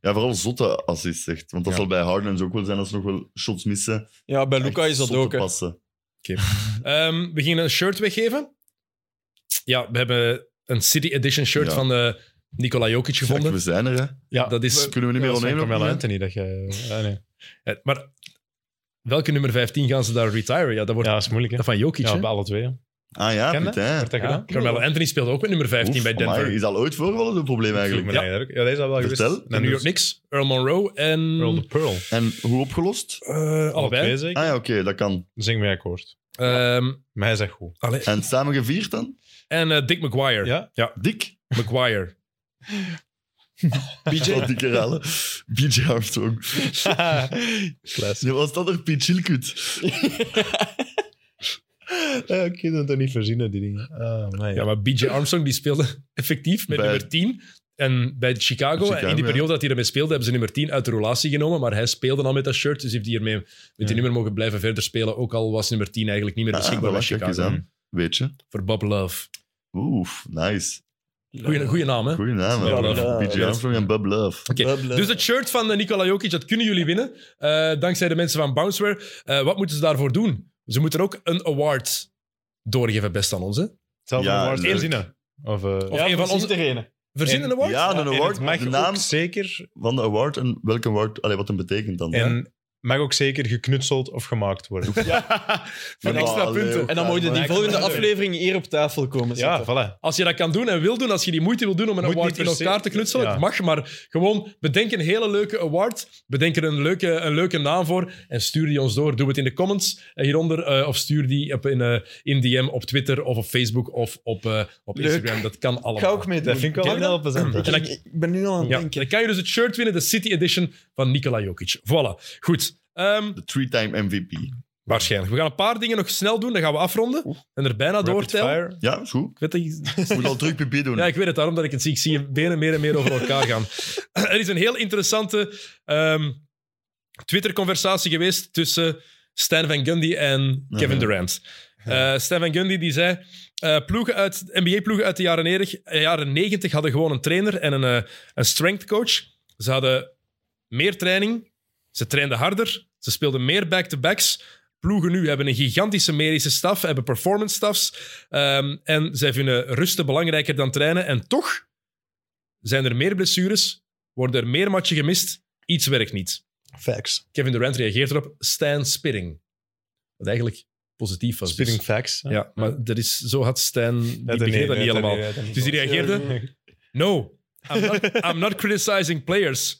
C: Ja, vooral zotte assists, echt. Want dat
A: Ja.
C: zal bij Harden en zo ook wel zijn als ze nog wel shots missen.
B: Ja, bij Luca
C: Echt
B: is dat
C: zotte
B: ook. hè.
C: Passen.
A: Ehm, we gingen een shirt weggeven. Ja, we hebben een City Edition shirt
C: Ja.
A: van eh Nikola Jokic
C: Kijk,
A: gevonden.
C: we zijn er, hè.
D: Ja,
A: Dat is-
C: Kunnen we niet meer
D: dat is van
C: onheen
D: Carmelo
C: lopen, hè?
D: Anthony. Dat je, ah, nee.
A: Eh, maar welke nummer 15 gaan ze daar retiren? Ja, dat wordt
D: Ja, dat is moeilijk. Hè?
A: dat van Jokic.
D: Ja,
A: hè?
D: bij alle twee. hè.
C: Ah ja,
D: Ken dat?
C: putain.
D: Wordt dat
A: Ja.
D: gedaan?
A: Carmelo Anthony speelde ook met nummer 15
C: Oef,
A: bij Denver.
C: amai, is dat ooit voorgevallen, zo'n probleem
D: Vroeg
C: eigenlijk?
D: me
A: Ja.
D: eigenlijk ook. Ja, dus- deze is al wel geweest.
C: Vertel.
A: De New York Knicks, Earl Monroe en
D: Roll the Pearl.
C: En hoe opgelost?
A: eh,
D: Alle
A: allebei.
D: Mm. twee zeker?
C: Ah ja, oké, dat kan.
D: Zing mij akkoord.
A: Ehm,
D: Maar hij zegt goed.
A: allee.
C: En samen gevierd dan?
A: En eh, Dick McGuire.
D: Ja?
C: Dik.
A: McGuire.
C: BJ. Dikke ralen. BJ Armstrong.
D: Klaas.
C: Ja, was dat er Piet Chilkut?
D: Ja, ik kan dat niet verzinnen, die dingen. Ah, maar
A: Ja, maar B.J. Armstrong die speelde effectief met
C: Bij-
A: nummer 10. En bij Chicago,
C: Chicago,
A: in die
C: ja.
A: periode dat hij ermee speelde, hebben ze nummer 10 uit de relatie genomen. Maar hij speelde al met dat shirt, dus heeft hij ermee met die
D: Ja.
A: nummer mogen blijven verder spelen. Ook al was nummer 10 eigenlijk niet meer
C: Ah,
A: beschikbaar
C: voilà,
A: bij
C: kijk eens
A: Chicago.
C: aan. Weet je?
A: Voor Bob Love.
C: Oef, nice.
A: Goeie, goeie naam, hè?
C: Goeie naam,
A: Bob
C: hè?
B: Love.
C: BJ Armstrong en Bob Love.
A: Oké,
B: Bubble.
A: Dus het shirt van eh, Nikola Jokic, dat kunnen jullie winnen. eh, dankzij de mensen van Bounceware. Eh, wat moeten ze daarvoor doen? Ze moeten ook een award doorgeven, best aan ons. Hè?
D: Zelf
C: Ja,
D: een award
C: leuk.
D: verzinnen. Of, eh,
A: Of
B: ja,
A: een van
B: precies,
A: onze-
B: iedereen.
A: Verzin een
D: En-
A: award?
C: Ja,
D: en
C: een
D: het
C: award.
D: mag
C: De
D: ook
C: naam
D: zeker...
C: van de award en welke award, allee, wat hem betekent dan.
D: En mag ook zeker geknutseld of gemaakt worden.
A: Van
C: Ja,
A: extra
C: allee,
A: punten.
C: ook
B: En dan
C: daar,
B: moet je
C: maar-
B: die
D: ik-
B: volgende
D: ik-
B: aflevering hier op tafel komen
D: ja,
B: zetten.
D: voilà.
A: Als je dat kan doen en wil doen, als je die moeite wil doen om een
D: Moet niet
A: award in
D: per se-
A: elkaar te knutselen,
D: Ja.
A: het mag, maar gewoon bedenk een hele leuke award, bedenk er een leuke, een leuke naam voor en stuur die ons door. Doe het in de comments eh, hieronder eh, of stuur die op in, eh, in DM op Twitter of op Facebook of op, eh, op
B: Leuk.
A: Instagram. Dat kan
B: Ik
A: allemaal.
B: ga ook mee doen.
D: Dat vind ik
A: Ken
D: wel
A: je
D: heel plezant.
B: Ik- ik, ik ben nu al aan het
A: Ja,
B: denken.
A: dan kan je dus het shirt winnen, de City Edition van Nikola Jokic. Voilà, goed. Ehm,
C: De three-time MVP.
A: waarschijnlijk. We gaan een paar dingen nog snel doen, dan gaan we afronden. En er bijna
D: Rapid
A: doortellen.
D: fire.
C: Ja, is goed.
A: Ik weet dat je-
C: Ik moet al terug pipi doen.
A: Ja, ik weet het, daarom dat ik het zie. Ik zie je benen meer en meer over elkaar gaan. er is een heel interessante ehm, Twitter-conversatie geweest tussen Stan Van Gundy en Kevin
C: Mhm.
A: Durant. Eh Stan Van Gundy die zei, eh, ploegen uit, NBA-ploegen uit de jaren 90, eh, jaren 90 hadden gewoon een trainer en een, eh, een strength coach. Ze hadden meer training, ze trainden harder, ze speelden meer back-to-backs. Ploegen nu hebben een gigantische medische staf, hebben performance staffs. ehm, en zij vinden rusten belangrijker dan trainen. En toch zijn er meer blessures, worden er meer matchen gemist, iets werkt niet.
D: Facts.
A: Kevin Durant reageert erop, Stan Spitting. Wat eigenlijk positief was. dus.
D: Spitting facts. hè.
A: Ja, maar dat is, zo had Stan, die
D: Ja,
A: begreep dat
D: nee,
A: niet
D: nee,
A: helemaal.
D: nee, nee, nee.
A: Dus die reageerde, no, I'm not, I'm not criticizing players.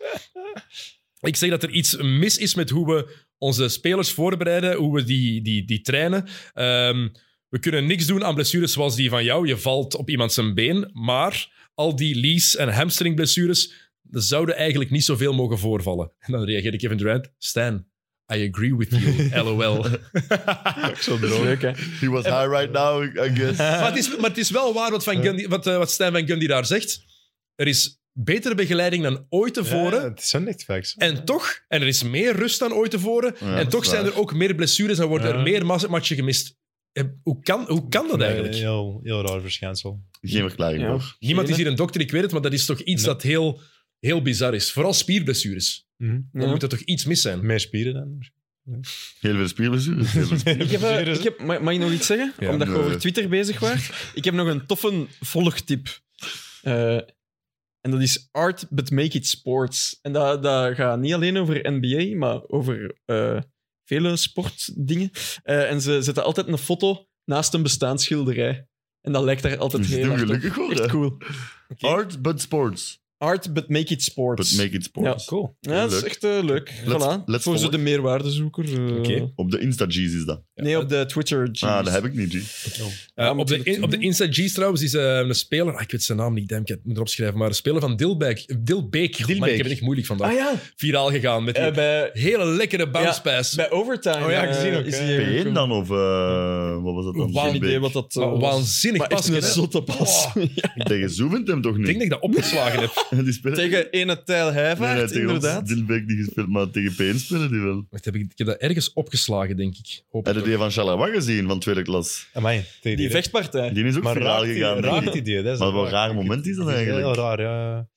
A: Ik zeg dat er iets mis is met hoe we onze spelers voorbereiden, hoe we die, die, die trainen. Ehm, we kunnen niks doen aan blessures zoals die van jou. Je valt op iemand zijn been, maar al die lees- en hamstringblessures dat zouden eigenlijk niet zoveel mogen voorvallen. En dan reageerde Kevin Durant, Stan, I agree with you, lol.
B: Zo leuk, hè?
C: He was high right now, I guess.
A: Maar het, is, maar het is wel waar wat, van Gundy, wat, eh, wat Stijn van Gundy daar zegt. Er is betere begeleiding dan ooit tevoren.
D: Ja, het zijn echt facts.
A: En toch, en er is meer rust dan ooit tevoren.
C: Ja, dat
A: en
C: is
A: toch zijn
C: waar.
A: er ook meer blessures en worden er
D: Ja.
A: meer mas- matchen gemist. Eh, Hoe kan, hoe kan dat
D: Nee,
A: eigenlijk?
D: Heel, heel raar verschijnsel.
C: Geen verklaring
B: Ja.
C: voor.
A: Niemand is hier een dokter, ik weet het, maar dat is toch iets
D: Nee.
A: dat heel, heel bizar is. Vooral spierblessures. Dan
B: Ja.
A: moet er toch iets mis zijn.
D: Meer spieren dan.
C: Heel veel spierblessures. heel veel spier-
B: Ik heb, eh, ik heb, mag, mag ik nog iets zeggen?
A: Ja.
B: Omdat je
C: Nee.
B: over Twitter bezig was. Ik heb nog een toffe volgtip. Eh, en dat is Art But Make It Sports. En dat, dat gaat niet alleen over NBA, maar over eh, vele sportdingen. Eh, en ze zetten altijd een foto naast een bestaansschilderij. En dat lijkt daar altijd
C: Dus
B: heel
C: doen
B: hard op.
C: gelukkig hoor,
B: Echt
C: hè?
B: cool.
C: Art, but sports.
B: Art But Make It Sports.
C: But make it sports.
D: Cool.
B: ja, dat is
C: Leuk.
B: echt eh, leuk.
C: Let's-
B: voilà.
C: let's
B: Voor zo
C: volgen.
B: de meerwaardezoeker. eh,
A: Oké.
C: Op de Insta-G's is dat.
B: Nee, op de Twitter.
C: Ah, dat heb ik niet, G.
A: Eh,
B: Ja,
A: op,
B: moet
A: de,
B: je
A: in-
B: dat
A: op de
B: doen?
A: Insta G's trouwens is eh, een speler, ah, ik weet zijn naam niet, damn, ik moet erop schrijven, maar een speler van Dilbeek, Dilbeek, Goh, man, ik
D: Dilbeek.
A: heb het echt moeilijk vandaag,
B: Ah ja,
A: viraal gegaan met die
B: eh, bij,
A: Hele lekkere bounce pass.
B: bij Overtime.
D: Oh ja,
B: eh,
D: gezien ook,
B: is
D: hè.
B: hij ook
C: P1
B: een-
C: dan, of eh, wat was dat dan?
B: Geen
A: Wauw,
B: idee wat dat eh,
A: Wa-
B: was.
A: Waanzinnig
B: Maar echt
A: pasje,
B: een
A: hè?
B: zotte pas.
A: Oh,
C: Tegen Zoevent hem toch
A: Ik denk
C: niet?
A: dat ik dat opgeslagen heb.
C: Die spelen...
B: Tegen ene Tijl
C: Nee,
B: Heijvaart,
C: nee, tegen
B: inderdaad.
C: ons Dilbeek niet gespeeld, maar tegen P1 spelen die wel.
A: Wacht, heb ik, ik heb dat ergens opgeslagen, denk ik. Hoop
C: Heb
A: ik
C: je die van Chalawa gezien, van tweede klas?
D: Amai, tegen
B: Die vechtpartij.
C: Die is ook
D: Maar
C: viraal
D: raar,
C: gegaan.
D: gegaan,
C: denk
D: raar
C: ik.
D: dit idee. Dat is
C: Maar
D: wel
C: wat een raar moment is dat eigenlijk.
D: Heel raar, ja.
A: toch.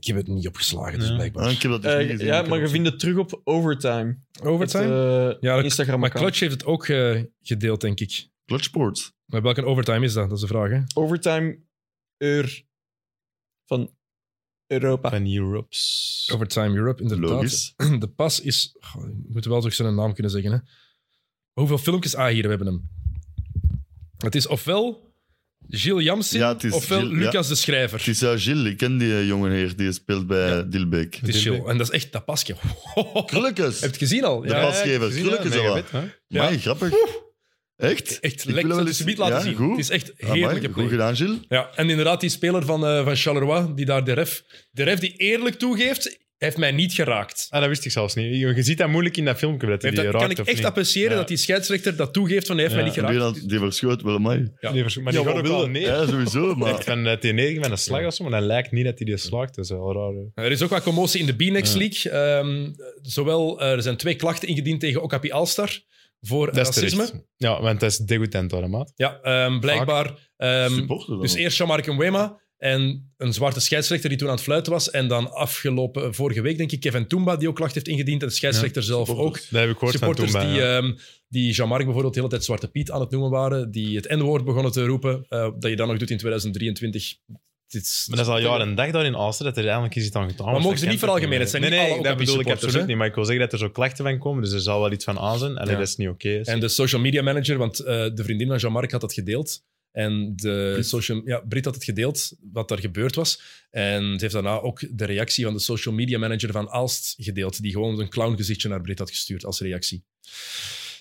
A: Ik heb het niet opgeslagen, dus
D: Ja.
A: blijkbaar.
C: Ah, ik heb dat dus
B: Eh,
C: niet gezien.
B: ja,
C: Ik
B: maar
C: heb
B: je vindt het terug op Overtime.
A: Overtime?
B: Het, eh,
A: Ja, dat-
B: Instagram
A: maar Clutch heeft het ook eh, gedeeld, denk ik.
C: Clutch Sports.
A: Maar welke overtime is dat? Dat is de vraag, hè?
B: Overtime Eur van Europa.
D: Van Europe's.
A: Overtime Europe, inderdaad.
C: Logisch.
A: De pas is... Goh, ik moet wel toch zijn naam kunnen zeggen, hè? Hoeveel filmpjes? Ah, hier, we hebben hem. Het is ofwel Gilles Jamsin,
C: Ja, het is
A: ofwel
C: Gilles, ja.
A: Lucas de Schrijver.
C: Het is eh, Gilles, ik ken die jongen jongenheer, die speelt bij eh, Dilbeek.
A: Het is
D: Dilbeek.
A: Gilles. En dat is echt dat pasje.
C: Krulletjes!
A: Heb je het gezien al?
C: De pasgever,
D: ik zie
C: gelukkig
D: dat,
C: is dat
D: mega vet, hè?
A: Ja.
C: Amai, grappig. Echt?
A: Echt
C: wil
A: lekker.
C: wel
A: Het
C: eens-
A: is niet laten
C: ja,
A: zien.
C: goed.
A: Het is echt
C: Amai,
A: heerlijke
C: Goed
A: play.
C: gedaan, Gilles.
A: Ja, en inderdaad, die speler van, eh, van Charleroi, die daar de ref, de ref die eerlijk toegeeft, heeft mij niet geraakt.
D: Ah, dat wist ik zelfs niet. Je je ziet dat moeilijk in dat filmpje, dat hij
A: Heeft
D: die
A: dat, kan
D: raakt
A: ik
D: of
A: echt
D: niet.
A: appreciëren
D: Ja.
A: dat die scheidsrechter dat toegeeft van hij heeft
D: Ja.
A: mij niet
C: En
A: geraakt.
C: die dan- Die verschoot wel, amai.
A: Ja.
D: Die vers- Maar die gaat
B: Ja, wat
D: ook
B: wil
D: wel
B: dat?
D: neer.
C: Ja, sowieso,
D: Echt
C: maar...
D: van dat die negen van een slag of zo, maar dat lijkt niet dat hij die slaagt. Dat is wel raar. hè.
A: Er is ook wat commotie in de B-Next League. Ehm, zowel, eh, er zijn twee klachten ingediend tegen Okapi Alstar voor
D: Dat is
A: racisme.
D: terecht. Ja, want dat is degoutant hoor, maat.
A: Ja, ehm, blijkbaar. ehm,
C: Supporter dan
A: dus
C: ook.
A: eerst Shamark en Wema en een zwarte scheidsrechter die toen aan het fluiten was. En dan afgelopen vorige week, denk ik, Kevin Toomba, die ook klacht heeft ingediend. En de scheidsrechter zelf ook.
C: Supporters.
D: Dat heb ik gehoord van
A: supporters
D: toen eh, bij...
A: die, ehm, die Jean-Marc bijvoorbeeld de hele tijd Zwarte Piet aan het noemen waren, die het N-woord begonnen te roepen, eh, dat je dat nog doet in 2023. Dit is-
D: Maar dat is al jaar en dag daar in Alster dat er eigenlijk is iets aan gedaan.
A: Maar mogen
D: Dat
A: ze niet
D: kent
A: veralgemenen,
D: toch
A: het zijn
D: nee,
A: niet
D: nee,
A: alle
D: dat bedoel ik
A: Okapi-supporters,
D: absoluut
A: hè?
D: niet. Maar ik wil zeggen dat er zo klachten van komen, dus er zal wel iets van aan zijn. En
A: Ja.
D: dat is niet oké. dus-
A: En de social media manager, want eh, de vriendin van Jean-Marc had dat gedeeld. En de
C: Brit.
A: social, ja, Brit had het gedeeld, wat daar gebeurd was. En ze heeft daarna ook de reactie van de social media manager van Aalst gedeeld, die gewoon een clown gezichtje naar Brit had gestuurd als reactie.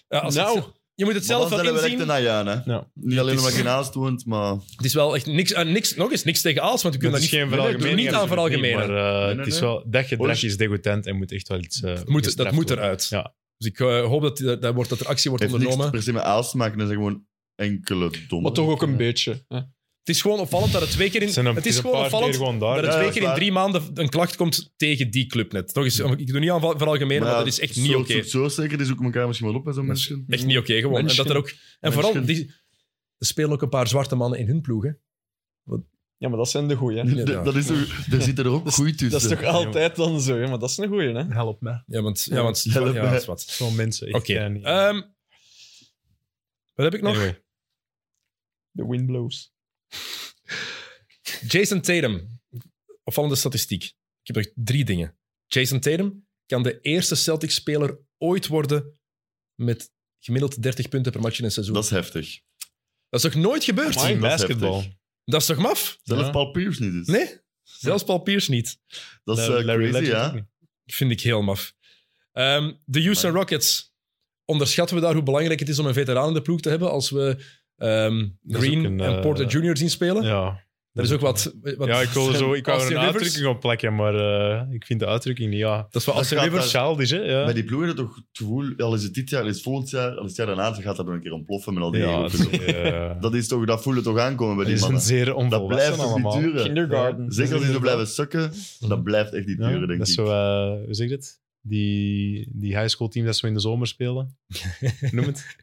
A: Ja, als je
B: Nou.
A: het- je moet het zelf
C: Maar
A: wel
C: dan zijn we
A: inzien.
C: echt een Ayaan, hè.
D: Ja.
C: Niet alleen omdat je naast woont, maar...
A: Het is wel echt niks, eh, niks, nog eens, niks tegen Aalst, want we
D: Dat
A: kunnen
D: is
A: dat niet,
D: geen
A: we doen
D: veralgemening.
A: niet aan
D: absoluut
A: veralgemenen.
D: niet, Maar eh,
C: nee,
D: het is
C: nee.
D: wel, dat gedrag
C: Oorlog-
D: is degoutant en moet echt wel iets. eh,
A: dus- Het moet, dat
D: gestraft
A: moet
D: worden.
A: eruit.
D: Ja.
A: Dus ik eh, hoop dat, die- dat, wordt, dat er actie wordt
C: heeft niks
A: ondernomen.
C: per se met aals te maken, dat zijn gewoon enkele domme...
B: Maar toch ook een beetje. hè.
A: Het is gewoon opvallend dat het twee keer in...
D: Het zijn een-
A: Het is
D: een
A: gewoon
D: paar keer
A: opvallend
D: gewoon
A: dat
D: daar. eh,
A: het
C: Ja,
A: twee
C: dat
A: keer
C: is
A: in
C: waar.
A: drie maanden een klacht komt tegen die club net. Nog eens, ik doe niet aan van algemeen, maar,
C: ja,
A: dat is echt niet
C: zo-
A: oké.
C: Zo, zo zeker, die zoeken elkaar misschien wel op bij zo'n mensen.
A: Echt niet oké gewoon. En,
B: Mensen.
A: dat er ook, en
C: Mensen.
A: vooral, die, er spelen ook een paar zwarte mannen in hun ploeg. Hè.
B: Ja, maar dat zijn de goeie. hè.
A: Ja,
C: D- dat is toch, daar zitten er ook goed tussen.
B: Dat is toch altijd dan zo, hè? maar dat is een goeie, hè?
D: Help me.
A: Ja, want... Ja, want ja,
C: Ja, dat-
A: dat is wat.
D: Zo'n mensen. ik
A: Oké.
D: ken niet.
A: Ehm, wat heb ik nog?
D: Anyway.
B: De wind blows.
A: Jason Tatum. Opvallende statistiek. Ik heb nog drie dingen. Jason Tatum kan de eerste Celtics-speler ooit worden met gemiddeld 30 punten per match in een seizoen.
C: Dat
A: Dat,
C: is heftig.
A: is nog nooit gebeurd?
C: Amai.
D: In
C: dat is
D: basketbal.
C: heftig.
A: Dat is toch maf?
C: Zelfs
D: Ja.
C: Paul Pierce niet dus.
A: Nee? Zelfs Paul Pierce niet.
C: Dat is
D: La-
C: eh,
D: Larry
C: crazy,
D: Legend
C: ja.
D: ook niet.
A: Vind ik heel maf. Ehm, de Houston Rockets. Onderschatten we daar hoe belangrijk het is om een veteraan in de ploeg te hebben als we ehm,
D: Dat is
A: Green
D: ook een,
A: en
D: eh,
A: Porter Jr. zien spelen?
D: Ja.
A: Er is ook wat... wat
D: Ja, ik wilde zo... Ik wou er
A: Austin
D: een
A: Rivers.
D: uitdrukking op plakken, maar eh, ik vind de uitdrukking niet, ja.
A: Dat is wat
C: Dat
A: Austin
C: gaat
A: Rivers...
C: daar-
D: Childish, hè? Ja.
C: Bij die ploegen is het toch het gevoel, al is het dit jaar, al is het volgend jaar, al is het jaar daarna, dan gaat dat nog een keer ontploffen met al die
D: Ja,
C: ego.
D: het is, eh,
C: Dat is toch, dat voelen toch aankomen bij
D: het
C: die
D: is een
C: mannen.
D: zeer
C: Dat blijft
D: onvolwassen
C: toch niet
D: allemaal.
C: duren.
B: Kindergarten.
C: Zeker als die zo blijven sukken, dat blijft echt niet
D: Ja,
C: duren, denk
D: dat is
C: ik.
D: zo, eh, hoe zeg je dit? Die, die high school team dat zo in de zomer spelen. Noem het.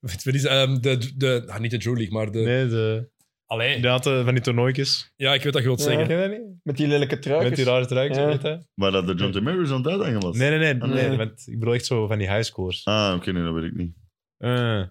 A: Wat is, ehm, de, de, ah, niet de Drew League, maar de...
D: Nee, de,
A: Allee.
D: inderdaad, eh, van die toernooitjes.
A: Ja, ik weet dat je wilt
B: Ja.
A: zeggen.
D: Ken je dat niet?
B: Met die lelijke truikjes.
D: Met die rare truikjes,
B: Ja.
D: weet je?
C: Maar dat de John Demers aan het uithangen was.
D: Nee, nee, nee.
C: Ah,
D: nee.
B: nee.
D: want ik bedoel echt zo van die high scores.
C: Ah, oké, nee, dat weet ik niet.
D: Eh.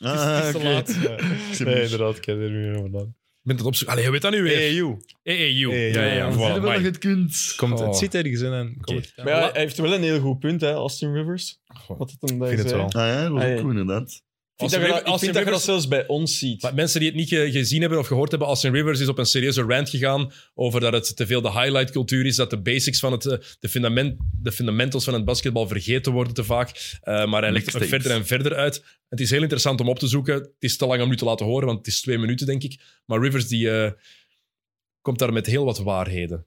C: Ah,
A: is te
C: oké.
A: laat.
D: Ja.
C: zie
D: Nee,
C: hem.
D: inderdaad, ik ken er niet meer vandaan.
A: Ik ben dat opzoeken. Allee, je weet dat nu weer.
D: Hey,
A: EEU.
D: Hey,
A: ja, ja,
D: ja.
A: ja.
C: Dan
A: Voilà,
C: zien we dat
A: amai.
C: je het kunt.
D: Komt,
A: Oh.
D: Het zit ergens in en komt het-
B: Maar ja, hij heeft wel een heel goed punt, hè, Austin Rivers.
A: Goh.
B: Wat het hem daar
D: Ik vind het
B: zei.
D: wel.
C: Ah ja, dat was
B: Ah,
C: ook
B: ja.
C: goed, inderdaad.
B: Ik vind,
A: Austin
B: dat,
A: River-
B: je dat, ik
A: Austin
B: vind dat je dat
A: Rivers-
B: zelfs bij ons ziet.
A: Maar mensen die het niet ge- gezien hebben of gehoord hebben, Austin Rivers is op een serieuze rant gegaan over dat het te veel de highlight cultuur is, dat de basics van het, eh, de, fundament, de fundamentals van het basketbal vergeten worden te vaak. Eh, maar hij legt het
C: Mixtapes.
A: verder en verder uit. Het is heel interessant om op te zoeken. Het is te lang om nu te laten horen, want het is twee minuten, denk ik. Maar Rivers die, eh, komt daar met heel wat waarheden.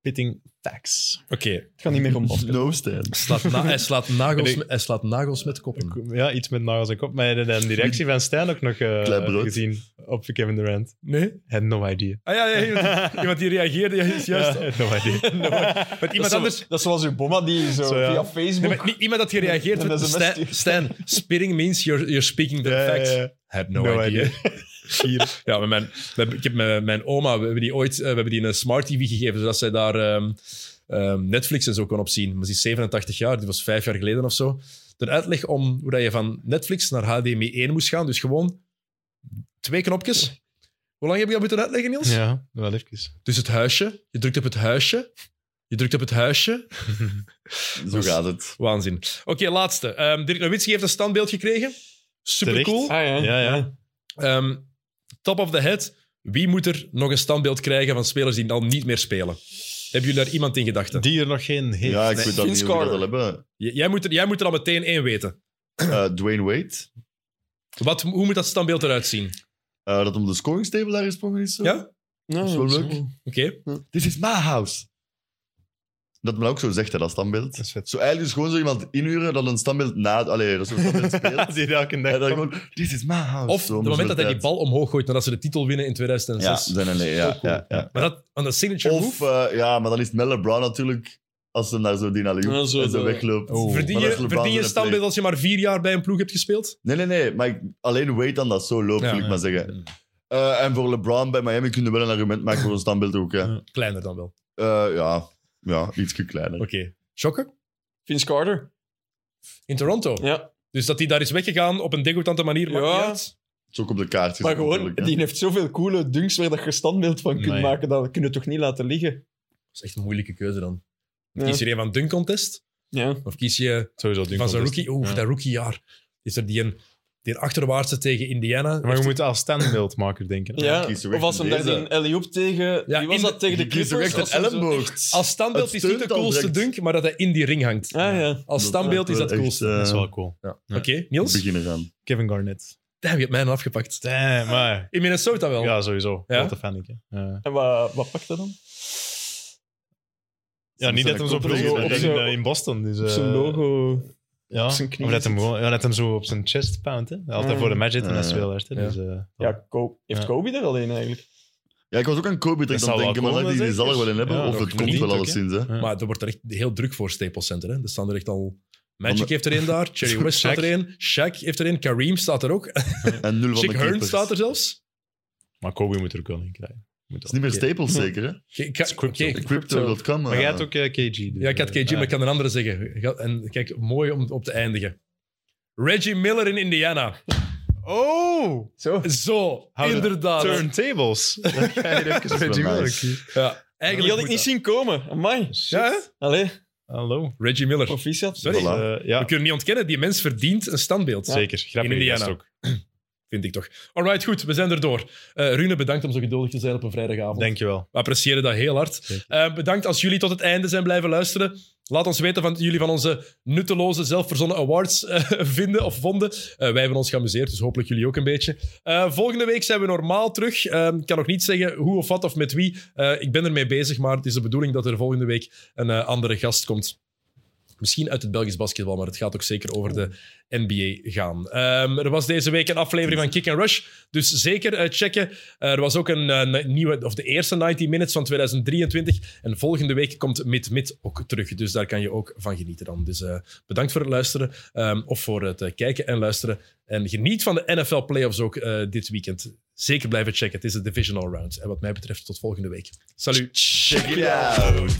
D: Pitting facts.
A: Oké,
B: Het gaat niet meer om basketbal.
C: No stand.
A: slaat na- hij, slaat nagels met- hij slaat nagels met koppen.
D: Ja, iets met nagels en kop. Maar hij had de reactie van Stijn ook nog eh,
C: Klein brood.
D: gezien op Kevin Durant.
A: Nee?
D: Had no idea.
A: Ah ja, ja, iemand, iemand die reageerde, ja, is juist.
D: Ja, had no idea.
A: Want
B: Dat is
A: iemand
B: zo-
A: anders...
B: Dat is zoals Obama die zo,
D: Zo, ja.
B: via Facebook...
A: Nee, maar niet iemand dat gereageerd
B: Dat
A: werd.
B: is een
A: Stijn,
B: best-
A: Stijn, spitting means you're, you're speaking the
D: Ja, ja,
A: facts.
D: ja.
A: Had no,
D: No
A: idea.
D: idea. Hier.
A: Ja, maar mijn, we hebben- ik heb mijn, mijn oma, we hebben die ooit, eh, we hebben die een smart TV gegeven, zodat zij daar ehm, ehm, Netflix en zo kon op zien. Maar ze is 87 jaar, die was vijf jaar geleden of zo. De uitleg om hoe dat je van Netflix naar HDMI 1 moest gaan, dus gewoon twee knopjes. Hoe lang heb ik dat moeten uitleggen, Niels?
D: Ja, wel even.
A: Dus het huisje, je drukt op het huisje, je drukt op het huisje,
C: Zo gaat het.
A: Waanzin. Oké, laatste. Ehm Dirk Nowitzki heeft een standbeeld gekregen. Supercool.
B: Ah, ja.
D: Ja, ja.
A: Ehm, top of the head. Wie moet er nog een standbeeld krijgen van spelers die al niet meer spelen? Hebben jullie daar iemand in gedachten?
D: Die er nog geen heeft.
C: Ja, ik weet dat
B: Vince
C: niet hoe we dat al
B: Carter.
C: hebben.
A: J- Jij, moet er, jij moet er al meteen één weten.
C: Eh, Dwayne Wade,
A: Wat, hoe moet dat standbeeld eruit zien?
C: eh, dat om de scoringstable daar gesprongen is. Zo.
A: Ja? Oké.
B: Ja,
C: Dat is wel leuk. This is my house. Dat men ook zo zegt, hè, dat standbeeld.
D: Dat is vet.
C: Zo eigenlijk is gewoon zo iemand inhuren dat een standbeeld na... Allee, dat zo'n standbeeld speelt.
D: Die elke dag
C: en dan
D: komt.
C: gewoon, this is my house.
A: Of
C: Zo,
A: het
C: om
A: moment
C: zoveel
A: dat hij die
C: tijd.
A: bal omhoog gooit nadat ze de titel winnen in 2006.
C: Ja, dan alleen, ja, ja, ja.
A: Maar dat, want dat signature
C: Of,
A: move...
C: eh, ja, maar dan is het Mel LeBron natuurlijk, als ze naar zo die alley
B: Ja,
C: en
B: zo
C: zo
B: de-
C: wegloopt.
A: Verdien
C: Maar
A: je,
C: dat is LeBron
A: verdien je een
C: zijn play.
A: standbeeld als je maar vier jaar bij een ploeg hebt gespeeld?
C: Nee, nee, nee, maar ik, alleen Wade dan dat zo loopt,
A: Ja,
C: wil ik
A: ja.
C: maar zeggen. Eh, en voor LeBron bij Miami kun je wel een argument maken voor een standbeeld ook, hè.
D: Ja.
A: Kleiner dan wel.
C: Eh, ja, ja, ietsje kleiner.
A: Oké. Schokken?
B: Vince Carter.
A: In Toronto?
B: Ja.
A: Dus dat hij daar is weggegaan op een degoutante manier. maakt
B: Ja.
A: niet uit.
C: Zo ook op de kaart. gezet
B: Maar gewoon,
C: natuurlijk, hè.
B: die heeft zoveel coole dunks waar dat je standbeeld van kunt
D: Nee.
B: maken. Dat kunnen we toch niet laten liggen.
A: Dat is echt een moeilijke keuze dan.
B: Ja.
A: Kies je er een van Dunk Contest?
B: Ja.
A: Of kies je
D: Sowieso Dunk
A: van zijn
D: Contest.
A: rookie? Oeh,
D: Ja.
A: dat rookiejaar. Is er die een, die een achterwaartse tegen Indiana?
D: Maar je moet als standbeeldmaker denken.
B: Ja,
C: kies toch
B: of
C: echt
B: als hem daar
C: deze.
B: die alley-oop tegen...
A: Ja,
B: wie was
A: in
B: dat? Tegen de
C: Die kiest
B: Clippers?
C: ook echt
B: Als
C: een
B: hem zo-
C: elleboog.
A: Als standbeeld
C: Het
A: is niet de
C: steunt al
A: coolste
C: direct.
A: dunk, maar dat hij in die ring hangt.
B: Ah, ja.
A: Als standbeeld is dat het
C: Echt,
A: coolste.
C: eh,
D: Dat is wel cool.
A: Ja.
D: Ja.
A: Oké, Niels?
C: beginnen aan.
D: Kevin Garnett.
A: Damn, je hebt mij nou afgepakt.
D: Damn, maar...
A: In Minnesota wel.
D: Ja, sowieso.
A: Ja?
D: Wat een fan ik, hè. Ja.
B: En wat, wat pakt dat dan?
D: Ja, niet dat hem zo
C: Soms zijn
D: probeert
C: dat
D: in,
B: koppen.
D: in Boston. Dus, eh,
B: Zijn logo.
D: Ja,
B: zijn knie
D: of dat hem,
B: zit.
D: gewoon, ja, dat hem zo op zijn chest pound. Hè. Altijd
B: Mm.
D: voor de match zitten als
C: Ja,
D: hij
C: ja.
D: wel hard. hè.
A: Ja.
D: Dus, eh,
B: Ja, Ko- heeft
D: Ja.
B: Kobe er alleen eigenlijk?
C: Ja, ik was ook aan Kobe direct
D: Dat
C: aan
D: zal wel
C: het denken, maar
D: komen,
C: die, die
D: zeker.
C: zal er wel in hebben.
D: Ja,
C: of
A: dat
C: het komt
A: verdient
C: wel
D: ook,
C: alleszins. Hè.
D: Ja.
A: Maar er wordt er echt heel druk voor Staples Center. Hè. Er staan er echt al... Magic
C: Maar-
A: heeft er één daar, Cherry West staat
D: Shaq.
A: er één, Shaq heeft er één, Kareem staat er ook,
C: En nul van
A: Chick
C: de
A: Hearn
C: Clippers.
A: staat er
C: Het
A: zelfs.
D: Maar Kobe moet er ook wel in krijgen. Moet
C: is
D: wel.
C: niet meer Staples, zeker, hè?
A: Ge- ik ga-
D: is crypto.
A: oké,
C: Crypto.com.
D: Maar jij had ook eh, KG. dus,
A: Ja, ik had
D: eh,
A: KG,
D: ah.
A: maar ik kan een andere zeggen. Ik had- En kijk, mooi om op te eindigen. Reggie Miller in Indiana.
D: Oh!
B: Zo.
A: Zo,
D: Hou de
A: inderdaad.
D: Turntables. Dat ga je even
C: wel
D: met je
C: nice.
D: werk hier.
A: Ja,
B: Die
A: eigenlijk moet
B: had ik niet
A: dat.
B: zien komen. Amai.
A: Ja, hè?
B: Allee,
D: Hallo.
A: Reggie Miller.
B: proficiat.
A: Sorry.
C: Voilà.
D: Eh, ja,
A: We kunnen niet ontkennen, die mens verdient een standbeeld.
D: zeker.
A: In
D: Grappig.
A: Indiana.
D: gast ook.
A: Vind ik toch. Alright, goed, we zijn erdoor. Eh Rune, bedankt om zo geduldig te zijn op een vrijdagavond.
D: Dankjewel.
A: We appreciëren dat heel hard.
D: Zeker.
A: Eh, bedankt als jullie tot het einde zijn blijven luisteren. Laat ons weten wat jullie van onze nutteloze, zelfverzonnen awards eh, vinden of vonden. Eh, wij hebben ons geamuseerd, dus hopelijk jullie ook een beetje. Eh, volgende week zijn we normaal terug. Eh, Ik kan nog niet zeggen hoe of wat of met wie. Eh, ik ben ermee bezig, maar het is de bedoeling dat er volgende week een eh, andere gast komt. Misschien uit het Belgisch basketbal, maar het gaat ook zeker over de NBA gaan. Ehm, er was deze week een aflevering van Kick and Rush, dus zeker eh, checken. Eh, er was ook een eh, nieuwe, of de eerste 90 Minutes van 2023. En volgende week komt Mid Mid ook terug, dus daar kan je ook van genieten dan. Dus eh, bedankt voor het luisteren, ehm, of voor het eh, kijken en luisteren. En geniet van de NFL playoffs ook eh, dit weekend. Zeker blijven checken, het is de Divisional Round. En wat mij betreft, tot volgende week. Salut!
C: Check it out.